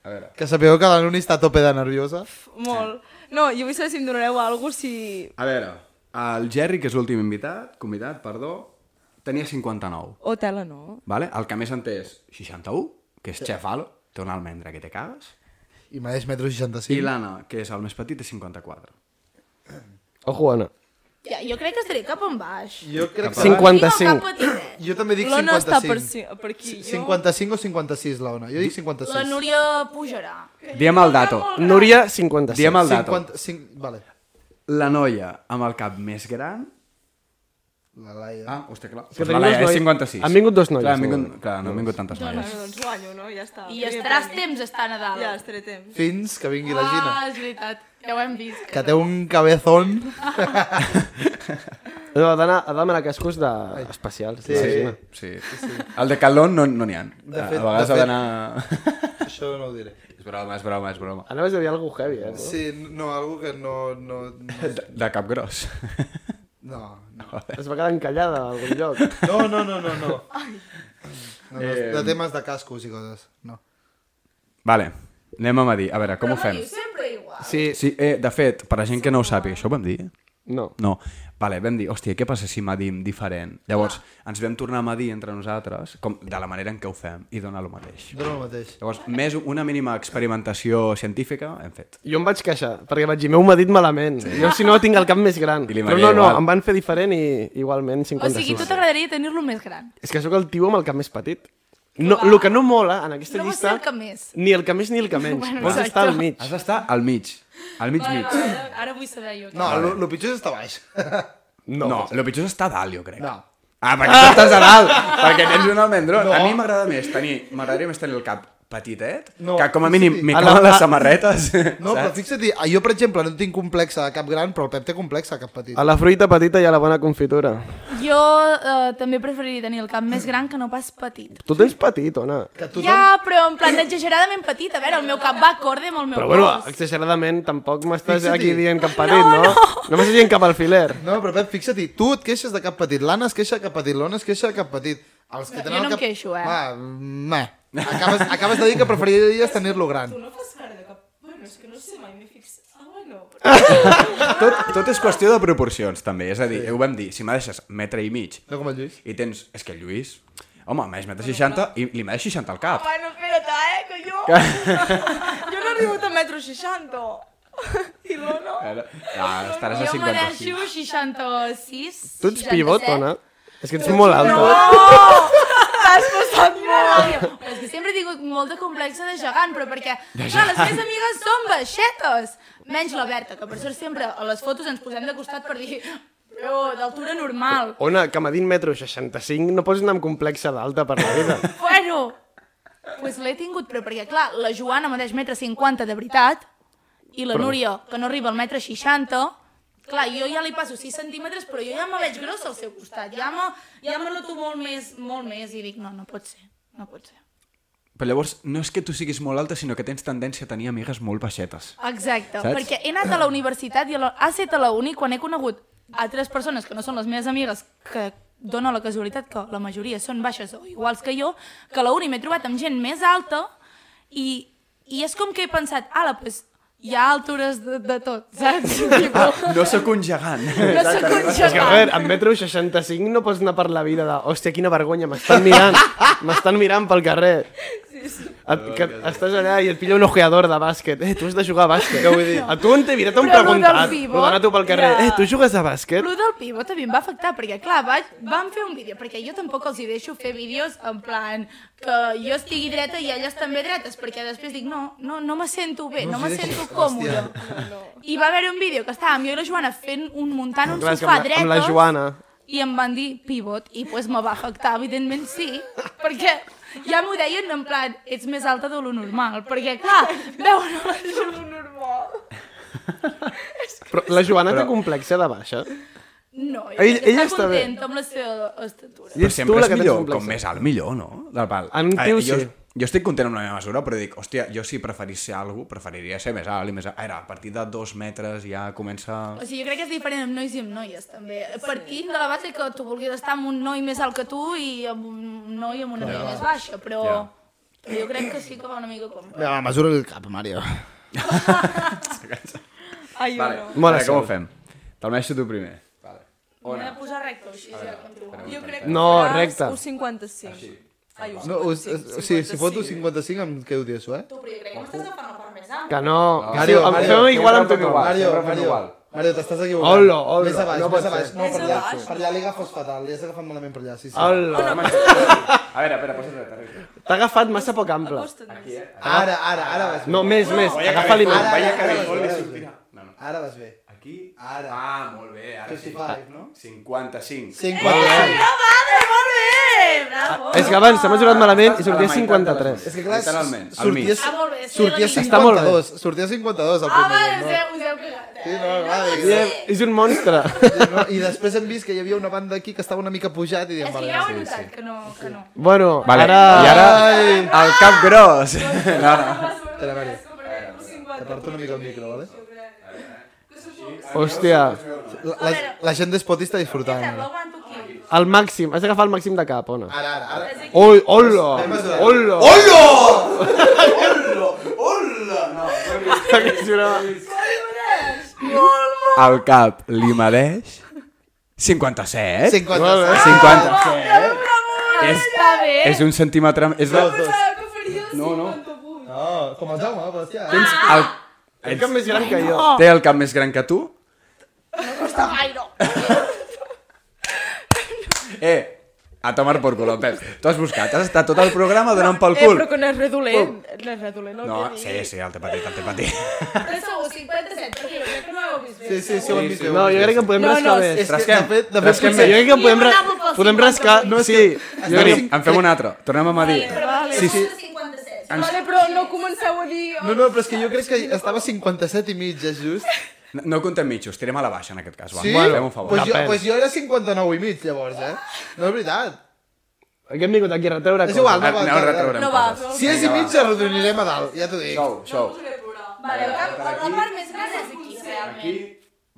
Speaker 3: A veure.
Speaker 2: Que sapigueu que la Nuni està a tope de nerviosa.
Speaker 7: F- Molt. No, jo vull saber si em donareu alguna cosa, si...
Speaker 3: A veure, el Jerry, que és l'últim invitat, convidat, perdó, tenia 59.
Speaker 7: O tela, no?
Speaker 3: Vale? El que més en té és 61, que és Chef Alo, té una almendra que te cagues.
Speaker 2: I mereix metro
Speaker 3: Sí.
Speaker 2: 65.
Speaker 3: I l'Anna, que és el més petit, té 54.
Speaker 1: Ojo, Anna.
Speaker 6: Ja, jo crec que estaré cap en baix.
Speaker 2: Jo crec que...
Speaker 1: 50.
Speaker 6: Dic el
Speaker 1: 55.
Speaker 6: cap petitet.
Speaker 2: Jo també dic
Speaker 7: L'Ona està per,
Speaker 2: 55.
Speaker 7: si, per aquí. Jo...
Speaker 2: 55 o 56, la Ona. Jo dic 56.
Speaker 6: La Núria pujarà.
Speaker 3: Diem el dato.
Speaker 1: Núria, 57.
Speaker 3: Diem el dato.
Speaker 2: 55... Vale.
Speaker 3: La noia amb el cap més gran...
Speaker 2: La Laia.
Speaker 3: Ah, hòstia, clar.
Speaker 1: Que
Speaker 3: Pues
Speaker 1: tenim
Speaker 3: la Laia
Speaker 1: dos noies.
Speaker 3: és 56.
Speaker 1: Han vingut dos noies,
Speaker 3: Clar, han vingut,
Speaker 1: segurament.
Speaker 3: clar no han vingut tantes noies.
Speaker 7: Bueno, doncs guanyo, no? Ja està.
Speaker 6: I estaràs temps estant a dalt.
Speaker 7: Ja, estaré temps.
Speaker 2: Fins que vingui la Gina.
Speaker 6: Ah, és veritat. Ja ho hem vist.
Speaker 2: Que té un cabezón.
Speaker 1: No, ha d'anar ha d'anar a cascos de... especials. Sí.
Speaker 2: Sí.
Speaker 3: Sí. El de Calón no n'hi ha.
Speaker 2: De
Speaker 3: De
Speaker 2: fet-
Speaker 3: fet, a vegades
Speaker 2: de
Speaker 3: ha
Speaker 2: fet-
Speaker 3: d'anar...
Speaker 2: Això no ho diré.
Speaker 3: és broma, és broma, és broma.
Speaker 1: Anaves a dir alguna cosa heavy, eh? Sí.
Speaker 2: Sí, no, algú que no... No, no,
Speaker 3: De, de cap gros.
Speaker 2: no. no.
Speaker 1: Es va quedar encallada a algun lloc.
Speaker 2: No, no, no, Eh, no, no. no, no de temes de cascos i coses. No.
Speaker 3: Vale, anem a Madí. A veure, com ho fem?
Speaker 6: Diu sempre igual.
Speaker 1: Sí.
Speaker 3: Sí, eh, de fet, per a gent que no ho sàpiga, això ho vam dir?
Speaker 1: No.
Speaker 3: No. Vale, vam dir, hòstia, què passa si Madim diferent? Llavors,
Speaker 2: Ah.
Speaker 3: ens vam tornar a Madim entre nosaltres, com de la manera en què ho fem, i dona el mateix.
Speaker 2: Dóna el mateix.
Speaker 3: Llavors, més una mínima experimentació científica hem fet.
Speaker 1: Jo em vaig queixar, perquè vaig dir, m'heu medit malament. Sí. Jo, si no, tinc el cap més gran.
Speaker 3: I li
Speaker 1: Però no,
Speaker 3: m'agrada
Speaker 1: no,
Speaker 3: igual.
Speaker 1: em van fer diferent i igualment
Speaker 6: O
Speaker 1: 56.
Speaker 6: sigui, tu t'agradaria tenir-lo més gran.
Speaker 1: És que sóc el tio amb el cap més petit. No, el que no mola en aquesta
Speaker 6: No vols
Speaker 1: llista...
Speaker 6: ser el que més.
Speaker 1: Ni el que més ni el que menys.
Speaker 6: Bueno,
Speaker 1: Vols
Speaker 6: exacte.
Speaker 1: estar al mig.
Speaker 3: Has d'estar al mig. Al mig, mig.
Speaker 6: Ara, ara vull saber jo.
Speaker 2: No, lo, lo pitjor és estar baix.
Speaker 3: No, no lo pitjor és estar a dalt, jo crec.
Speaker 2: No.
Speaker 3: Ah, perquè tu estàs a dalt, perquè tens un almendró. No. A mi m'agrada més tenir, m'agradaria més tenir el cap petitet, no.
Speaker 2: No,
Speaker 3: que com a
Speaker 2: sí,
Speaker 3: mínim
Speaker 2: sí.
Speaker 3: sí. m'hi
Speaker 1: A la-
Speaker 3: caben les
Speaker 1: a-
Speaker 3: samarretes.
Speaker 2: No, però fixa't, jo per exemple no tinc complexa de cap gran, però el Pep té complexa de cap petit.
Speaker 1: A la fruita petita i a la bona confitura.
Speaker 6: Jo eh, també preferiria tenir el cap més gran que no pas petit.
Speaker 1: Tu tens petit, Ona.
Speaker 2: Que tothom...
Speaker 6: Ja, però en plan exageradament petit. A veure, el meu cap va acorde amb el meu
Speaker 1: Però bueno,
Speaker 6: cos.
Speaker 1: exageradament tampoc m'estàs
Speaker 2: Fixa-t'hi.
Speaker 1: aquí dient cap petit, no? No, no. m'estàs dient cap alfiler.
Speaker 2: No, però Pep, fixa't, tu et queixes de cap petit, l'Anna es queixa de cap petit, l'Ona es queixa de cap petit. Els que
Speaker 6: No,
Speaker 2: tenen
Speaker 6: jo no
Speaker 2: el
Speaker 6: em
Speaker 2: cap...
Speaker 6: queixo, eh.
Speaker 2: Va, meh. Acabes, acabes de dir que preferiries tenir-lo gran.
Speaker 7: No fas cara de cap... Bueno, és que no sé, mai m'he fixat... Ah, bueno.
Speaker 3: Tot, tot és qüestió de proporcions, també. És a dir, sí. ho vam dir, si me deixes metre i mig
Speaker 2: No com el Lluís.
Speaker 3: i tens... És que el Lluís... Home, més metre 60 i li m'ha 60 al cap.
Speaker 7: Bueno, espera't, eh, que jo... jo no he arribat a metro 60. I l'Ona...
Speaker 3: Ara- Ah, estaràs a
Speaker 6: Jo me
Speaker 3: 55.
Speaker 6: deixo 66,
Speaker 1: Tu ets pivot,
Speaker 6: 67.
Speaker 1: Ona. És que ets molt alta.
Speaker 7: T'has passat molt.
Speaker 6: Però és que sempre he tingut molt de complexa de gegant, però perquè, clar, les meves amigues són baixetes, menys la Berta, que per sort sempre a les fotos ens posem de costat per dir però d'altura normal.
Speaker 1: Ona, que m'ha dit metro 65, no pots anar amb complexa d'alta per la vida.
Speaker 6: Bueno, doncs pues l'he tingut, però perquè, clar, la Joana medeix metre 50 de veritat i la Núria, que no arriba al metre 60, clar, jo ja li passo 6 centímetres, però jo ja me veig grossa al seu costat, ja me, ja me noto molt més, molt més, i dic, no, no pot ser, no pot ser.
Speaker 3: Però llavors, no és que tu siguis molt alta, sinó que tens tendència a tenir amigues molt baixetes.
Speaker 6: Exacte,
Speaker 3: Saps?
Speaker 6: Saps? perquè he anat a la universitat i a la... ha estat a la uni quan he conegut altres persones que no són les meves amigues que dona la casualitat que la majoria són baixes o iguals que jo, que a la uni m'he trobat amb gent més alta i, i és com que he pensat, ala, pues, hi ha altures de, de tot, saps? Tipo,
Speaker 3: No sóc un gegant.
Speaker 6: no sóc un
Speaker 1: És que, a
Speaker 6: gegant.
Speaker 1: veure, amb metro 65 no pots anar per la vida de... Hòstia, quina vergonya, m'estan mirant. M'estan mirant pel carrer.
Speaker 7: Sí,
Speaker 1: Et, que estàs allà i et pilla un ojeador de bàsquet. Eh, tu has de jugar a bàsquet.
Speaker 2: Què vull dir?
Speaker 1: A tu on t'he mirat un
Speaker 6: Però lo
Speaker 1: preguntat.
Speaker 6: del pivot,
Speaker 1: Lo d'anar tu pel carrer.
Speaker 6: ja.
Speaker 1: Eh, tu jugues a bàsquet?
Speaker 6: Lo del pivot a mi em va afectar, perquè clar, vaig, vam fer un vídeo, perquè jo tampoc els hi deixo fer vídeos en plan que jo estigui dreta i elles també dretes, perquè després dic, no, no, no me sento bé, no,
Speaker 2: els
Speaker 6: me
Speaker 2: hi deixes,
Speaker 6: sento còmode. I va haver un vídeo que estàvem jo i la Joana fent un muntant un
Speaker 1: Clar, és que
Speaker 6: sofà
Speaker 1: amb la-
Speaker 6: dretes,
Speaker 1: amb la Joana.
Speaker 6: i em van dir pivot, i pues me va afectar, evidentment sí, perquè ja m'ho deien en plan, ets més alta de lo normal, perquè clar, veuen la Joana...
Speaker 1: Però la Joana té complexe de baixa.
Speaker 6: No, jo
Speaker 1: Ell-
Speaker 6: crec que
Speaker 1: ella
Speaker 6: està
Speaker 1: està bé.
Speaker 6: contenta amb la seva estatura.
Speaker 1: I
Speaker 3: Però
Speaker 1: ets tu
Speaker 3: sempre
Speaker 1: la
Speaker 3: és
Speaker 1: que tens
Speaker 3: millor,
Speaker 1: complexe.
Speaker 3: com més alt, millor, no? Del pal.
Speaker 1: En un
Speaker 3: Ah,
Speaker 1: tio,
Speaker 3: jo,
Speaker 1: sí.
Speaker 3: jo estic content amb la meva mesura, però dic, hòstia, jo si preferís ser alguna cosa, preferiria ser més alt i més alt. Ara, a partir de dos metres ja comença...
Speaker 2: Ah.
Speaker 6: O sigui, jo crec que és diferent amb nois i amb noies, també. Partint de la base que tu vulguis estar amb un noi més alt que tu i amb un noi amb una noia més baixa, però...
Speaker 3: Ja.
Speaker 6: Jo crec que sí que va una mica com...
Speaker 5: Mira, va, mesura el cap, Mario.
Speaker 7: Ai, jo no.
Speaker 1: Mola
Speaker 3: Vale, com
Speaker 1: ser.
Speaker 3: ho fem? Te'l meixo tu primer. Vale.
Speaker 6: M'he de posar recto, així ja continuo.
Speaker 7: Jo crec
Speaker 1: No,
Speaker 7: que
Speaker 1: recte.
Speaker 7: 1,55. Ai, un
Speaker 2: No, o, o, o sigui, si foto 55 em quedo tieso, eh?
Speaker 6: Tu, però jo crem que m'estàs agafant la part més alt.
Speaker 1: Que no.
Speaker 2: Mario,
Speaker 1: em
Speaker 2: Mario,
Speaker 1: fem igual amb
Speaker 3: sempre fem
Speaker 1: tothom.
Speaker 3: igual.
Speaker 2: Mario,
Speaker 3: sempre fem
Speaker 2: Mario,
Speaker 3: igual.
Speaker 2: Mario, t'estàs equivocant.
Speaker 1: Hola, hola,
Speaker 2: Més a baix,
Speaker 1: no
Speaker 2: més
Speaker 1: pot
Speaker 2: a baix.
Speaker 1: ser.
Speaker 2: No, per allà,
Speaker 7: baix?
Speaker 2: per allà li agafes fatal, li has agafat malament per allà, sí, sí.
Speaker 1: Hola.
Speaker 3: A veure, espera, posa't recte.
Speaker 1: T'ha agafat massa poc ample.
Speaker 2: Ara, ara, ara vas bé.
Speaker 1: No, més, més. Agafa-li
Speaker 2: Ara,
Speaker 1: més.
Speaker 2: Ah, ara,
Speaker 3: eh? Vaya
Speaker 2: ara,
Speaker 3: que bé,
Speaker 2: vas bé,
Speaker 3: li
Speaker 2: ara vas bé.
Speaker 3: sortirà. No, no.
Speaker 2: Ara vas bé.
Speaker 3: Aquí?
Speaker 2: Ara.
Speaker 3: Ah, molt bé, ara sí.
Speaker 2: 55, no?
Speaker 3: 55.
Speaker 2: 50.
Speaker 1: És que abans se m'ha jurat malament i sortia
Speaker 3: A la meitat de les
Speaker 1: 53.
Speaker 3: mesures.
Speaker 2: És que clar,
Speaker 3: Literalment, al mig.
Speaker 2: sorties,
Speaker 6: Ah, molt bé, sí, la
Speaker 2: sorties
Speaker 6: línia.
Speaker 1: Està molt bé.
Speaker 2: 52, sorties 52 al
Speaker 6: Ah, va,
Speaker 2: primer joc,
Speaker 6: us
Speaker 2: no?
Speaker 6: heu, us heu cagat,
Speaker 2: Sí,
Speaker 6: eh?
Speaker 2: no, va, i-
Speaker 1: I És un monstre.
Speaker 2: no, I després hem vist que hi havia una banda aquí que estava una mica pujat i diem,
Speaker 6: És que
Speaker 2: vale,
Speaker 6: ja ho he
Speaker 2: sí.
Speaker 6: notat, que no, que no.
Speaker 1: Bueno,
Speaker 3: Vale.
Speaker 1: ara...
Speaker 3: I ara,
Speaker 2: Ai.
Speaker 3: el cap gros. No, no.
Speaker 2: Espera, Mario, aparta una mica el micro, vale?
Speaker 1: Hòstia,
Speaker 2: La, la, la gent d'Espot està disfrutant. eh?
Speaker 6: Sembla,
Speaker 2: Ara,
Speaker 6: aguanto aquí.
Speaker 1: el màxim. Has d'agafar el màxim de cap, Ona.
Speaker 2: ara, ara.
Speaker 1: Ui, hola! Hola! Hola! Hola!
Speaker 3: El cap li mereix 57.
Speaker 2: 50.
Speaker 3: 57. És,
Speaker 6: Està bé.
Speaker 3: és un centímetre... És la...
Speaker 6: Ah,
Speaker 3: No, no.
Speaker 2: No, Oh, com el Jaume, però hòstia.
Speaker 3: Tens el,
Speaker 1: Ets cap més gran que jo.
Speaker 3: té el cap més gran que tu? No costa gaire. Eh, a tomar por culo, Pep. Tu has buscat, has estat tot el programa donant pel
Speaker 7: Eh,
Speaker 3: cul.
Speaker 7: però que no és redolent. No és redolent el
Speaker 3: No,
Speaker 7: que
Speaker 3: sí, sí, el té petit, el té petit.
Speaker 6: Però segur, 57, perquè jo crec que no ho heu vist bé.
Speaker 2: Sí, sí, sí, ho hem vist.
Speaker 1: No, jo crec que en podem
Speaker 7: No, no,
Speaker 1: rascar
Speaker 7: és-
Speaker 1: més.
Speaker 2: És que, de fet, de fet,
Speaker 1: Jo
Speaker 2: potser...
Speaker 1: crec que en podem, ra-
Speaker 6: Jo anava pel
Speaker 1: podem
Speaker 6: 50,
Speaker 1: rascar...
Speaker 2: no, és
Speaker 1: sí,
Speaker 2: que-
Speaker 1: jo
Speaker 3: Doni,
Speaker 1: crec...
Speaker 3: en fem un altre. Tornem a Madrid.
Speaker 7: Vale.
Speaker 2: Sí, sí.
Speaker 7: Vale, però no comenceu a dir...
Speaker 2: No, no, però és que jo crec que estava 57 i mig, és just.
Speaker 3: No, no contem mitjos, tirem a la baixa en aquest cas. Va.
Speaker 2: Sí?
Speaker 3: Bueno, fem un favor.
Speaker 2: Pues jo,
Speaker 1: Depèn.
Speaker 2: pues jo era 59 i mig, llavors, eh? No és veritat.
Speaker 1: Que hem vingut aquí a retreure
Speaker 2: És igual, no
Speaker 3: Ara,
Speaker 2: val.
Speaker 3: Aneu retraurem
Speaker 7: No va,
Speaker 3: coses.
Speaker 2: Si és i mig, arrodonirem a dalt, ja t'ho dic.
Speaker 3: Xou, xou.
Speaker 6: Vale, la, la, la part més gran és aquí, realment.
Speaker 3: Aquí,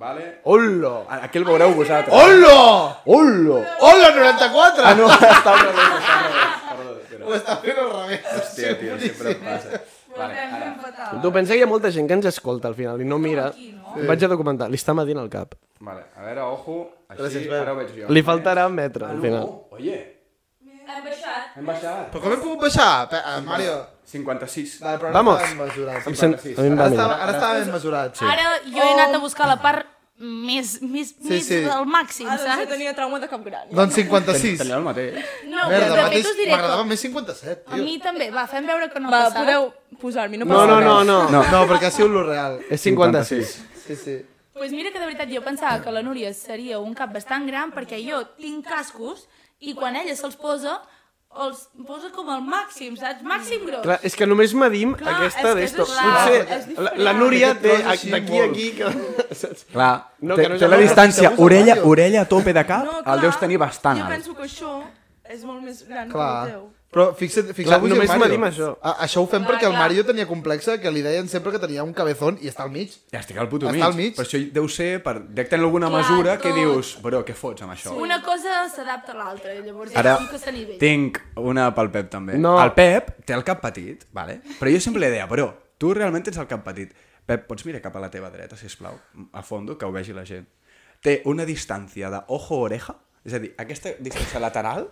Speaker 3: vale.
Speaker 1: Hola!
Speaker 3: Aquí el
Speaker 7: Ah,
Speaker 3: veureu vosaltres.
Speaker 2: Hola!
Speaker 3: Hola!
Speaker 2: Hola, 94!
Speaker 3: Ah, no, està al revés, està al revés. Perdó, espera.
Speaker 2: Ho està fent al revés.
Speaker 3: Hòstia, tio, sempre em passa. Vale, ara.
Speaker 1: Tu pensa que hi ha molta gent que ens escolta al final i no mira. Vaig a documentar, li està medint el cap.
Speaker 3: Vale, a veure, ojo, així,
Speaker 2: Gràcies, Pep.
Speaker 3: ara ho veig jo.
Speaker 1: Li faltarà un metre
Speaker 3: Ah,
Speaker 1: al
Speaker 3: no,
Speaker 1: final.
Speaker 3: oye, hem baixat.
Speaker 2: Però com hem pogut baixar? Pe- eh, Mario,
Speaker 3: 56.
Speaker 2: vale, però
Speaker 1: Vamos.
Speaker 2: ara estava ben mesurat.
Speaker 1: Em sent... A mi em
Speaker 2: Ara
Speaker 1: va
Speaker 2: estava,
Speaker 1: mirar.
Speaker 2: ara estava ben mesurat, sí.
Speaker 6: Ara jo he anat a buscar la part més, més, més
Speaker 2: Oh. sí.
Speaker 6: del màxim,
Speaker 7: Ah, doncs jo
Speaker 6: saps?
Speaker 7: tenia trauma de cap gran.
Speaker 2: Doncs 56.
Speaker 3: Tenia el mateix.
Speaker 6: No, però
Speaker 2: Merda,
Speaker 6: de fet
Speaker 2: mateix
Speaker 6: us diré
Speaker 2: m'agradava
Speaker 6: que
Speaker 2: més 57,
Speaker 6: a
Speaker 2: tio.
Speaker 6: mi també, va, fem veure que no
Speaker 7: Va,
Speaker 6: ha passat.
Speaker 7: podeu posar-m'hi, no
Speaker 1: No,
Speaker 7: passa
Speaker 1: no,
Speaker 7: res.
Speaker 1: no, no.
Speaker 2: No, perquè ha sigut lo real.
Speaker 3: Eh.
Speaker 1: És 56.
Speaker 2: Sí, sí.
Speaker 6: Pues mira que de veritat jo pensava que la Núria seria un cap bastant gran perquè jo tinc cascos i quan ella se'ls posa, els posa com al màxim, saps? Màxim gros.
Speaker 1: Clar, és que només medim
Speaker 6: Clar, és
Speaker 1: aquesta
Speaker 6: que és
Speaker 1: d'esto.
Speaker 6: clar,
Speaker 1: Potser
Speaker 6: és
Speaker 1: la,
Speaker 6: diferent.
Speaker 1: la Núria té
Speaker 2: Aquest tros així
Speaker 1: d'aquí a
Speaker 2: molt.
Speaker 1: aquí... Que... saps?
Speaker 3: Clar,
Speaker 1: No,
Speaker 3: té,
Speaker 1: que no és
Speaker 3: té
Speaker 1: el
Speaker 3: la
Speaker 1: Mario.
Speaker 3: distància,
Speaker 2: Esteu
Speaker 3: orella,
Speaker 2: al Mario.
Speaker 3: orella a tope de cap,
Speaker 7: No,
Speaker 3: el deus tenir bastant
Speaker 7: Jo
Speaker 3: alt.
Speaker 7: penso que això és molt més gran
Speaker 2: Clar.
Speaker 7: que el teu.
Speaker 2: Però fixa't, fixa't
Speaker 1: només
Speaker 2: el Mario.
Speaker 1: medim això.
Speaker 2: A, això ho fem perquè el
Speaker 6: Ah, clar.
Speaker 2: Mario tenia complexa que li deien sempre que tenia un cabezón i està al mig.
Speaker 3: Ja estic al puto
Speaker 2: Està
Speaker 3: mig.
Speaker 2: al mig.
Speaker 3: Per això deu ser, per, deu tenir alguna
Speaker 6: Clar,
Speaker 3: mesura que
Speaker 6: tot.
Speaker 3: dius, però què fots amb això?
Speaker 6: Una cosa s'adapta a l'altra, llavors
Speaker 3: Ara
Speaker 6: és com que s'anivella.
Speaker 3: tinc una pel Pep també.
Speaker 1: No.
Speaker 3: El Pep té el cap petit, vale? però jo sempre li deia, però tu realment tens el cap petit. Pep, pots mirar cap a la teva dreta, si plau, a fondo, que ho vegi la gent. Té una distància de ojo-oreja, és a dir, aquesta distància lateral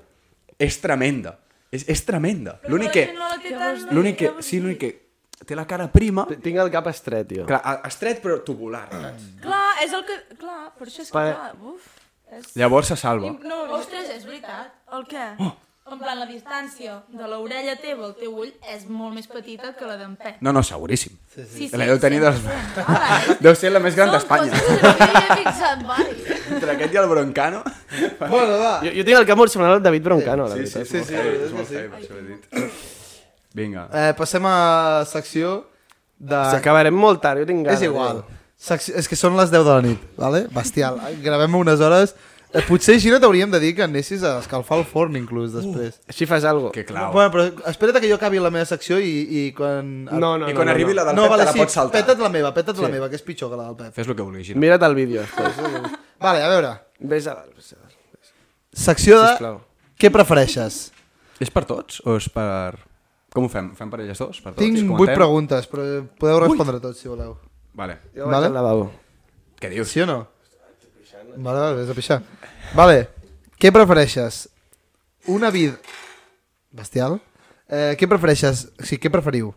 Speaker 3: és tremenda. És, és tremenda. L'únic que...
Speaker 6: no la té tan...
Speaker 3: L'únic que... Sí, l'únic que té la cara prima,
Speaker 1: Tinc el cap estret, tio.
Speaker 3: clar, a- estret però tubular, saps?
Speaker 6: Mm.
Speaker 7: Clar, és el que... Clar, per això és que...
Speaker 1: Pare-
Speaker 7: Clar, uf.
Speaker 3: Llavors se salva.
Speaker 7: No,
Speaker 6: Ostres, és veritat.
Speaker 7: el què?
Speaker 6: En plan, la distància de l'orella teva al teu ull és molt més petita que la d'en Pep.
Speaker 3: No, no, seguríssim. Sí,
Speaker 6: Sí,
Speaker 3: La deu tenir dels...
Speaker 6: Ara, eh?
Speaker 3: Deu ser la més gran
Speaker 6: Són
Speaker 3: d'Espanya.
Speaker 6: coses que no m'hi havia fixat mai.
Speaker 3: Entre aquest i el Broncano.
Speaker 2: Bueno, va.
Speaker 1: Jo, jo tinc el cap molt semblant al David Broncano, la veritat.
Speaker 3: sí,
Speaker 2: sí,
Speaker 3: heavy,
Speaker 2: és
Speaker 3: és
Speaker 2: que
Speaker 3: molt
Speaker 2: sí.
Speaker 3: heavy, per això ho he dit. Vinga.
Speaker 2: Eh, passem a secció de...
Speaker 1: S'acabarem molt tard, jo tinc eh. gana.
Speaker 2: És igual. Secció... És que són les 10 de la nit, vale? bestial. Gravem unes hores. Eh, potser, Gina, t'hauríem de dir que anessis a escalfar el forn, inclús, després.
Speaker 1: Així fas algo.
Speaker 3: Que
Speaker 2: Eh,
Speaker 3: clau.
Speaker 2: No, bueno, però espera't que jo acabi la meva secció i, i quan...
Speaker 1: No, no,
Speaker 3: I
Speaker 1: no.
Speaker 3: quan
Speaker 1: no,
Speaker 3: arribi
Speaker 1: no.
Speaker 3: la del
Speaker 2: no
Speaker 3: Pep
Speaker 2: vale,
Speaker 3: te la
Speaker 2: sí,
Speaker 3: pots saltar.
Speaker 2: peta't la meva, peta't la meva, que és pitjor que la del Pep.
Speaker 3: Fes el que vulguis, Gina.
Speaker 1: Mira't el vídeo. després.
Speaker 2: Vale, a veure.
Speaker 1: Ves a dalt. Ves a dalt.
Speaker 2: Secció de...
Speaker 1: Sisplau.
Speaker 2: Què prefereixes?
Speaker 3: És per tots o és per... Com ho fem? Fem per elles dos? Per tots?
Speaker 2: Tinc
Speaker 3: Comentem?
Speaker 2: 8 preguntes, però podeu respondre tots, si voleu.
Speaker 3: Vale.
Speaker 1: Jo vaig
Speaker 2: Vale.
Speaker 1: al lavabo.
Speaker 3: Què dius?
Speaker 2: Sí o no? Vale, vale, vés a pixar. Vale, què prefereixes? Una vida... Bestial? Eh, què prefereixes? O sigui, què preferiu?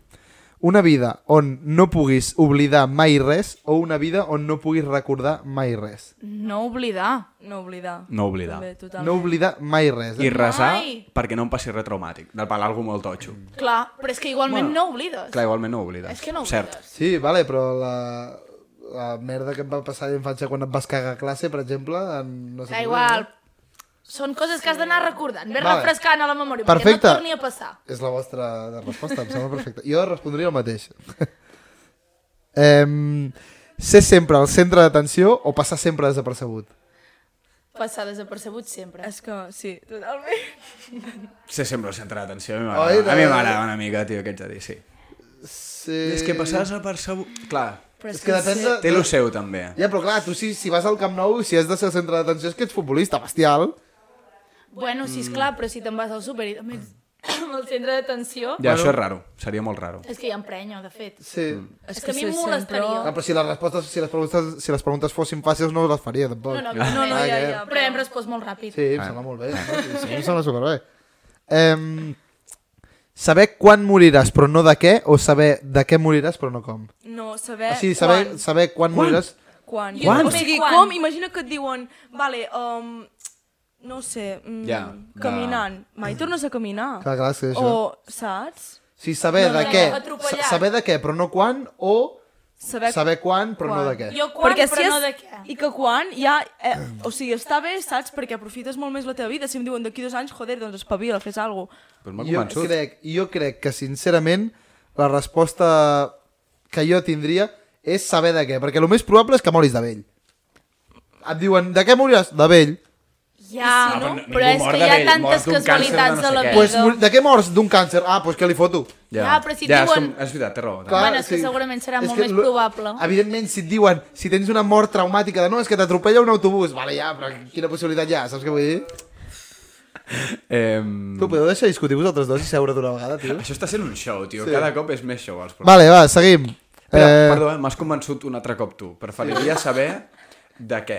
Speaker 2: Una vida on no puguis oblidar mai res o una vida on no puguis recordar mai res?
Speaker 6: No oblidar.
Speaker 7: No oblidar.
Speaker 3: No oblidar.
Speaker 7: També, totalment.
Speaker 2: No oblidar mai res.
Speaker 3: I
Speaker 2: Eh?
Speaker 3: resar
Speaker 6: Ai.
Speaker 3: perquè no em passi res traumàtic. Del pal, algú molt totxo.
Speaker 6: Clar, però és que igualment no oblides.
Speaker 3: Clar, igualment no ho oblides.
Speaker 6: És que no
Speaker 3: Cert.
Speaker 6: oblides.
Speaker 2: Sí, vale, però la, la merda que em va passar a l'infància quan et vas cagar a classe, per exemple, en, no sé
Speaker 6: Da
Speaker 2: què,
Speaker 6: igual. Són coses que has d'anar recordant, més
Speaker 2: Vale.
Speaker 6: refrescant a la memòria,
Speaker 2: Perfecte.
Speaker 6: perquè no torni a passar.
Speaker 2: És la vostra resposta, em sembla perfecta. Jo respondria el mateix. um, ser sempre al centre d'atenció o passar sempre desapercebut?
Speaker 6: Passar desapercebut sempre.
Speaker 7: És que sí, totalment.
Speaker 3: Se sembla el centre d'atenció. A mi
Speaker 2: Oi,
Speaker 3: m'agrada. A
Speaker 2: no? Eh.
Speaker 3: mi m'agrada una mica, tio, què ets a dir, sí.
Speaker 2: Sí.
Speaker 3: És que passar desapercebut... Clar,
Speaker 7: Però
Speaker 2: És que depèn de...
Speaker 3: té lo seu, també.
Speaker 2: Ja, però clar, tu si, si vas al Camp Nou, si has de ser al centre d'atenció, és que ets futbolista, bestial.
Speaker 6: Bueno,
Speaker 3: Mm.
Speaker 6: sí, esclar, però si te'n vas al súper i també ets al centre d'atenció,
Speaker 3: Ja, això és raro. Seria molt raro.
Speaker 6: és que ja emprenyo, de fet.
Speaker 2: Sí.
Speaker 6: És que a mi
Speaker 7: ser
Speaker 6: em molestaria.
Speaker 2: Mm. Ah, però si les respostes, si les preguntes, si les preguntes fossin fàcils no les faria, tampoc.
Speaker 6: No, no, no, no,
Speaker 3: Ah,
Speaker 7: No,
Speaker 6: ja,
Speaker 7: ja,
Speaker 2: que-
Speaker 7: ja.
Speaker 6: però hem respost molt ràpid.
Speaker 2: Sí, em sembla molt bé. no? Sí, em sembla superbé. Um, saber quan moriràs però no de què, o saber de què moriràs però no com?
Speaker 7: No,
Speaker 2: O
Speaker 7: saber
Speaker 2: sigui, saber Eh, quan,
Speaker 7: quan.
Speaker 2: saber quan, quan? moriràs...
Speaker 7: Quan?
Speaker 6: Jo Quan?
Speaker 7: O sigui,
Speaker 6: Quan?
Speaker 7: com? Imagina que et diuen, vale, um, no ho sé, mm,
Speaker 3: Ja,
Speaker 7: caminant. Mai tornes a caminar.
Speaker 2: Clar, clar, és que això.
Speaker 7: o, saps?
Speaker 2: O sigui, saber
Speaker 6: No,
Speaker 2: de
Speaker 6: no,
Speaker 2: què,
Speaker 6: atropellat.
Speaker 2: sa- saber de què, però no quan, o
Speaker 7: Saber,
Speaker 2: saber quan, però no
Speaker 7: quan.
Speaker 2: de què.
Speaker 6: Jo quan,
Speaker 7: Perquè
Speaker 6: però
Speaker 7: si
Speaker 6: no
Speaker 7: és-
Speaker 6: de què.
Speaker 7: I que quan ja... Eh, o sigui, està bé, saps? Perquè aprofites molt més la teva vida. Si em diuen d'aquí dos anys, joder, doncs espavila, fes alguna cosa.
Speaker 3: Però m'ha
Speaker 2: Jo
Speaker 3: convençut.
Speaker 2: crec, jo crec que, sincerament, la resposta que jo tindria és saber de què, perquè el més probable és que moris de vell. Et diuen, de què moriràs? De vell.
Speaker 6: Ja,
Speaker 3: Ah, però
Speaker 6: no,
Speaker 3: ningú
Speaker 6: però és
Speaker 3: mor
Speaker 6: que
Speaker 3: de
Speaker 6: hi ha
Speaker 3: vell, mor
Speaker 6: tantes
Speaker 3: d'un càncer de
Speaker 6: casualitats
Speaker 3: no
Speaker 6: de
Speaker 3: sé
Speaker 6: la
Speaker 3: què.
Speaker 6: vida.
Speaker 2: Pues, mor- de què mors? D'un càncer. Ah, doncs pues què li foto?
Speaker 6: Ja, però si et
Speaker 3: ja, és
Speaker 6: diuen-
Speaker 3: com- És veritat, té raó.
Speaker 2: Clar,
Speaker 6: Bueno, és que segurament serà molt més
Speaker 2: lo-
Speaker 6: probable.
Speaker 2: Evidentment, si et diuen, si tens una mort traumàtica de no, és que t'atropella un autobús, vale, ja, però quina possibilitat hi ha, saps què vull dir?
Speaker 3: Ehm,
Speaker 2: Tu, podeu deixar discutir vosaltres dos i seure d'una vegada, tio?
Speaker 3: Això està sent un show, tio. Cada cop és més show, els programes.
Speaker 2: Vale, va, seguim.
Speaker 3: Espera,
Speaker 2: Eh,
Speaker 3: perdó, eh? m'has convençut un altre cop tu. Preferiria saber de què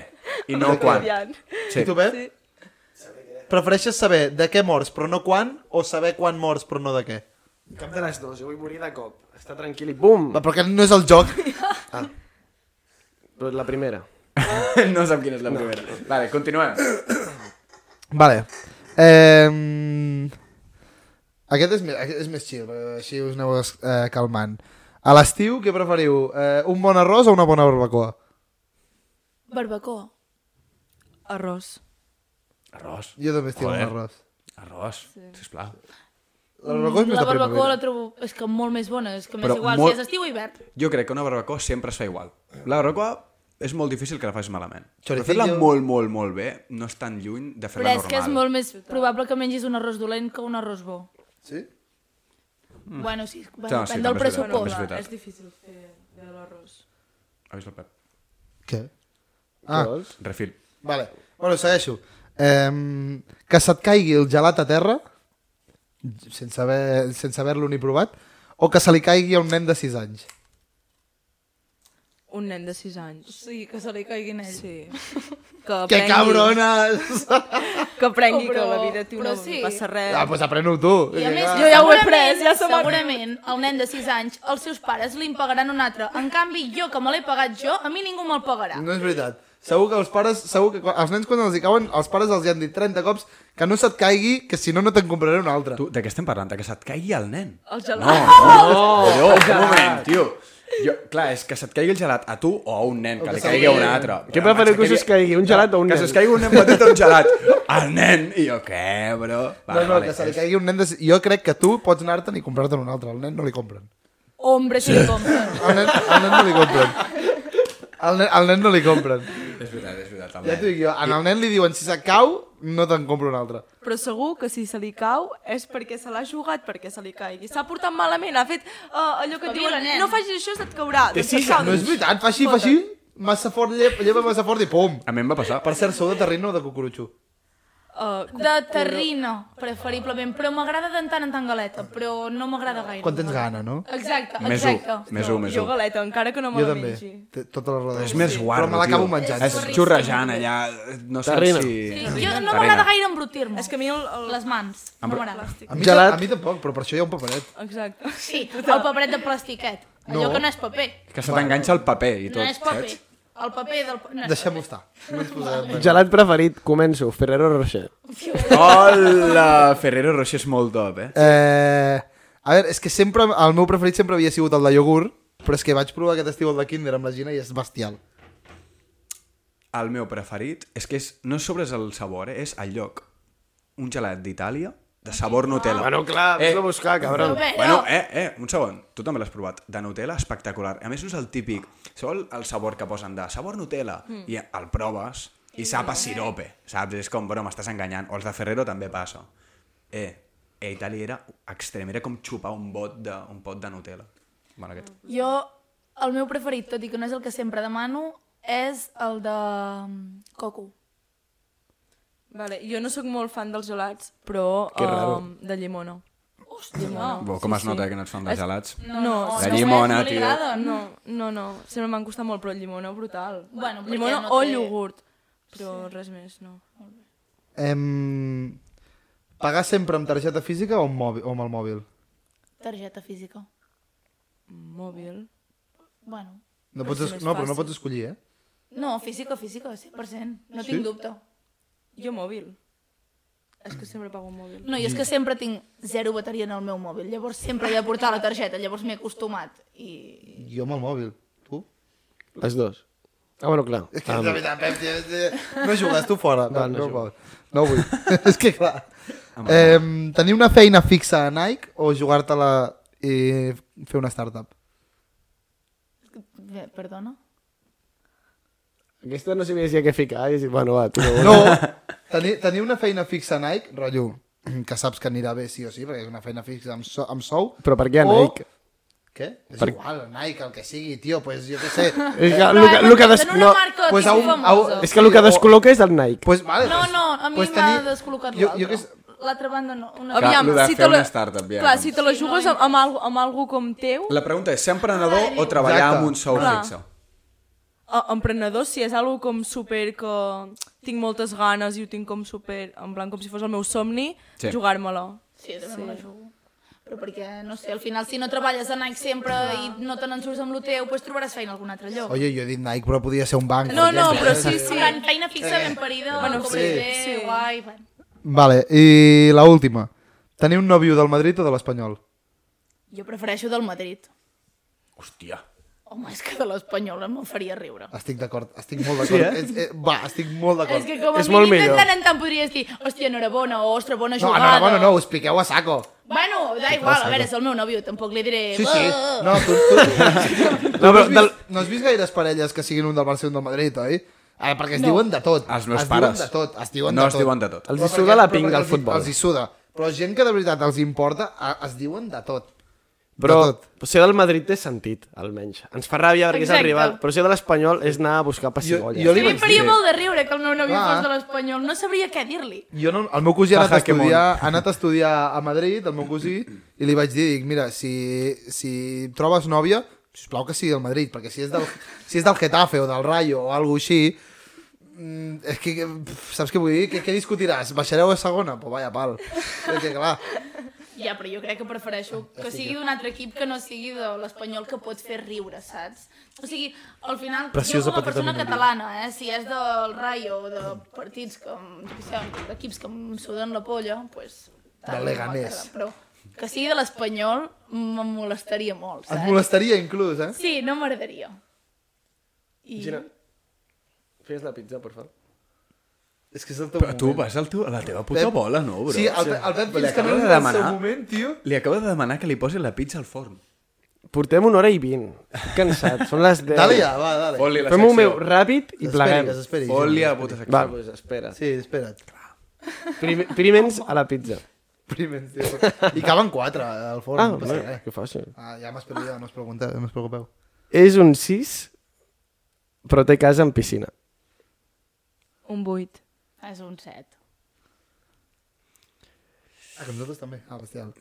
Speaker 3: i no
Speaker 2: De què?
Speaker 3: quan.
Speaker 7: Aviam.
Speaker 3: Sí.
Speaker 2: I tu, Pep? Prefereixes saber de què mors, però no quan, o saber quan mors, però no de què?
Speaker 1: Cap de les dues, jo vull morir de cop. Està tranquil i bum!
Speaker 2: Va, però que no és el joc.
Speaker 1: Però La primera.
Speaker 3: no sap quina és la primera. Vale, continuem.
Speaker 2: Vale. Eh, aquest és, més- aquest és més chill, perquè així us aneu eh, calmant. A l'estiu, què preferiu? Eh, un bon arròs o una bona barbacoa?
Speaker 6: Barbacoa.
Speaker 7: Arròs.
Speaker 3: Arròs.
Speaker 2: Jo també estic amb
Speaker 3: Joder.
Speaker 2: arròs.
Speaker 3: Arròs, sisplau.
Speaker 2: La barbacoa és més
Speaker 6: La
Speaker 2: de
Speaker 6: barbacoa la
Speaker 2: primavera.
Speaker 6: trobo és que molt més bona, és que m'és
Speaker 3: Però
Speaker 6: igual
Speaker 3: molt-
Speaker 6: si és estiu o hivern.
Speaker 3: Jo crec que una barbacoa sempre es fa igual. La barbacoa és molt difícil que la facis malament. Però
Speaker 2: Choricillo.
Speaker 3: fer-la molt, molt, molt bé no és tan lluny de
Speaker 6: Però
Speaker 3: fer-la
Speaker 6: és
Speaker 3: normal.
Speaker 6: que és molt més probable que mengis un arròs dolent que un arròs bo.
Speaker 2: Sí?
Speaker 6: Bueno, sí, va,
Speaker 3: No, sí,
Speaker 6: depèn del
Speaker 3: també és veritat, també és
Speaker 6: pressupost.
Speaker 3: veritat.
Speaker 7: És difícil fer de l'arròs.
Speaker 3: Ha vist el Pep?
Speaker 2: Què? Ah,
Speaker 1: Vols?
Speaker 3: Refil.
Speaker 2: vale. Bueno, segueixo. Eh, que se't caigui el gelat a terra, sense haver-lo sense haver ni provat, o que se li caigui a un nen de 6 anys.
Speaker 7: Un nen de 6 anys.
Speaker 6: Sí, que se li caiguin ells.
Speaker 7: Sí. que
Speaker 2: Que
Speaker 7: aprengui,
Speaker 2: cabrones!
Speaker 7: que, aprengui
Speaker 6: Però-
Speaker 7: que la vida, tio,
Speaker 6: però
Speaker 7: no
Speaker 6: sí.
Speaker 7: passa res.
Speaker 2: Ah, pues aprèn-ho tu.
Speaker 6: I a més,
Speaker 7: Jo ja ho he pres,
Speaker 6: segurament-
Speaker 7: ja se m'ha-
Speaker 6: Segurament, el nen de 6 anys, els seus pares li en pagaran un altre. En canvi, jo, que me l'he pagat jo, a mi ningú me'l pagarà.
Speaker 2: No és veritat. Segur que els pares, segur que quan, els nens quan els hi cauen, els pares els hi han dit 30 cops que no se't caigui, que si no, no te'n compraré un altre.
Speaker 3: Tu, de què estem parlant? De que se't caigui el nen?
Speaker 7: El gelat.
Speaker 3: No, no,
Speaker 1: Oh!
Speaker 3: no, un moment, tio. Jo, clar, és que se't caigui el gelat a tu o a un nen, que li
Speaker 2: que
Speaker 3: caigui a un altre.
Speaker 1: Què preferiu que us us caigui, un gelat o un
Speaker 3: que
Speaker 1: nen?
Speaker 3: se't caigui un nen petit o un gelat? Al nen! I jo, què, bro?
Speaker 2: No, no, que se li caigui un nen de... Jo crec que tu pots anar-te'n i comprar-te'n un altre. Al nen no li compren.
Speaker 6: Hombre, si li compren.
Speaker 2: Al nen, al nen no li compren. Al nen, al nen no li compren.
Speaker 3: És veritat, és veritat. el
Speaker 2: Ja
Speaker 3: nen.
Speaker 2: t'ho dic jo. En el nen li diuen, si se cau, no te'n compro un altre.
Speaker 7: Però segur que si se li cau és perquè se l'ha jugat, perquè se li caigui. S'ha portat malament, ha fet uh, allò que et
Speaker 6: Espavila,
Speaker 7: diuen,
Speaker 6: nen.
Speaker 7: no facis això, se't caurà. Doncs
Speaker 2: Sí,
Speaker 7: et cau,
Speaker 2: no és
Speaker 7: doncs-
Speaker 2: veritat, fa així, fa així, massa fort, llepa, llepa massa fort i pum.
Speaker 3: A mi em va passar.
Speaker 2: Per cert, sou de terreno o de cucurutxo?
Speaker 7: Uh,
Speaker 6: De terrina, preferiblement, però m'agrada de tant en tant galeta, però no m'agrada gaire.
Speaker 2: Quan tens gana, no?
Speaker 6: Exacte,
Speaker 3: Més un,
Speaker 6: exacte.
Speaker 3: més un, més
Speaker 7: jo
Speaker 3: un.
Speaker 7: galeta, encara que no me
Speaker 2: Jo
Speaker 7: la
Speaker 2: també.
Speaker 7: mengi.
Speaker 2: Té Tota la raó.
Speaker 3: És més guarro,
Speaker 2: Però me l'acabo
Speaker 3: tio.
Speaker 2: menjant.
Speaker 3: És xurrejant allà, no sé
Speaker 1: Terrina.
Speaker 3: si...
Speaker 6: Jo no
Speaker 3: Terrina.
Speaker 6: m'agrada gaire embrutir-me.
Speaker 7: És que a mi el... el...
Speaker 6: Les mans, no
Speaker 3: Embru-
Speaker 6: m'agrada.
Speaker 2: A mi,
Speaker 1: Gelat.
Speaker 2: a mi tampoc, però per això hi ha un paperet.
Speaker 7: Exacte.
Speaker 6: Sí, el paperet de plastiquet. Allò
Speaker 2: No.
Speaker 6: que no és paper.
Speaker 3: Que se t'enganxa el paper i tot,
Speaker 6: No és paper.
Speaker 3: saps?
Speaker 6: El paper del... No és
Speaker 2: Deixem-ho estar. No ens posarem.
Speaker 1: Gelat preferit, començo, Ferrero Rocher.
Speaker 3: Hola! Ferrero Rocher és molt top, eh?
Speaker 2: Eh, a veure, és que sempre, el meu preferit sempre havia sigut el de iogurt, però és que vaig provar aquest estiu el de Kinder amb la Gina i és bestial.
Speaker 3: El meu preferit és que és, no és sobres el sabor, eh? és el lloc. Un gelat d'Itàlia de sabor Nutella.
Speaker 1: Bueno, clar, vés
Speaker 3: Eh.
Speaker 1: a buscar, cabron.
Speaker 6: Però-
Speaker 3: Bueno, eh, eh, un segon. Tu també l'has provat. De Nutella, espectacular. A més, no és el típic. Sabeu el, el sabor que posen de sabor Nutella? Mm. I el proves i sap a sirope, saps? És com, bueno, m'estàs enganyant. O els de Ferrero també passa. Eh, a Itàlia era extrem, era com xupar un bot de, un pot de Nutella. Bueno, aquest.
Speaker 6: Jo, el meu preferit, tot i que no és el que sempre demano, és el de mm, coco.
Speaker 7: Vale, jo no sóc molt fan dels gelats, però
Speaker 1: Que raro.
Speaker 7: um, de llimona. Hòstia,
Speaker 3: Bo, com es nota que no ets fan de
Speaker 7: És-
Speaker 3: gelats?
Speaker 7: No, no,
Speaker 6: o
Speaker 3: La
Speaker 6: no,
Speaker 3: llimona,
Speaker 6: no li
Speaker 3: tio.
Speaker 6: agrada,
Speaker 7: no,
Speaker 6: No.
Speaker 7: no, no, sempre m'han costat molt, però llimona brutal.
Speaker 6: Bueno, perquè
Speaker 7: llimona
Speaker 6: no
Speaker 7: o
Speaker 6: té-
Speaker 7: iogurt, però res més, no.
Speaker 2: Em... Pagar sempre amb targeta física o amb, mòbil, o amb el mòbil?
Speaker 6: Targeta física.
Speaker 7: Mòbil.
Speaker 6: Bueno.
Speaker 2: No, pots,
Speaker 7: sí,
Speaker 2: es...
Speaker 7: més
Speaker 2: no, però no
Speaker 7: fàcil.
Speaker 2: pots escollir, eh?
Speaker 6: No, física, física, 100%. No tinc dubte.
Speaker 7: Jo mòbil. És que sempre pago un mòbil.
Speaker 6: No, i és que sempre tinc zero bateria en el meu mòbil, llavors sempre he de portar la targeta, llavors m'he acostumat. I...
Speaker 2: Jo amb el mòbil. Tu?
Speaker 1: Les dues. Ah, bueno, clar.
Speaker 2: És que,
Speaker 1: Ah,
Speaker 2: de veritat, Pep, tio, tio, no jugues, tu fora. No, no, no, no vull. és que, clar. Eh, tenir una feina fixa a Nike o jugar-te-la i fer una startup?
Speaker 6: Bé, perdona?
Speaker 1: aquesta no sabia si què ficar. I dic, bueno, va, tio,
Speaker 2: No, tenir, tenir una feina fixa a Nike, rotllo, que saps que anirà bé sí o sí, perquè és una feina fixa amb, so, amb sou.
Speaker 1: Però per què a
Speaker 6: Oh.
Speaker 2: o-
Speaker 1: Nike?
Speaker 2: Què? És
Speaker 1: Per-
Speaker 2: igual, a Nike, el que sigui, tio, pues jo què sé.
Speaker 1: És que el que, el que des...
Speaker 6: en una
Speaker 1: no,
Speaker 6: marca
Speaker 2: pues
Speaker 6: pues
Speaker 2: a un- a un-
Speaker 6: famosa.
Speaker 1: és que el que descol·loca és el Nike.
Speaker 2: pues, vale,
Speaker 6: No,
Speaker 2: pues-
Speaker 6: no, a mi
Speaker 2: pues
Speaker 6: m'ha
Speaker 2: tenir-
Speaker 6: descol·locat
Speaker 2: jo- jo
Speaker 6: l'altre.
Speaker 2: que és-
Speaker 6: L'altre banda no. Una...
Speaker 3: Clar,
Speaker 7: Aviam,
Speaker 3: lo de
Speaker 7: si
Speaker 3: fer
Speaker 7: te la-
Speaker 3: una startup, ja,
Speaker 1: doncs.
Speaker 7: Clar,
Speaker 3: com-
Speaker 7: si te la jugues amb, amb, algo, amb algo com teu,
Speaker 3: La pregunta és ser emprenedor o treballar
Speaker 2: Exacte.
Speaker 3: amb un sou
Speaker 7: Clar.
Speaker 3: fixe?
Speaker 7: a- emprenedor, si és algo com super que tinc moltes ganes i ho tinc com super, en blanc, com si fos el meu somni,
Speaker 3: Sí.
Speaker 7: sí. jugar-me-la.
Speaker 6: Sí, també sí. me la jugo. Però perquè, no sé, al final si no treballes a Nike sempre i no te n'en surts amb lo teu, doncs trobaràs feina a algun altre lloc.
Speaker 2: Oye, jo he dit Nike, però podia ser un banc.
Speaker 7: No, no,
Speaker 2: Oye,
Speaker 7: però sí,
Speaker 6: En
Speaker 7: sí.
Speaker 6: plan, feina fixa ben parida, bueno, com
Speaker 7: sí,
Speaker 6: sí, bé, sí.
Speaker 7: sí.
Speaker 6: guai, bueno.
Speaker 2: Vale, i la última. Tenir un nòvio del Madrid o de l'Espanyol?
Speaker 6: Jo prefereixo del Madrid.
Speaker 3: Hòstia.
Speaker 6: Home, és que de l'Espanyol em faria riure.
Speaker 2: Estic d'acord, estic molt d'acord. Sí, eh? Va, estic molt d'acord.
Speaker 6: És que com a
Speaker 1: És molt
Speaker 6: mínim de
Speaker 1: millor.
Speaker 6: tant en tant podries dir hòstia, enhorabona, o ostres, bona
Speaker 2: No,
Speaker 6: jugada.
Speaker 2: enhorabona, no, us piqueu a saco.
Speaker 6: Bueno, da igual, a veure, és el meu nòvio, tampoc li diré...
Speaker 2: Sí, sí.
Speaker 6: "Ah".
Speaker 2: No, tu, tu...
Speaker 1: No, però
Speaker 2: has vist,
Speaker 1: del...
Speaker 2: no has vist gaires parelles que siguin un del Barça i un del Madrid, oi? Ara, perquè es no. diuen de tot.
Speaker 3: Els meus
Speaker 2: es
Speaker 3: pares.
Speaker 2: Diuen de tot, es diuen
Speaker 3: No
Speaker 2: de
Speaker 3: es
Speaker 2: tot.
Speaker 3: diuen de tot.
Speaker 1: Els
Speaker 2: Però
Speaker 1: hi suda
Speaker 2: perquè-
Speaker 1: la
Speaker 2: però
Speaker 1: pinga
Speaker 2: perquè
Speaker 1: al
Speaker 2: els hi-
Speaker 1: futbol.
Speaker 2: Els hi suda. Però gent que de veritat els importa, a- es diuen de tot.
Speaker 1: Però
Speaker 2: de tot.
Speaker 1: ser del Madrid té sentit, almenys. Ens fa ràbia perquè és
Speaker 6: Exacte.
Speaker 1: el rival, però ser de l'Espanyol és anar a buscar
Speaker 2: Jo,
Speaker 1: pessigolles.
Speaker 2: jo
Speaker 6: A
Speaker 2: li
Speaker 6: mi
Speaker 2: vaig
Speaker 6: em faria
Speaker 2: dir...
Speaker 6: molt de riure que el meu nòvio
Speaker 2: Clar.
Speaker 6: fos de l'Espanyol, no sabria què dir-li.
Speaker 2: Jo no, el meu cosí ha anat, a
Speaker 1: Jaja, que
Speaker 2: estudiar, ha anat a estudiar a Madrid, el meu cosí, i li vaig dir, dic, mira, si, si trobes nòvia, sisplau que sigui del Madrid, perquè si és del, si és del Getafe o del Rayo o alguna així, Mm, és que, que, pf, saps què vull dir? Què, què discutiràs? Baixareu a segona? Pues vaya pal. És que, clar,
Speaker 6: Ja, però jo crec que prefereixo
Speaker 2: Ah,
Speaker 6: que sigui d'un altre equip que no sigui de l'Espanyol que pot fer riure, saps? O sigui, al final, jo
Speaker 2: Preciosa
Speaker 6: com a
Speaker 2: petita
Speaker 6: persona
Speaker 2: minoria.
Speaker 6: catalana, eh, si és del Rayo o de partits que, em- jo què sé, d'equips que em suden la polla, doncs... Pues, tant,
Speaker 2: Del
Speaker 6: no
Speaker 2: Leganés.
Speaker 6: m'agrada, Però que sigui de l'Espanyol em molestaria molt,
Speaker 2: et
Speaker 6: saps?
Speaker 2: molestaria inclús, eh?
Speaker 6: Sí, no m'agradaria. I...
Speaker 1: Gina, fes la pizza, por favor.
Speaker 2: És que és el teu
Speaker 3: Però
Speaker 2: moment.
Speaker 3: tu vas al teu, a la teva puta bola, no, bro?
Speaker 2: Sí, el, el Pep
Speaker 3: Li
Speaker 2: fins que
Speaker 3: acabes
Speaker 2: no
Speaker 3: de
Speaker 2: és el seu
Speaker 3: demanar-
Speaker 2: moment, tio.
Speaker 3: Li acabo de demanar que li posi la pizza al forn.
Speaker 1: Portem una hora i vint. Estic cansat, són les 10.
Speaker 2: Dale ja, va, dale.
Speaker 3: Fot-li la
Speaker 1: Fem un
Speaker 3: secció.
Speaker 1: meu ràpid i
Speaker 2: Esperi,
Speaker 1: pleguem.
Speaker 2: que s'esperi.
Speaker 3: Fot-li
Speaker 2: Juli.
Speaker 3: a puta secció.
Speaker 1: Va, doncs espera.
Speaker 2: Sí, espera't.
Speaker 1: Prim primens a la pizza.
Speaker 2: Primer, tio. I caben quatre eh, al forn,
Speaker 1: Ah,
Speaker 2: no passa
Speaker 1: bueno,
Speaker 2: res.
Speaker 1: que fàcil.
Speaker 2: Ah, ja m'espero, ja no us pregunteu, no us preocupeu.
Speaker 1: És un 6, però té casa amb piscina.
Speaker 7: Un buit.
Speaker 6: És un set.
Speaker 2: Ah, que nosaltres també. Ah, bestial.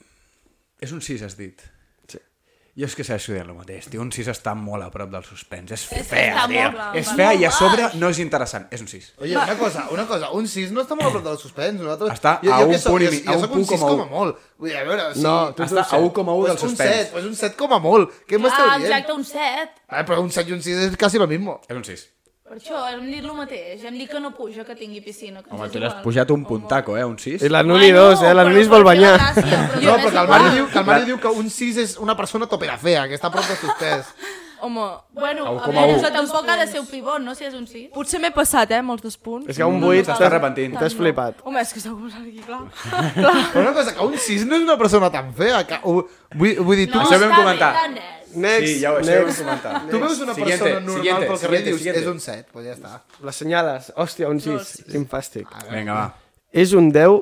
Speaker 3: És un 6, has dit.
Speaker 1: Sí.
Speaker 3: Jo és que s'ha estudiat el mateix, tio. Un 6 està molt a prop del suspens. És fea,
Speaker 6: està
Speaker 3: tio.
Speaker 6: molt clar,
Speaker 3: és
Speaker 6: va,
Speaker 3: fea
Speaker 6: molt
Speaker 3: i a sobre no és interessant. És un 6.
Speaker 2: Oye, una cosa, una cosa, un 6 no està molt a prop del suspens, nosaltres...
Speaker 3: Està a
Speaker 2: que
Speaker 3: un
Speaker 2: soc-
Speaker 3: punt i
Speaker 2: jo-
Speaker 3: mig,
Speaker 2: Jo,
Speaker 3: a un
Speaker 2: soc un
Speaker 3: punt
Speaker 2: 6
Speaker 3: coma
Speaker 2: com a
Speaker 3: un.
Speaker 2: molt. Vull dir, a veure, o sigui,
Speaker 1: No, tu ets
Speaker 3: Està a
Speaker 1: un set.
Speaker 3: 1,1 del
Speaker 2: pues un
Speaker 3: suspens.
Speaker 2: 7, pues un 7 com a molt. Què m'esteu
Speaker 6: Ah,
Speaker 2: dient?
Speaker 6: exacte, un set.
Speaker 2: Ah, però un 7 i un 6 és quasi lo mismo.
Speaker 3: És un 6.
Speaker 6: Per això hem dit el mateix. Hem dit que no puja, que tingui piscina. Que
Speaker 3: Home,
Speaker 6: ens és
Speaker 3: tu l'has
Speaker 6: igual.
Speaker 3: pujat un puntaco, eh? Un 6.
Speaker 1: És la Nuli 2, eh? La Nuli es vol banyar.
Speaker 2: No, però que el Mario diu que, el Mario diu que un 6 és una persona topera fea, que està a prop del suspens.
Speaker 7: Home,
Speaker 6: Bueno,
Speaker 3: A
Speaker 6: a
Speaker 3: 1,1.
Speaker 6: veure, això tampoc ha de ser un pivot, no? Si és un 6.
Speaker 7: potser m'he passat, eh, molts dos punts.
Speaker 1: És que un
Speaker 3: No,
Speaker 1: 8
Speaker 3: t'estàs arrepentint.
Speaker 1: T'has flipat.
Speaker 7: Home, és que s'ha posat aquí, clar.
Speaker 2: Però una cosa, que un 6 no és una persona tan fea. Que, ho, vull, vull dir, tu,
Speaker 3: Això vam
Speaker 6: està bé,
Speaker 3: comentar.
Speaker 6: tant és.
Speaker 1: Next,
Speaker 3: Sí, ja ho, això ja ho hem
Speaker 1: next.
Speaker 3: comentat.
Speaker 2: tu veus una
Speaker 3: Siguiente,
Speaker 2: persona normal
Speaker 3: siguiente,
Speaker 2: pel carrer i
Speaker 3: siguiente,
Speaker 2: dius,
Speaker 3: siguiente.
Speaker 2: és un 7, pues ja està.
Speaker 1: L'assenyales. Hòstia, un 6. Quin fàstic.
Speaker 3: Vinga, va.
Speaker 1: És un 10,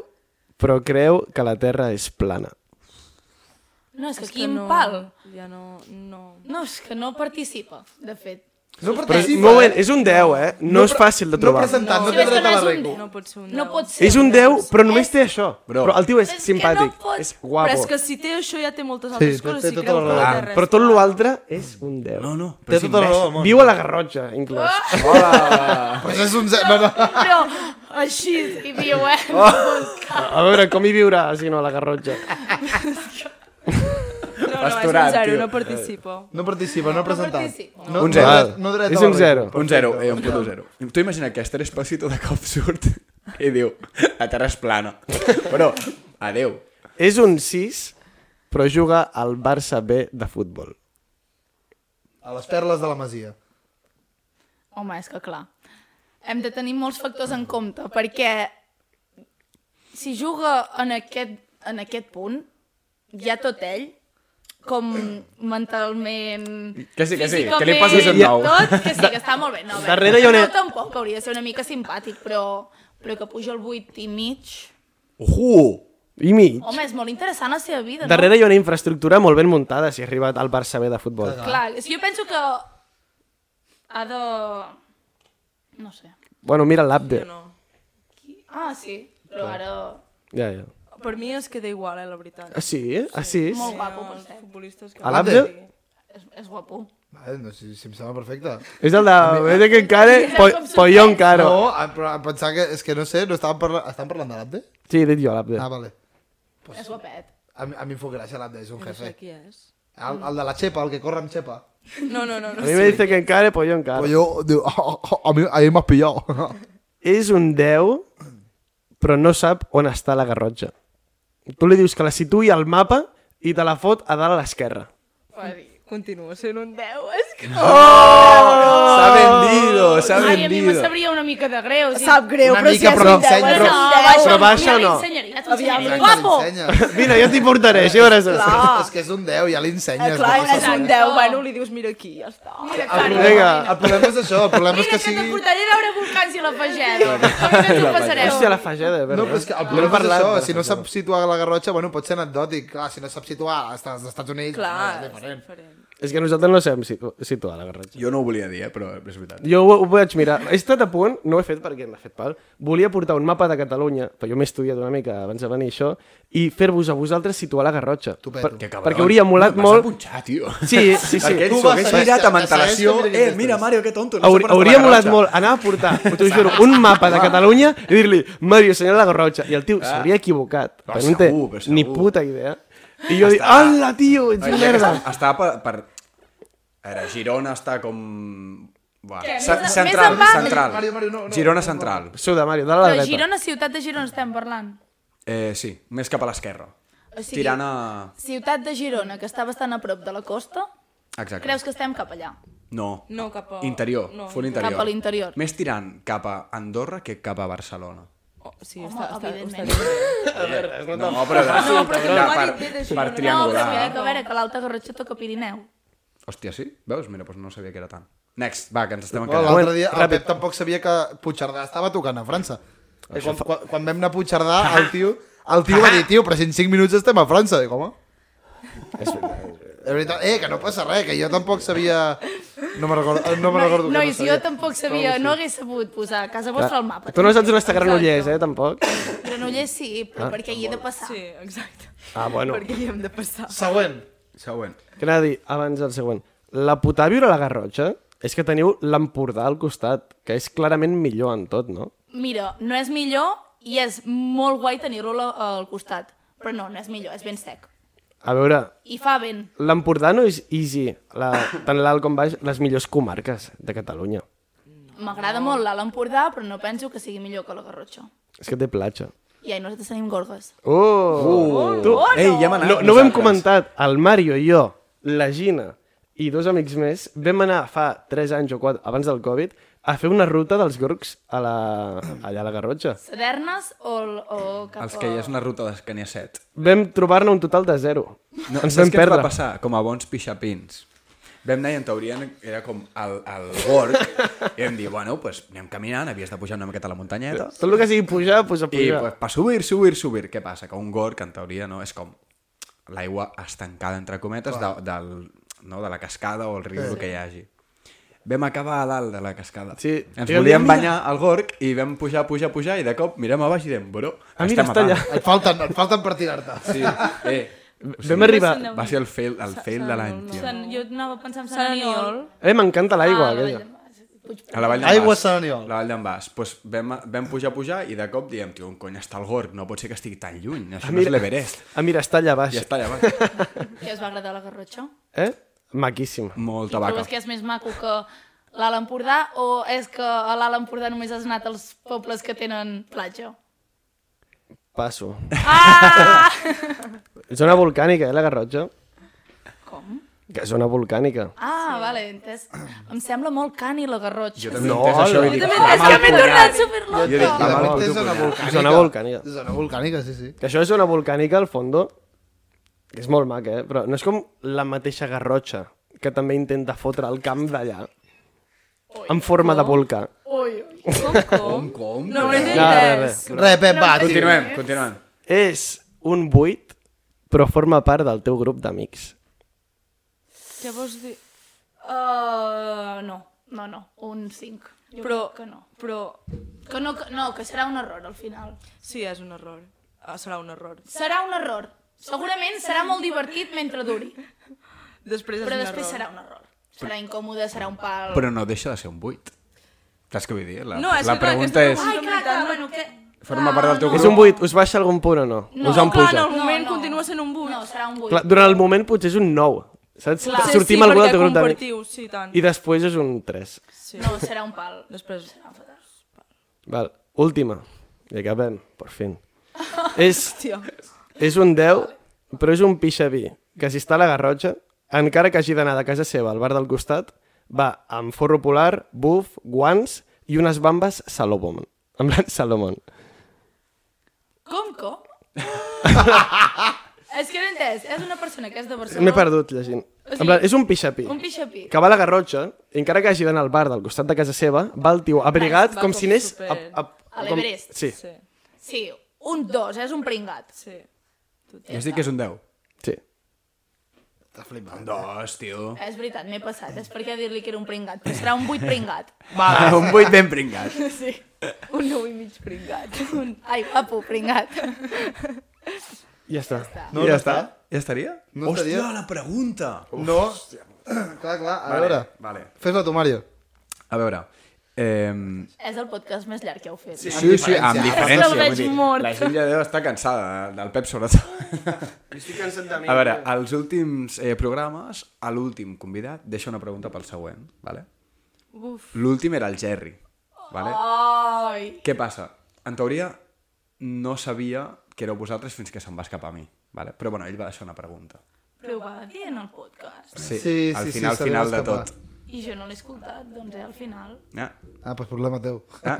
Speaker 1: però creu que la Terra és plana.
Speaker 6: No, és que
Speaker 7: que
Speaker 6: quin
Speaker 7: no-
Speaker 6: pal.
Speaker 7: Ja no... no.
Speaker 6: No, és que no participa, de fet.
Speaker 2: No
Speaker 1: Però és,
Speaker 2: participa,
Speaker 1: un moment,
Speaker 2: eh?
Speaker 1: és un 10, eh? No, és
Speaker 2: pre-
Speaker 1: fàcil de trobar.
Speaker 2: No presentat, no
Speaker 6: No,
Speaker 2: té
Speaker 6: és que
Speaker 2: dret a
Speaker 6: no
Speaker 2: la
Speaker 6: és un
Speaker 2: regla.
Speaker 7: No pot ser un
Speaker 6: No
Speaker 7: deu.
Speaker 6: pot ser.
Speaker 1: És un 10, però només té això.
Speaker 3: Bro.
Speaker 1: Però el tio és
Speaker 6: És que no
Speaker 1: simpàtic,
Speaker 6: pot-
Speaker 1: és
Speaker 7: Però
Speaker 1: guapo.
Speaker 7: és que si té això ja té moltes altres
Speaker 2: té-
Speaker 7: coses.
Speaker 2: té
Speaker 7: si
Speaker 2: tota
Speaker 7: creu
Speaker 2: la
Speaker 7: que
Speaker 2: raó.
Speaker 7: la
Speaker 3: Ah,
Speaker 7: Terra és
Speaker 1: Però tot l'altre és un 10.
Speaker 3: No, no,
Speaker 2: Té
Speaker 3: però és
Speaker 2: tota la raó del
Speaker 3: imbècil.
Speaker 2: món.
Speaker 1: Viu a la Garrotxa, inclòs.
Speaker 3: Hola!
Speaker 2: Pues és un 7, no, no.
Speaker 6: Però així hi viu, eh? Oh.
Speaker 1: A veure, com hi viurà, si no, a la Garrotja?
Speaker 7: No, no, és
Speaker 3: Pasturat,
Speaker 7: un zero,
Speaker 3: tio.
Speaker 7: no participo.
Speaker 2: No participa, no ha presentat.
Speaker 6: participa.
Speaker 2: No,
Speaker 3: Un zero.
Speaker 2: No, dret- no dret a
Speaker 1: És
Speaker 2: la
Speaker 1: un
Speaker 2: regla.
Speaker 1: zero.
Speaker 3: Un 0, eh, un puto 0. Tu imagina que Esther Espósito de cop surt i diu, la terra és plana. Però, adeu.
Speaker 1: És un 6, però juga al Barça B de futbol.
Speaker 2: A les perles de la Masia.
Speaker 6: Home, és que clar. Hem de tenir molts factors en compte, perquè si juga en aquest, en aquest punt, ja tot ell, com mentalment...
Speaker 3: Que sí, que sí, que li
Speaker 6: físicament,
Speaker 3: posis un nou.
Speaker 6: Tot, que sí, que està molt bé. No, a veure,
Speaker 1: Darrere hi ha una-
Speaker 6: no, tampoc, hauria de ser una mica simpàtic, però, però que puja el 8 i mig...
Speaker 3: Uhu!
Speaker 1: I mig.
Speaker 6: Home, és molt interessant la seva vida, no?
Speaker 1: Darrere hi ha una infraestructura molt ben muntada si ha arribat al Barça B de futbol.
Speaker 6: Clar, és que jo penso que ha de... No sé.
Speaker 1: Bueno, mira l'Abde.
Speaker 7: Jo no.
Speaker 6: Qui- Ah, sí, però ara...
Speaker 1: Ja, ja.
Speaker 7: Per mi es queda igual, eh, la veritat.
Speaker 1: Ah, sí? Ah, sí?
Speaker 6: Molt guapo, per
Speaker 7: Els
Speaker 6: cert.
Speaker 7: futbolistes que...
Speaker 1: A l'Abde?
Speaker 6: És, és guapo.
Speaker 2: Vale, no, si, si em sembla perfecte.
Speaker 1: És el de... Vete que care... Po Pollon caro.
Speaker 2: No, a, però a pensar que... És que no sé, no estàvem parlant... Estàvem parlant de l'Abde?
Speaker 1: Sí, he dit jo l'Abde.
Speaker 2: Ah, vale.
Speaker 6: És guapet.
Speaker 2: A, mi- a mi em fot gràcia l'Abde, és un
Speaker 7: No sé
Speaker 2: jefe.
Speaker 7: qui és.
Speaker 2: El, el de la xepa, el que corre amb xepa.
Speaker 7: No, no, no.
Speaker 1: A
Speaker 7: no.
Speaker 1: mi me dice que encare, pollon caro.
Speaker 2: Pues jo... Diu, a mi, a mi m'has pillat.
Speaker 1: és un 10, però no sap on està la Garrotxa. Tu li dius que la situï al mapa i te la fot a dalt a l'esquerra.
Speaker 7: Continuo sent un 10, és que...
Speaker 3: S'ha
Speaker 1: Ah!
Speaker 3: vendido, s'ha
Speaker 6: Ai, a mi me
Speaker 3: vendido.
Speaker 6: sabria una mic de greu. Sí.
Speaker 7: Sap greu,
Speaker 2: Una
Speaker 7: però si
Speaker 2: mica,
Speaker 7: és
Speaker 2: però
Speaker 7: un 10,
Speaker 2: ensenya,
Speaker 7: és
Speaker 2: però-
Speaker 7: un
Speaker 1: Però
Speaker 7: 10.
Speaker 1: baixa o no?
Speaker 6: Aviam,
Speaker 2: Mira que
Speaker 6: guapo!
Speaker 2: l'ensenyes.
Speaker 1: Mira, jo t'hi portaré, així veuràs això.
Speaker 7: Ah,
Speaker 2: És que és un 10, ja l'ensenyes.
Speaker 7: eh, clar,
Speaker 2: no passa
Speaker 7: és un
Speaker 2: res.
Speaker 7: 10, bueno, li dius mira aquí, ja està.
Speaker 6: Mira,
Speaker 2: El
Speaker 6: Cari,
Speaker 1: Vinga.
Speaker 2: problema, el problema és això, el problema és
Speaker 6: mira que
Speaker 2: que
Speaker 6: te
Speaker 2: sigui...
Speaker 6: portaré a veure volcans i la pageda. Com que ens ho passareu?
Speaker 1: Hòstia, la fageda,
Speaker 2: No, però és que el
Speaker 1: No
Speaker 2: problema
Speaker 1: hem
Speaker 2: és
Speaker 1: parlat de
Speaker 2: això,
Speaker 1: la
Speaker 2: si no
Speaker 1: fageda.
Speaker 2: sap situar la Garrotxa, bueno, pot ser anecdòtic, clar, si no sap situar als Estats Units,
Speaker 7: Clar,
Speaker 2: bueno, és
Speaker 7: és
Speaker 2: diferent.
Speaker 7: diferent.
Speaker 1: És que nosaltres no sabem situ situar la Garrotxa.
Speaker 3: Jo no ho volia dir, eh, però és veritat.
Speaker 1: Jo ho, ho vaig mirar. He estat a punt, no ho he fet perquè m'ha fet pal, volia portar un mapa de Catalunya, però jo m'he estudiat una mica abans de venir això, i fer-vos a vosaltres situar la Garrotxa. Per,
Speaker 3: Que cabrón.
Speaker 1: perquè hauria molat
Speaker 3: M'has
Speaker 1: molt...
Speaker 3: apunxat, tio.
Speaker 1: Sí, sí, sí.
Speaker 3: Perquè ell
Speaker 2: Tu
Speaker 3: s'ho
Speaker 2: vas
Speaker 3: hagués
Speaker 2: saber-
Speaker 3: mirat amb
Speaker 2: te sabés
Speaker 3: antelació.
Speaker 2: que miraries
Speaker 3: Eh, mira,
Speaker 2: després.
Speaker 3: Mario, que tonto. No
Speaker 1: Hauri,
Speaker 3: s'ha portat
Speaker 1: hauria
Speaker 3: la
Speaker 1: molat
Speaker 3: Garrotxa.
Speaker 1: molt anar a portar, t'ho juro, un mapa de Catalunya i dir-li, Mario, senyor de la Garrotxa, i el tio s'hauria equivocat,
Speaker 3: Ah,
Speaker 1: perquè no té
Speaker 3: segur, però
Speaker 1: ni
Speaker 3: segur.
Speaker 1: puta idea. I jo dic, hola, tio, ets
Speaker 3: Ai,
Speaker 1: un
Speaker 3: ja que
Speaker 1: merda.
Speaker 3: està- Està per... per... A veure, Girona està com... Buah,
Speaker 6: Què, més
Speaker 3: ce-
Speaker 6: a-
Speaker 3: central,
Speaker 6: més a baix?
Speaker 3: central.
Speaker 2: Mario, Mario, no, no,
Speaker 3: Girona central.
Speaker 1: Suda, Mario, dale a la
Speaker 6: Però
Speaker 1: dreta.
Speaker 6: Girona, ciutat de Girona estem parlant.
Speaker 3: Eh, sí, més cap a l'esquerra.
Speaker 6: O sigui,
Speaker 3: Tirant a...
Speaker 6: Ciutat de Girona, que està bastant a prop de la costa,
Speaker 3: Exacte.
Speaker 6: creus que estem cap allà?
Speaker 3: No.
Speaker 7: No, cap a-
Speaker 3: Interior,
Speaker 7: no,
Speaker 3: full interior.
Speaker 6: cap a l'interior.
Speaker 3: Més tirant cap a Andorra que cap a Barcelona.
Speaker 7: Oh, sí,
Speaker 6: Home,
Speaker 7: està, està, està,
Speaker 6: evidentment.
Speaker 3: No,
Speaker 7: està,
Speaker 3: però... No,
Speaker 7: però que no ho ha dit bé
Speaker 3: per,
Speaker 7: de
Speaker 3: per
Speaker 7: Girona.
Speaker 6: No, però
Speaker 3: triangular.
Speaker 6: mira, que a veure, que l'Alta Garrotxa toca Pirineu.
Speaker 3: Hòstia, sí? Veus? Mira, doncs no sabia que era tant. Next, va, que ens estem
Speaker 2: Bueno,
Speaker 3: encallant.
Speaker 2: L'altre dia el
Speaker 1: Ràpid.
Speaker 2: Pep tampoc sabia que Puigcerdà estava tocant a França. I quan, quan, quan vam anar a Puigcerdà, el tio, el tio va dir, tio, però si en 5 minuts estem a França. Dic, home... De veritat, eh, que no passa res, que jo tampoc sabia... No me recordo, eh, no me recordo que
Speaker 6: Nois,
Speaker 2: no
Speaker 6: jo
Speaker 2: sabia.
Speaker 6: tampoc sabia, no hagués sabut posar a casa vostra al mapa.
Speaker 1: Tu no saps on està Granollers,
Speaker 6: Exacte.
Speaker 1: eh, tampoc.
Speaker 6: Granollers sí, però perquè hi he de passar.
Speaker 7: sí, exacte.
Speaker 1: Ah, bueno.
Speaker 7: Perquè hi hem de passar.
Speaker 2: Següent.
Speaker 3: Següent.
Speaker 1: Que anava a dir, abans del següent. La Potàvio a la Garrotxa és que teniu l'Empordà al costat, que és clarament millor en tot, no?
Speaker 6: Mira, no és millor i és molt guai tenir-lo la- al costat. Però no, no és millor, és ben sec.
Speaker 1: A veure,
Speaker 6: I fa vent.
Speaker 1: l'Empordà no és easy, la, tant l'alt com baix, les millors comarques de Catalunya.
Speaker 6: M'agrada molt l'Alt Empordà, però no penso que sigui millor que la Garrotxa.
Speaker 1: És que té platja.
Speaker 6: I ai, nosaltres tenim gorgues.
Speaker 1: Oh! Uh, tu,
Speaker 3: Ei, ja hem
Speaker 1: no,
Speaker 3: anat.
Speaker 1: no ho hem
Speaker 3: nosaltres.
Speaker 1: comentat, el Mario i jo, la Gina i dos amics més, vam anar fa 3 anys o 4, abans del Covid, a fer una ruta dels gorgs a la, allà a la Garrotxa.
Speaker 6: Sadernes o, o cap
Speaker 3: Els que
Speaker 6: a-
Speaker 3: hi és una ruta d'Escania 7.
Speaker 1: Vam trobar-ne un total de zero. No, ens
Speaker 3: saps
Speaker 1: vam
Speaker 3: què ens
Speaker 1: perdre.
Speaker 3: va passar? Com a bons pixapins. Vam anar i en teoria era com el, el gorg i vam dir, bueno, pues, anem caminant, havies de pujar una miqueta a la muntanyeta
Speaker 1: Tot el que sigui pujar, puja,
Speaker 3: i
Speaker 1: puja.
Speaker 3: pues, per subir, subir, subir. Què passa? Que un gorg, en teoria, no, és com l'aigua estancada, entre cometes, de, del, no, de la cascada o el riu sí. que hi hagi. Vam acabar a dalt de la cascada.
Speaker 1: Sí.
Speaker 3: Ens
Speaker 1: I vam
Speaker 3: volíem
Speaker 1: dir,
Speaker 3: banyar al gorg i vam pujar, pujar, pujar i de cop mirem a baix i diem, bro,
Speaker 1: Ah, mira,
Speaker 3: estem a
Speaker 1: està allà.
Speaker 3: dalt.
Speaker 2: Et falten, et falten per tirar-te.
Speaker 3: Sí, eh.
Speaker 1: Vam arribar...
Speaker 3: Va ser el fail, el fail de l'any, tio.
Speaker 6: Sant, jo anava pensant en Sant
Speaker 7: Sant
Speaker 6: Aniol.
Speaker 7: Aniol.
Speaker 1: Eh, m'encanta l'aigua,
Speaker 6: Ah, la
Speaker 1: aquella.
Speaker 3: A la Vall d'en
Speaker 2: Aigua
Speaker 3: Bas.
Speaker 2: Sant Aniol.
Speaker 3: La Vall d'en Bas. Pues vam, vam pujar, pujar i de cop diem, tio, on cony està el gorg? No pot ser que estigui tan lluny. Això no és l'Everest.
Speaker 1: Ah, mira, està allà baix.
Speaker 3: I està allà baix.
Speaker 6: Que us va agradar la Garrotxa?
Speaker 1: Eh? Maquíssima.
Speaker 3: Molta
Speaker 6: I
Speaker 3: vaca.
Speaker 6: trobes que és més maco que l'Alt Empordà o és que a l'Alt Empordà només has anat als pobles que tenen platja?
Speaker 1: Passo.
Speaker 6: Ah!
Speaker 1: Zona volcànica, eh, la Garrotxa?
Speaker 6: Com?
Speaker 1: Que zona volcànica.
Speaker 6: Ah, sí. vale, entès. Em sembla molt cani la Garrotxa.
Speaker 3: Jo també no, entès això i dic...
Speaker 6: també és que m'he tornat superloca.
Speaker 3: Jo dic,
Speaker 2: I
Speaker 3: la
Speaker 2: de
Speaker 3: mal
Speaker 2: fet,
Speaker 3: puto
Speaker 2: és zona
Speaker 3: punyal.
Speaker 2: volcànica.
Speaker 1: Zona volcànica.
Speaker 2: Zona volcànica, sí, sí.
Speaker 1: Que això és zona volcànica al fondo, que és molt maca, eh? Però no és com la mateixa Garrotxa, que també intenta fotre el camp d'allà, en forma de volcà.
Speaker 6: Ui, ui.
Speaker 7: Com, com?
Speaker 3: Com?
Speaker 7: No, no,
Speaker 1: No,
Speaker 7: no,
Speaker 1: res, res.
Speaker 2: Re, Pep, va, tio.
Speaker 3: Continuem, continuem.
Speaker 1: És un buit, però forma part del teu grup d'amics.
Speaker 7: Què vols dir?
Speaker 6: Uh, no, no, no, un 5. Jo
Speaker 7: Però,
Speaker 6: crec que no.
Speaker 7: però,
Speaker 6: Que no, que, no, que serà un error al final.
Speaker 7: sí, és un error. Ah, serà un error.
Speaker 6: Serà un error. Segurament serà molt divertit mentre duri,
Speaker 7: Després és
Speaker 6: però
Speaker 7: un
Speaker 6: després
Speaker 7: error.
Speaker 6: serà un error. Serà incòmode, serà un pal...
Speaker 3: Però no deixa de ser un buit. Saps què vull dir? La,
Speaker 7: No, és
Speaker 3: la
Speaker 7: que clar,
Speaker 3: pregunta és...
Speaker 7: aquesta
Speaker 6: Ai, clar, clar, bueno, que... Ah,
Speaker 3: Forma part del teu
Speaker 1: És un buit, us baixa algun punt o no?
Speaker 6: No,
Speaker 1: us en
Speaker 7: clar,
Speaker 1: puja?
Speaker 7: no. moment continua sent un buit.
Speaker 6: No, serà un buit.
Speaker 1: Clar, durant el moment potser és un 9, saps?
Speaker 6: Clar.
Speaker 1: Sortim sí, algú del teu grup d'amics.
Speaker 7: compartiu, sí, tant.
Speaker 1: I després és un 3.
Speaker 7: Sí.
Speaker 6: No, serà un pal.
Speaker 7: Després,
Speaker 1: Val. Última. I acabem, per fin. és,
Speaker 7: tio,
Speaker 1: és un 10, però és un pixaví, que si està a la Garrotxa, encara que hagi d'anar de casa seva al bar del costat, va amb forro polar, buf, guants i unes bambes Salomon. En plan, Salomon.
Speaker 6: Com, com? és que no he entès. És una persona que és de Barcelona.
Speaker 1: M'he perdut llegint. En plan, és un pixapí.
Speaker 6: Un pixapí.
Speaker 1: que va a la Garrotxa, i encara que hagi d'anar al bar del costat de casa seva, va el tio abrigat
Speaker 7: Va
Speaker 1: com
Speaker 7: com
Speaker 1: si anés...
Speaker 7: super-
Speaker 1: A,
Speaker 6: A
Speaker 1: com-
Speaker 6: l'Everest.
Speaker 1: Sí,
Speaker 7: sí,
Speaker 6: Sí, un dos, és un pringat.
Speaker 7: sí.
Speaker 3: Jo estic que és un 10.
Speaker 1: sí.
Speaker 2: T'ha flipat.
Speaker 3: Dos, tio.
Speaker 6: És veritat, m'he passat. És perquè dir-li que era un pringat. Però serà un buit pringat.
Speaker 3: Vale. Un buit ben pringat.
Speaker 6: Sí. Un nou i mig pringat. Un... Ai, guapo, pringat.
Speaker 1: Ja està.
Speaker 2: No, no està.
Speaker 3: Ja estaria?
Speaker 2: No
Speaker 3: Hòstia,
Speaker 2: estaria.
Speaker 3: la pregunta!
Speaker 2: No. Clar, clar, a
Speaker 3: Vale,
Speaker 2: veure.
Speaker 3: vale.
Speaker 2: Fes-la tu, Mario.
Speaker 3: A veure... Eh,
Speaker 6: És el podcast més llarg que heu fet.
Speaker 3: Sí, sí, sí, amb
Speaker 2: diferència.
Speaker 3: diferència.
Speaker 6: Se'l veig
Speaker 3: vull dir,
Speaker 6: mort.
Speaker 3: La gent ja deu estar cansada de- del Pep, sobretot.
Speaker 1: Estic cansat de mi.
Speaker 3: A veure, als últims eh, programes, a l'últim convidat deixa una pregunta pel següent, vale? L'últim era el Jerry, vale?
Speaker 6: Ai,
Speaker 3: Què passa? En teoria, no sabia que éreu vosaltres fins que se'n va escapar a mi, vale? Però bueno, ell va deixar una pregunta.
Speaker 6: però ho va dir en el podcast.
Speaker 3: Sí,
Speaker 2: Sí,
Speaker 3: al
Speaker 2: sí, sí,
Speaker 3: final,
Speaker 2: se li va
Speaker 3: final de
Speaker 2: escapar.
Speaker 3: tot.
Speaker 6: I jo no l'he escoltat, doncs eh, al final.
Speaker 3: Ah,
Speaker 2: Ah, doncs problema teu.
Speaker 3: ah.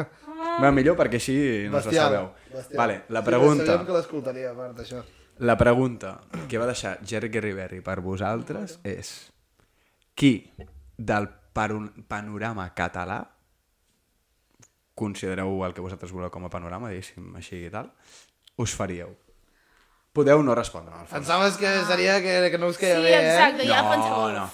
Speaker 3: Va, millor perquè així no us la
Speaker 2: Bestial,
Speaker 3: sabeu.
Speaker 2: bestial.
Speaker 3: Vale, la
Speaker 2: Sí,
Speaker 3: pregunta...
Speaker 2: Sabíem que l'escoltaria, a part, això.
Speaker 3: La pregunta que va deixar Jerry Riveri per vosaltres és qui del paron- panorama català considereu el que vosaltres voleu com a panorama, diguéssim, així i tal, us faríeu? Podeu no respondre, en el fons.
Speaker 2: Pensaves que seria que, que no us
Speaker 6: Sí,
Speaker 2: queia bé, eh?
Speaker 6: exacte, ja pensava.
Speaker 3: No, no,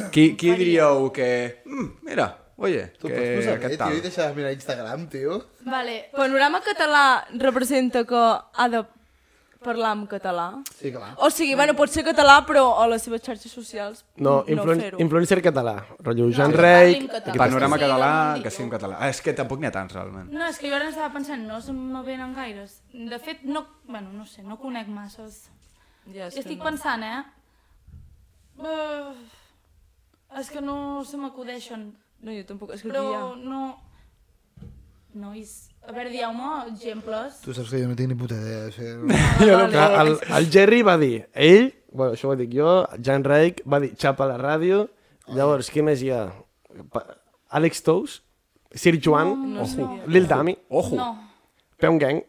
Speaker 3: no. Qui, qui diríeu que... "Mm, mira, oye,
Speaker 2: Tu
Speaker 3: que
Speaker 2: pots posar bé,
Speaker 3: aquest
Speaker 2: tio, i
Speaker 3: tal...
Speaker 2: deixar de mirar Instagram, tio.
Speaker 6: Vale,
Speaker 7: Panorama català representa que ha de parlar en català.
Speaker 2: Sí, clar.
Speaker 7: O sigui, bueno, pot ser català, però a les seves xarxes socials
Speaker 1: No, influen
Speaker 7: fer-ho.
Speaker 1: influencer català. Rotllo Joan
Speaker 6: que
Speaker 1: Rey...
Speaker 6: parlin català.
Speaker 3: Panorama
Speaker 6: Sí, sí,
Speaker 3: català,
Speaker 6: sí.
Speaker 3: que sí, en català. Ah, és que tampoc n'hi ha tants, realment.
Speaker 6: No, és que jo ara estava pensant, no se me venen gaires. De fet, no, bueno, no sé, no conec masses.
Speaker 7: Ja,
Speaker 6: És Estic pensant, eh? Uh, és que no se m'acudeixen,
Speaker 7: No, jo tampoc, és que aquí
Speaker 6: però
Speaker 7: ja...
Speaker 6: no... Nois, a veure, dieu-me exemples.
Speaker 2: Tu saps que jo no tinc ni puta idea. Això.
Speaker 1: Clar, el, el Jerry va dir, ell, bueno, això ho dic jo, Jan Reich, va dir xapa a la ràdio, llavors, qui més hi ha? Pa- Àlex Tous, Sir Joan, ojo, Lil Dami,
Speaker 3: Ojo,
Speaker 6: No.
Speaker 1: Peum Gang,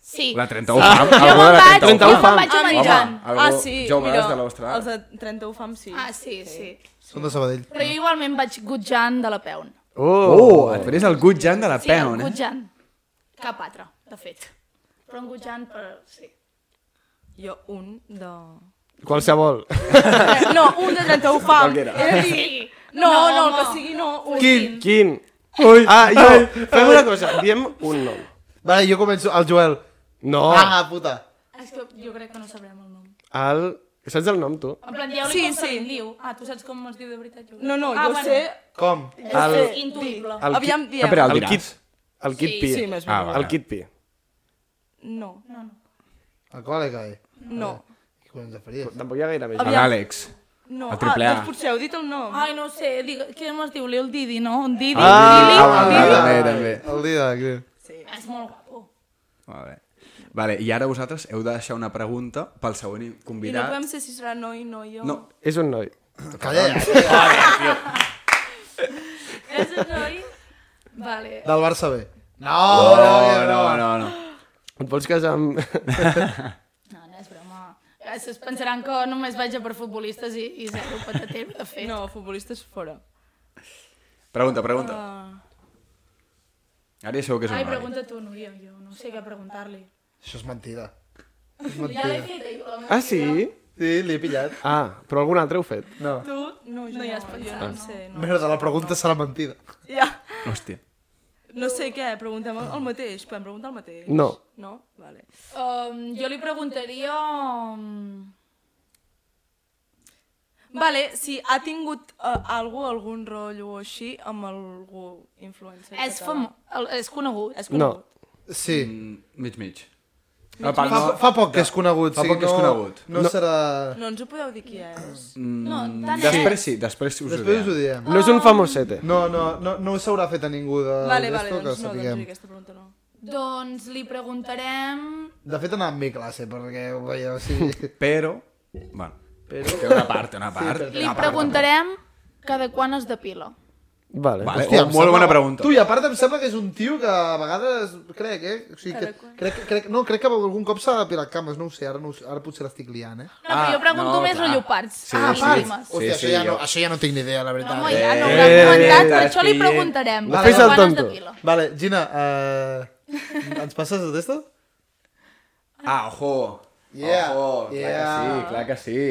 Speaker 6: Sí.
Speaker 3: la 31 fam.
Speaker 6: Jo
Speaker 3: algú de
Speaker 6: me'n
Speaker 3: la
Speaker 6: vaig,
Speaker 1: 31
Speaker 6: jo me'n
Speaker 1: fam.
Speaker 6: vaig a
Speaker 3: Home,
Speaker 6: menjar.
Speaker 3: algú-
Speaker 7: ah, sí,
Speaker 3: Jo
Speaker 7: mira,
Speaker 3: de la vostra...
Speaker 7: els de 31 fam, sí.
Speaker 6: Ah, sí, sí.
Speaker 2: Són de Sabadell.
Speaker 6: Però jo igualment vaig gutjant de la peun.
Speaker 3: Oh, et faries el good jam de la
Speaker 6: Sí, en
Speaker 3: peon, eh?
Speaker 6: gutjant. Cap altre, de fet. Però en gutjant, però sí.
Speaker 7: Jo un de...
Speaker 1: qualsevol.
Speaker 7: No, un de 31 fam.
Speaker 3: Qualquera.
Speaker 7: És a dir, no, no, no, el que
Speaker 6: home.
Speaker 7: sigui, no. Un.
Speaker 1: Quin? Quin? Ui, ah, jo, fem una cosa, diem un nom.
Speaker 2: Vale, jo començo. El Joel.
Speaker 1: No,
Speaker 2: Ah, puta.
Speaker 6: És que jo crec que no sabrem el nom.
Speaker 1: el... Saps el nom, tu?
Speaker 6: En plan, dieu-li
Speaker 7: Sí,
Speaker 6: com se
Speaker 7: sí.
Speaker 6: li diu. Ah, tu saps com es diu de veritat? Jo.
Speaker 7: No, no,
Speaker 6: ah,
Speaker 7: jo sé...
Speaker 2: Com?
Speaker 6: El... És intuïble.
Speaker 1: El qui-
Speaker 7: Aviam, diem.
Speaker 3: Espera, Ah, el
Speaker 1: El
Speaker 3: diràs.
Speaker 1: Kid, el Kid
Speaker 6: Sí,
Speaker 1: Pi.
Speaker 7: Sí, més bé.
Speaker 3: Ah, vale.
Speaker 1: El Kid Pi.
Speaker 7: No,
Speaker 2: El qual que hi?
Speaker 7: no.
Speaker 2: Què collons de faries?
Speaker 1: Tampoc hi ha gaire més.
Speaker 7: Aviam.
Speaker 3: L'Àlex.
Speaker 7: No,
Speaker 3: El
Speaker 7: ah,
Speaker 3: triple A.
Speaker 7: doncs potser heu dit el nom.
Speaker 6: Ai, no ho sé, digue, què es diu? El Didi, no? Un Didi?
Speaker 3: Ah,
Speaker 6: Ah,
Speaker 3: vale, també, també.
Speaker 2: El Didac, tio.
Speaker 6: Didi? És molt guapo.
Speaker 3: Vale. Vale, i ara vosaltres heu de deixar una pregunta pel següent
Speaker 7: I no
Speaker 3: convidat.
Speaker 7: podem ser si serà noi, noi o...
Speaker 3: No,
Speaker 1: És un noi.
Speaker 2: Calla,
Speaker 6: És un noi? Vale.
Speaker 2: Del Barça B. No,
Speaker 3: no, no, no, no.
Speaker 1: Et vols casar amb...
Speaker 6: No, no és broma. Es es pensaran que només vaig a per futbolistes i, i zero patatero, de fet.
Speaker 7: No, futbolistes fora.
Speaker 3: Pregunta, pregunta. Ara ja sabeu que és
Speaker 6: Ah. Ai,
Speaker 3: un noi.
Speaker 6: pregunta tu, Núria, jo no sé què preguntar-li.
Speaker 2: Això és mentida.
Speaker 6: Ja l'he fet, eh, jo, la meva
Speaker 1: Ah, sí?
Speaker 2: Sí, l'he pillat.
Speaker 1: Ah, però algun altre heu fet.
Speaker 2: No.
Speaker 7: Tu? No, jo no,
Speaker 6: hi has
Speaker 7: jo
Speaker 6: pensat,
Speaker 7: no, en sé. No.
Speaker 2: Merda, la pregunta serà mentida.
Speaker 7: Ja.
Speaker 3: Hòstia.
Speaker 7: No sé què, preguntem el el mateix. Podem preguntar el mateix?
Speaker 1: No.
Speaker 7: No? Vale.
Speaker 6: Um, jo li preguntaria... Um...
Speaker 7: Vale, si ha tingut uh, algú, algun rotllo o així amb algú influencer.
Speaker 6: És,
Speaker 7: català.
Speaker 6: fam... el- és conegut.
Speaker 7: És
Speaker 1: No.
Speaker 7: conegut.
Speaker 2: Sí.
Speaker 3: Mm, Mig, Ah, mig. El pal
Speaker 2: Fa,
Speaker 3: no...
Speaker 2: fa poc que és conegut.
Speaker 3: Fa
Speaker 2: o sigui,
Speaker 3: poc que és
Speaker 2: no-
Speaker 3: conegut.
Speaker 2: No, serà...
Speaker 7: No. no ens ho podeu dir qui és.
Speaker 6: No, tant
Speaker 3: Després sí, després us ho
Speaker 2: Després us ho
Speaker 3: diré.
Speaker 2: diem.
Speaker 1: No és un famosete.
Speaker 2: No, no, no, no ho s'haurà fet a ningú de,
Speaker 7: Vale, vale,
Speaker 2: d'esto que
Speaker 7: doncs no, doncs
Speaker 2: sapiguem.
Speaker 7: aquesta pregunta no.
Speaker 6: Doncs li preguntarem...
Speaker 2: De fet, anava amb mi a classe, perquè ho veieu, o sigui...
Speaker 3: Però... Bueno, que una part, una part.
Speaker 6: Li preguntarem cada quan es depila.
Speaker 1: Vale.
Speaker 3: Vale,
Speaker 2: Hòstia,
Speaker 3: oh,
Speaker 2: em
Speaker 3: molt
Speaker 2: sembla-
Speaker 3: bona pregunta.
Speaker 2: Tu, i a part em sembla que és un tio que a vegades, crec, eh? O sigui, que, crec, crec, no, crec que algun cop s'ha depilat cames, no ho sé, ara, no, ho sé, ara potser l'estic liant, eh?
Speaker 6: No, ah, però jo pregunto
Speaker 3: no,
Speaker 6: no, més
Speaker 3: clar.
Speaker 6: rotllo parts.
Speaker 3: Sí,
Speaker 6: ah,
Speaker 3: sí.
Speaker 6: parts.
Speaker 3: Sí,
Speaker 2: Hòstia,
Speaker 3: sí,
Speaker 2: això, ja no,
Speaker 3: jo-
Speaker 2: això ja no tinc ni idea, la veritat.
Speaker 6: Home, ja no ho
Speaker 3: Eh,
Speaker 6: haurà comentat,
Speaker 3: t'has
Speaker 6: per això li
Speaker 3: pillat.
Speaker 6: preguntarem.
Speaker 1: No fes el
Speaker 6: quan es
Speaker 1: tonto.
Speaker 6: depila.
Speaker 2: Vale, Gina, eh, ens passes de testa?
Speaker 3: Ah, ojo.
Speaker 2: Yeah,
Speaker 3: Ojo, clar
Speaker 2: yeah.
Speaker 3: que sí, clar que sí.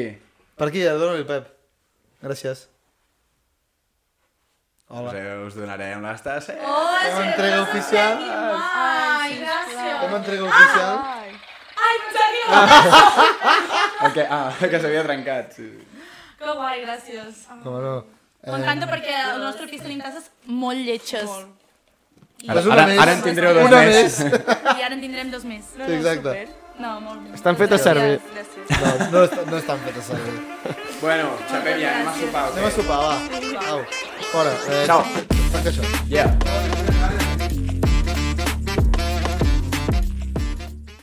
Speaker 2: Per aquí, dona-li, Pep. Gràcies.
Speaker 3: Hola. Us donarem les tasses.
Speaker 2: Fem entrega oficial.
Speaker 6: Ai, gràcies.
Speaker 2: Fem entrega oficial.
Speaker 6: Ai, pensava que no.
Speaker 3: Okay, ah, que s'havia trencat. Sí.
Speaker 6: Que guai, gràcies.
Speaker 2: Com no.
Speaker 6: M'encanta perquè al nostre pis tenim tasses molt lletges.
Speaker 3: Ara,
Speaker 2: Pues una
Speaker 3: ara,
Speaker 2: més.
Speaker 3: ara en tindreu dos
Speaker 2: Una
Speaker 3: més.
Speaker 6: I ara en tindrem dos més.
Speaker 2: Sí, exacte.
Speaker 6: No, molt bé.
Speaker 1: Estan fetes servir.
Speaker 7: Gràcies.
Speaker 2: No, no, està, no estan fetes servir.
Speaker 3: Bueno, xapem ja, anem a sopar.
Speaker 2: Anem a
Speaker 3: Okay?
Speaker 2: sopar, va. Au. Fora. Eh,
Speaker 3: Ciao.
Speaker 2: Tanca això.
Speaker 3: Yeah.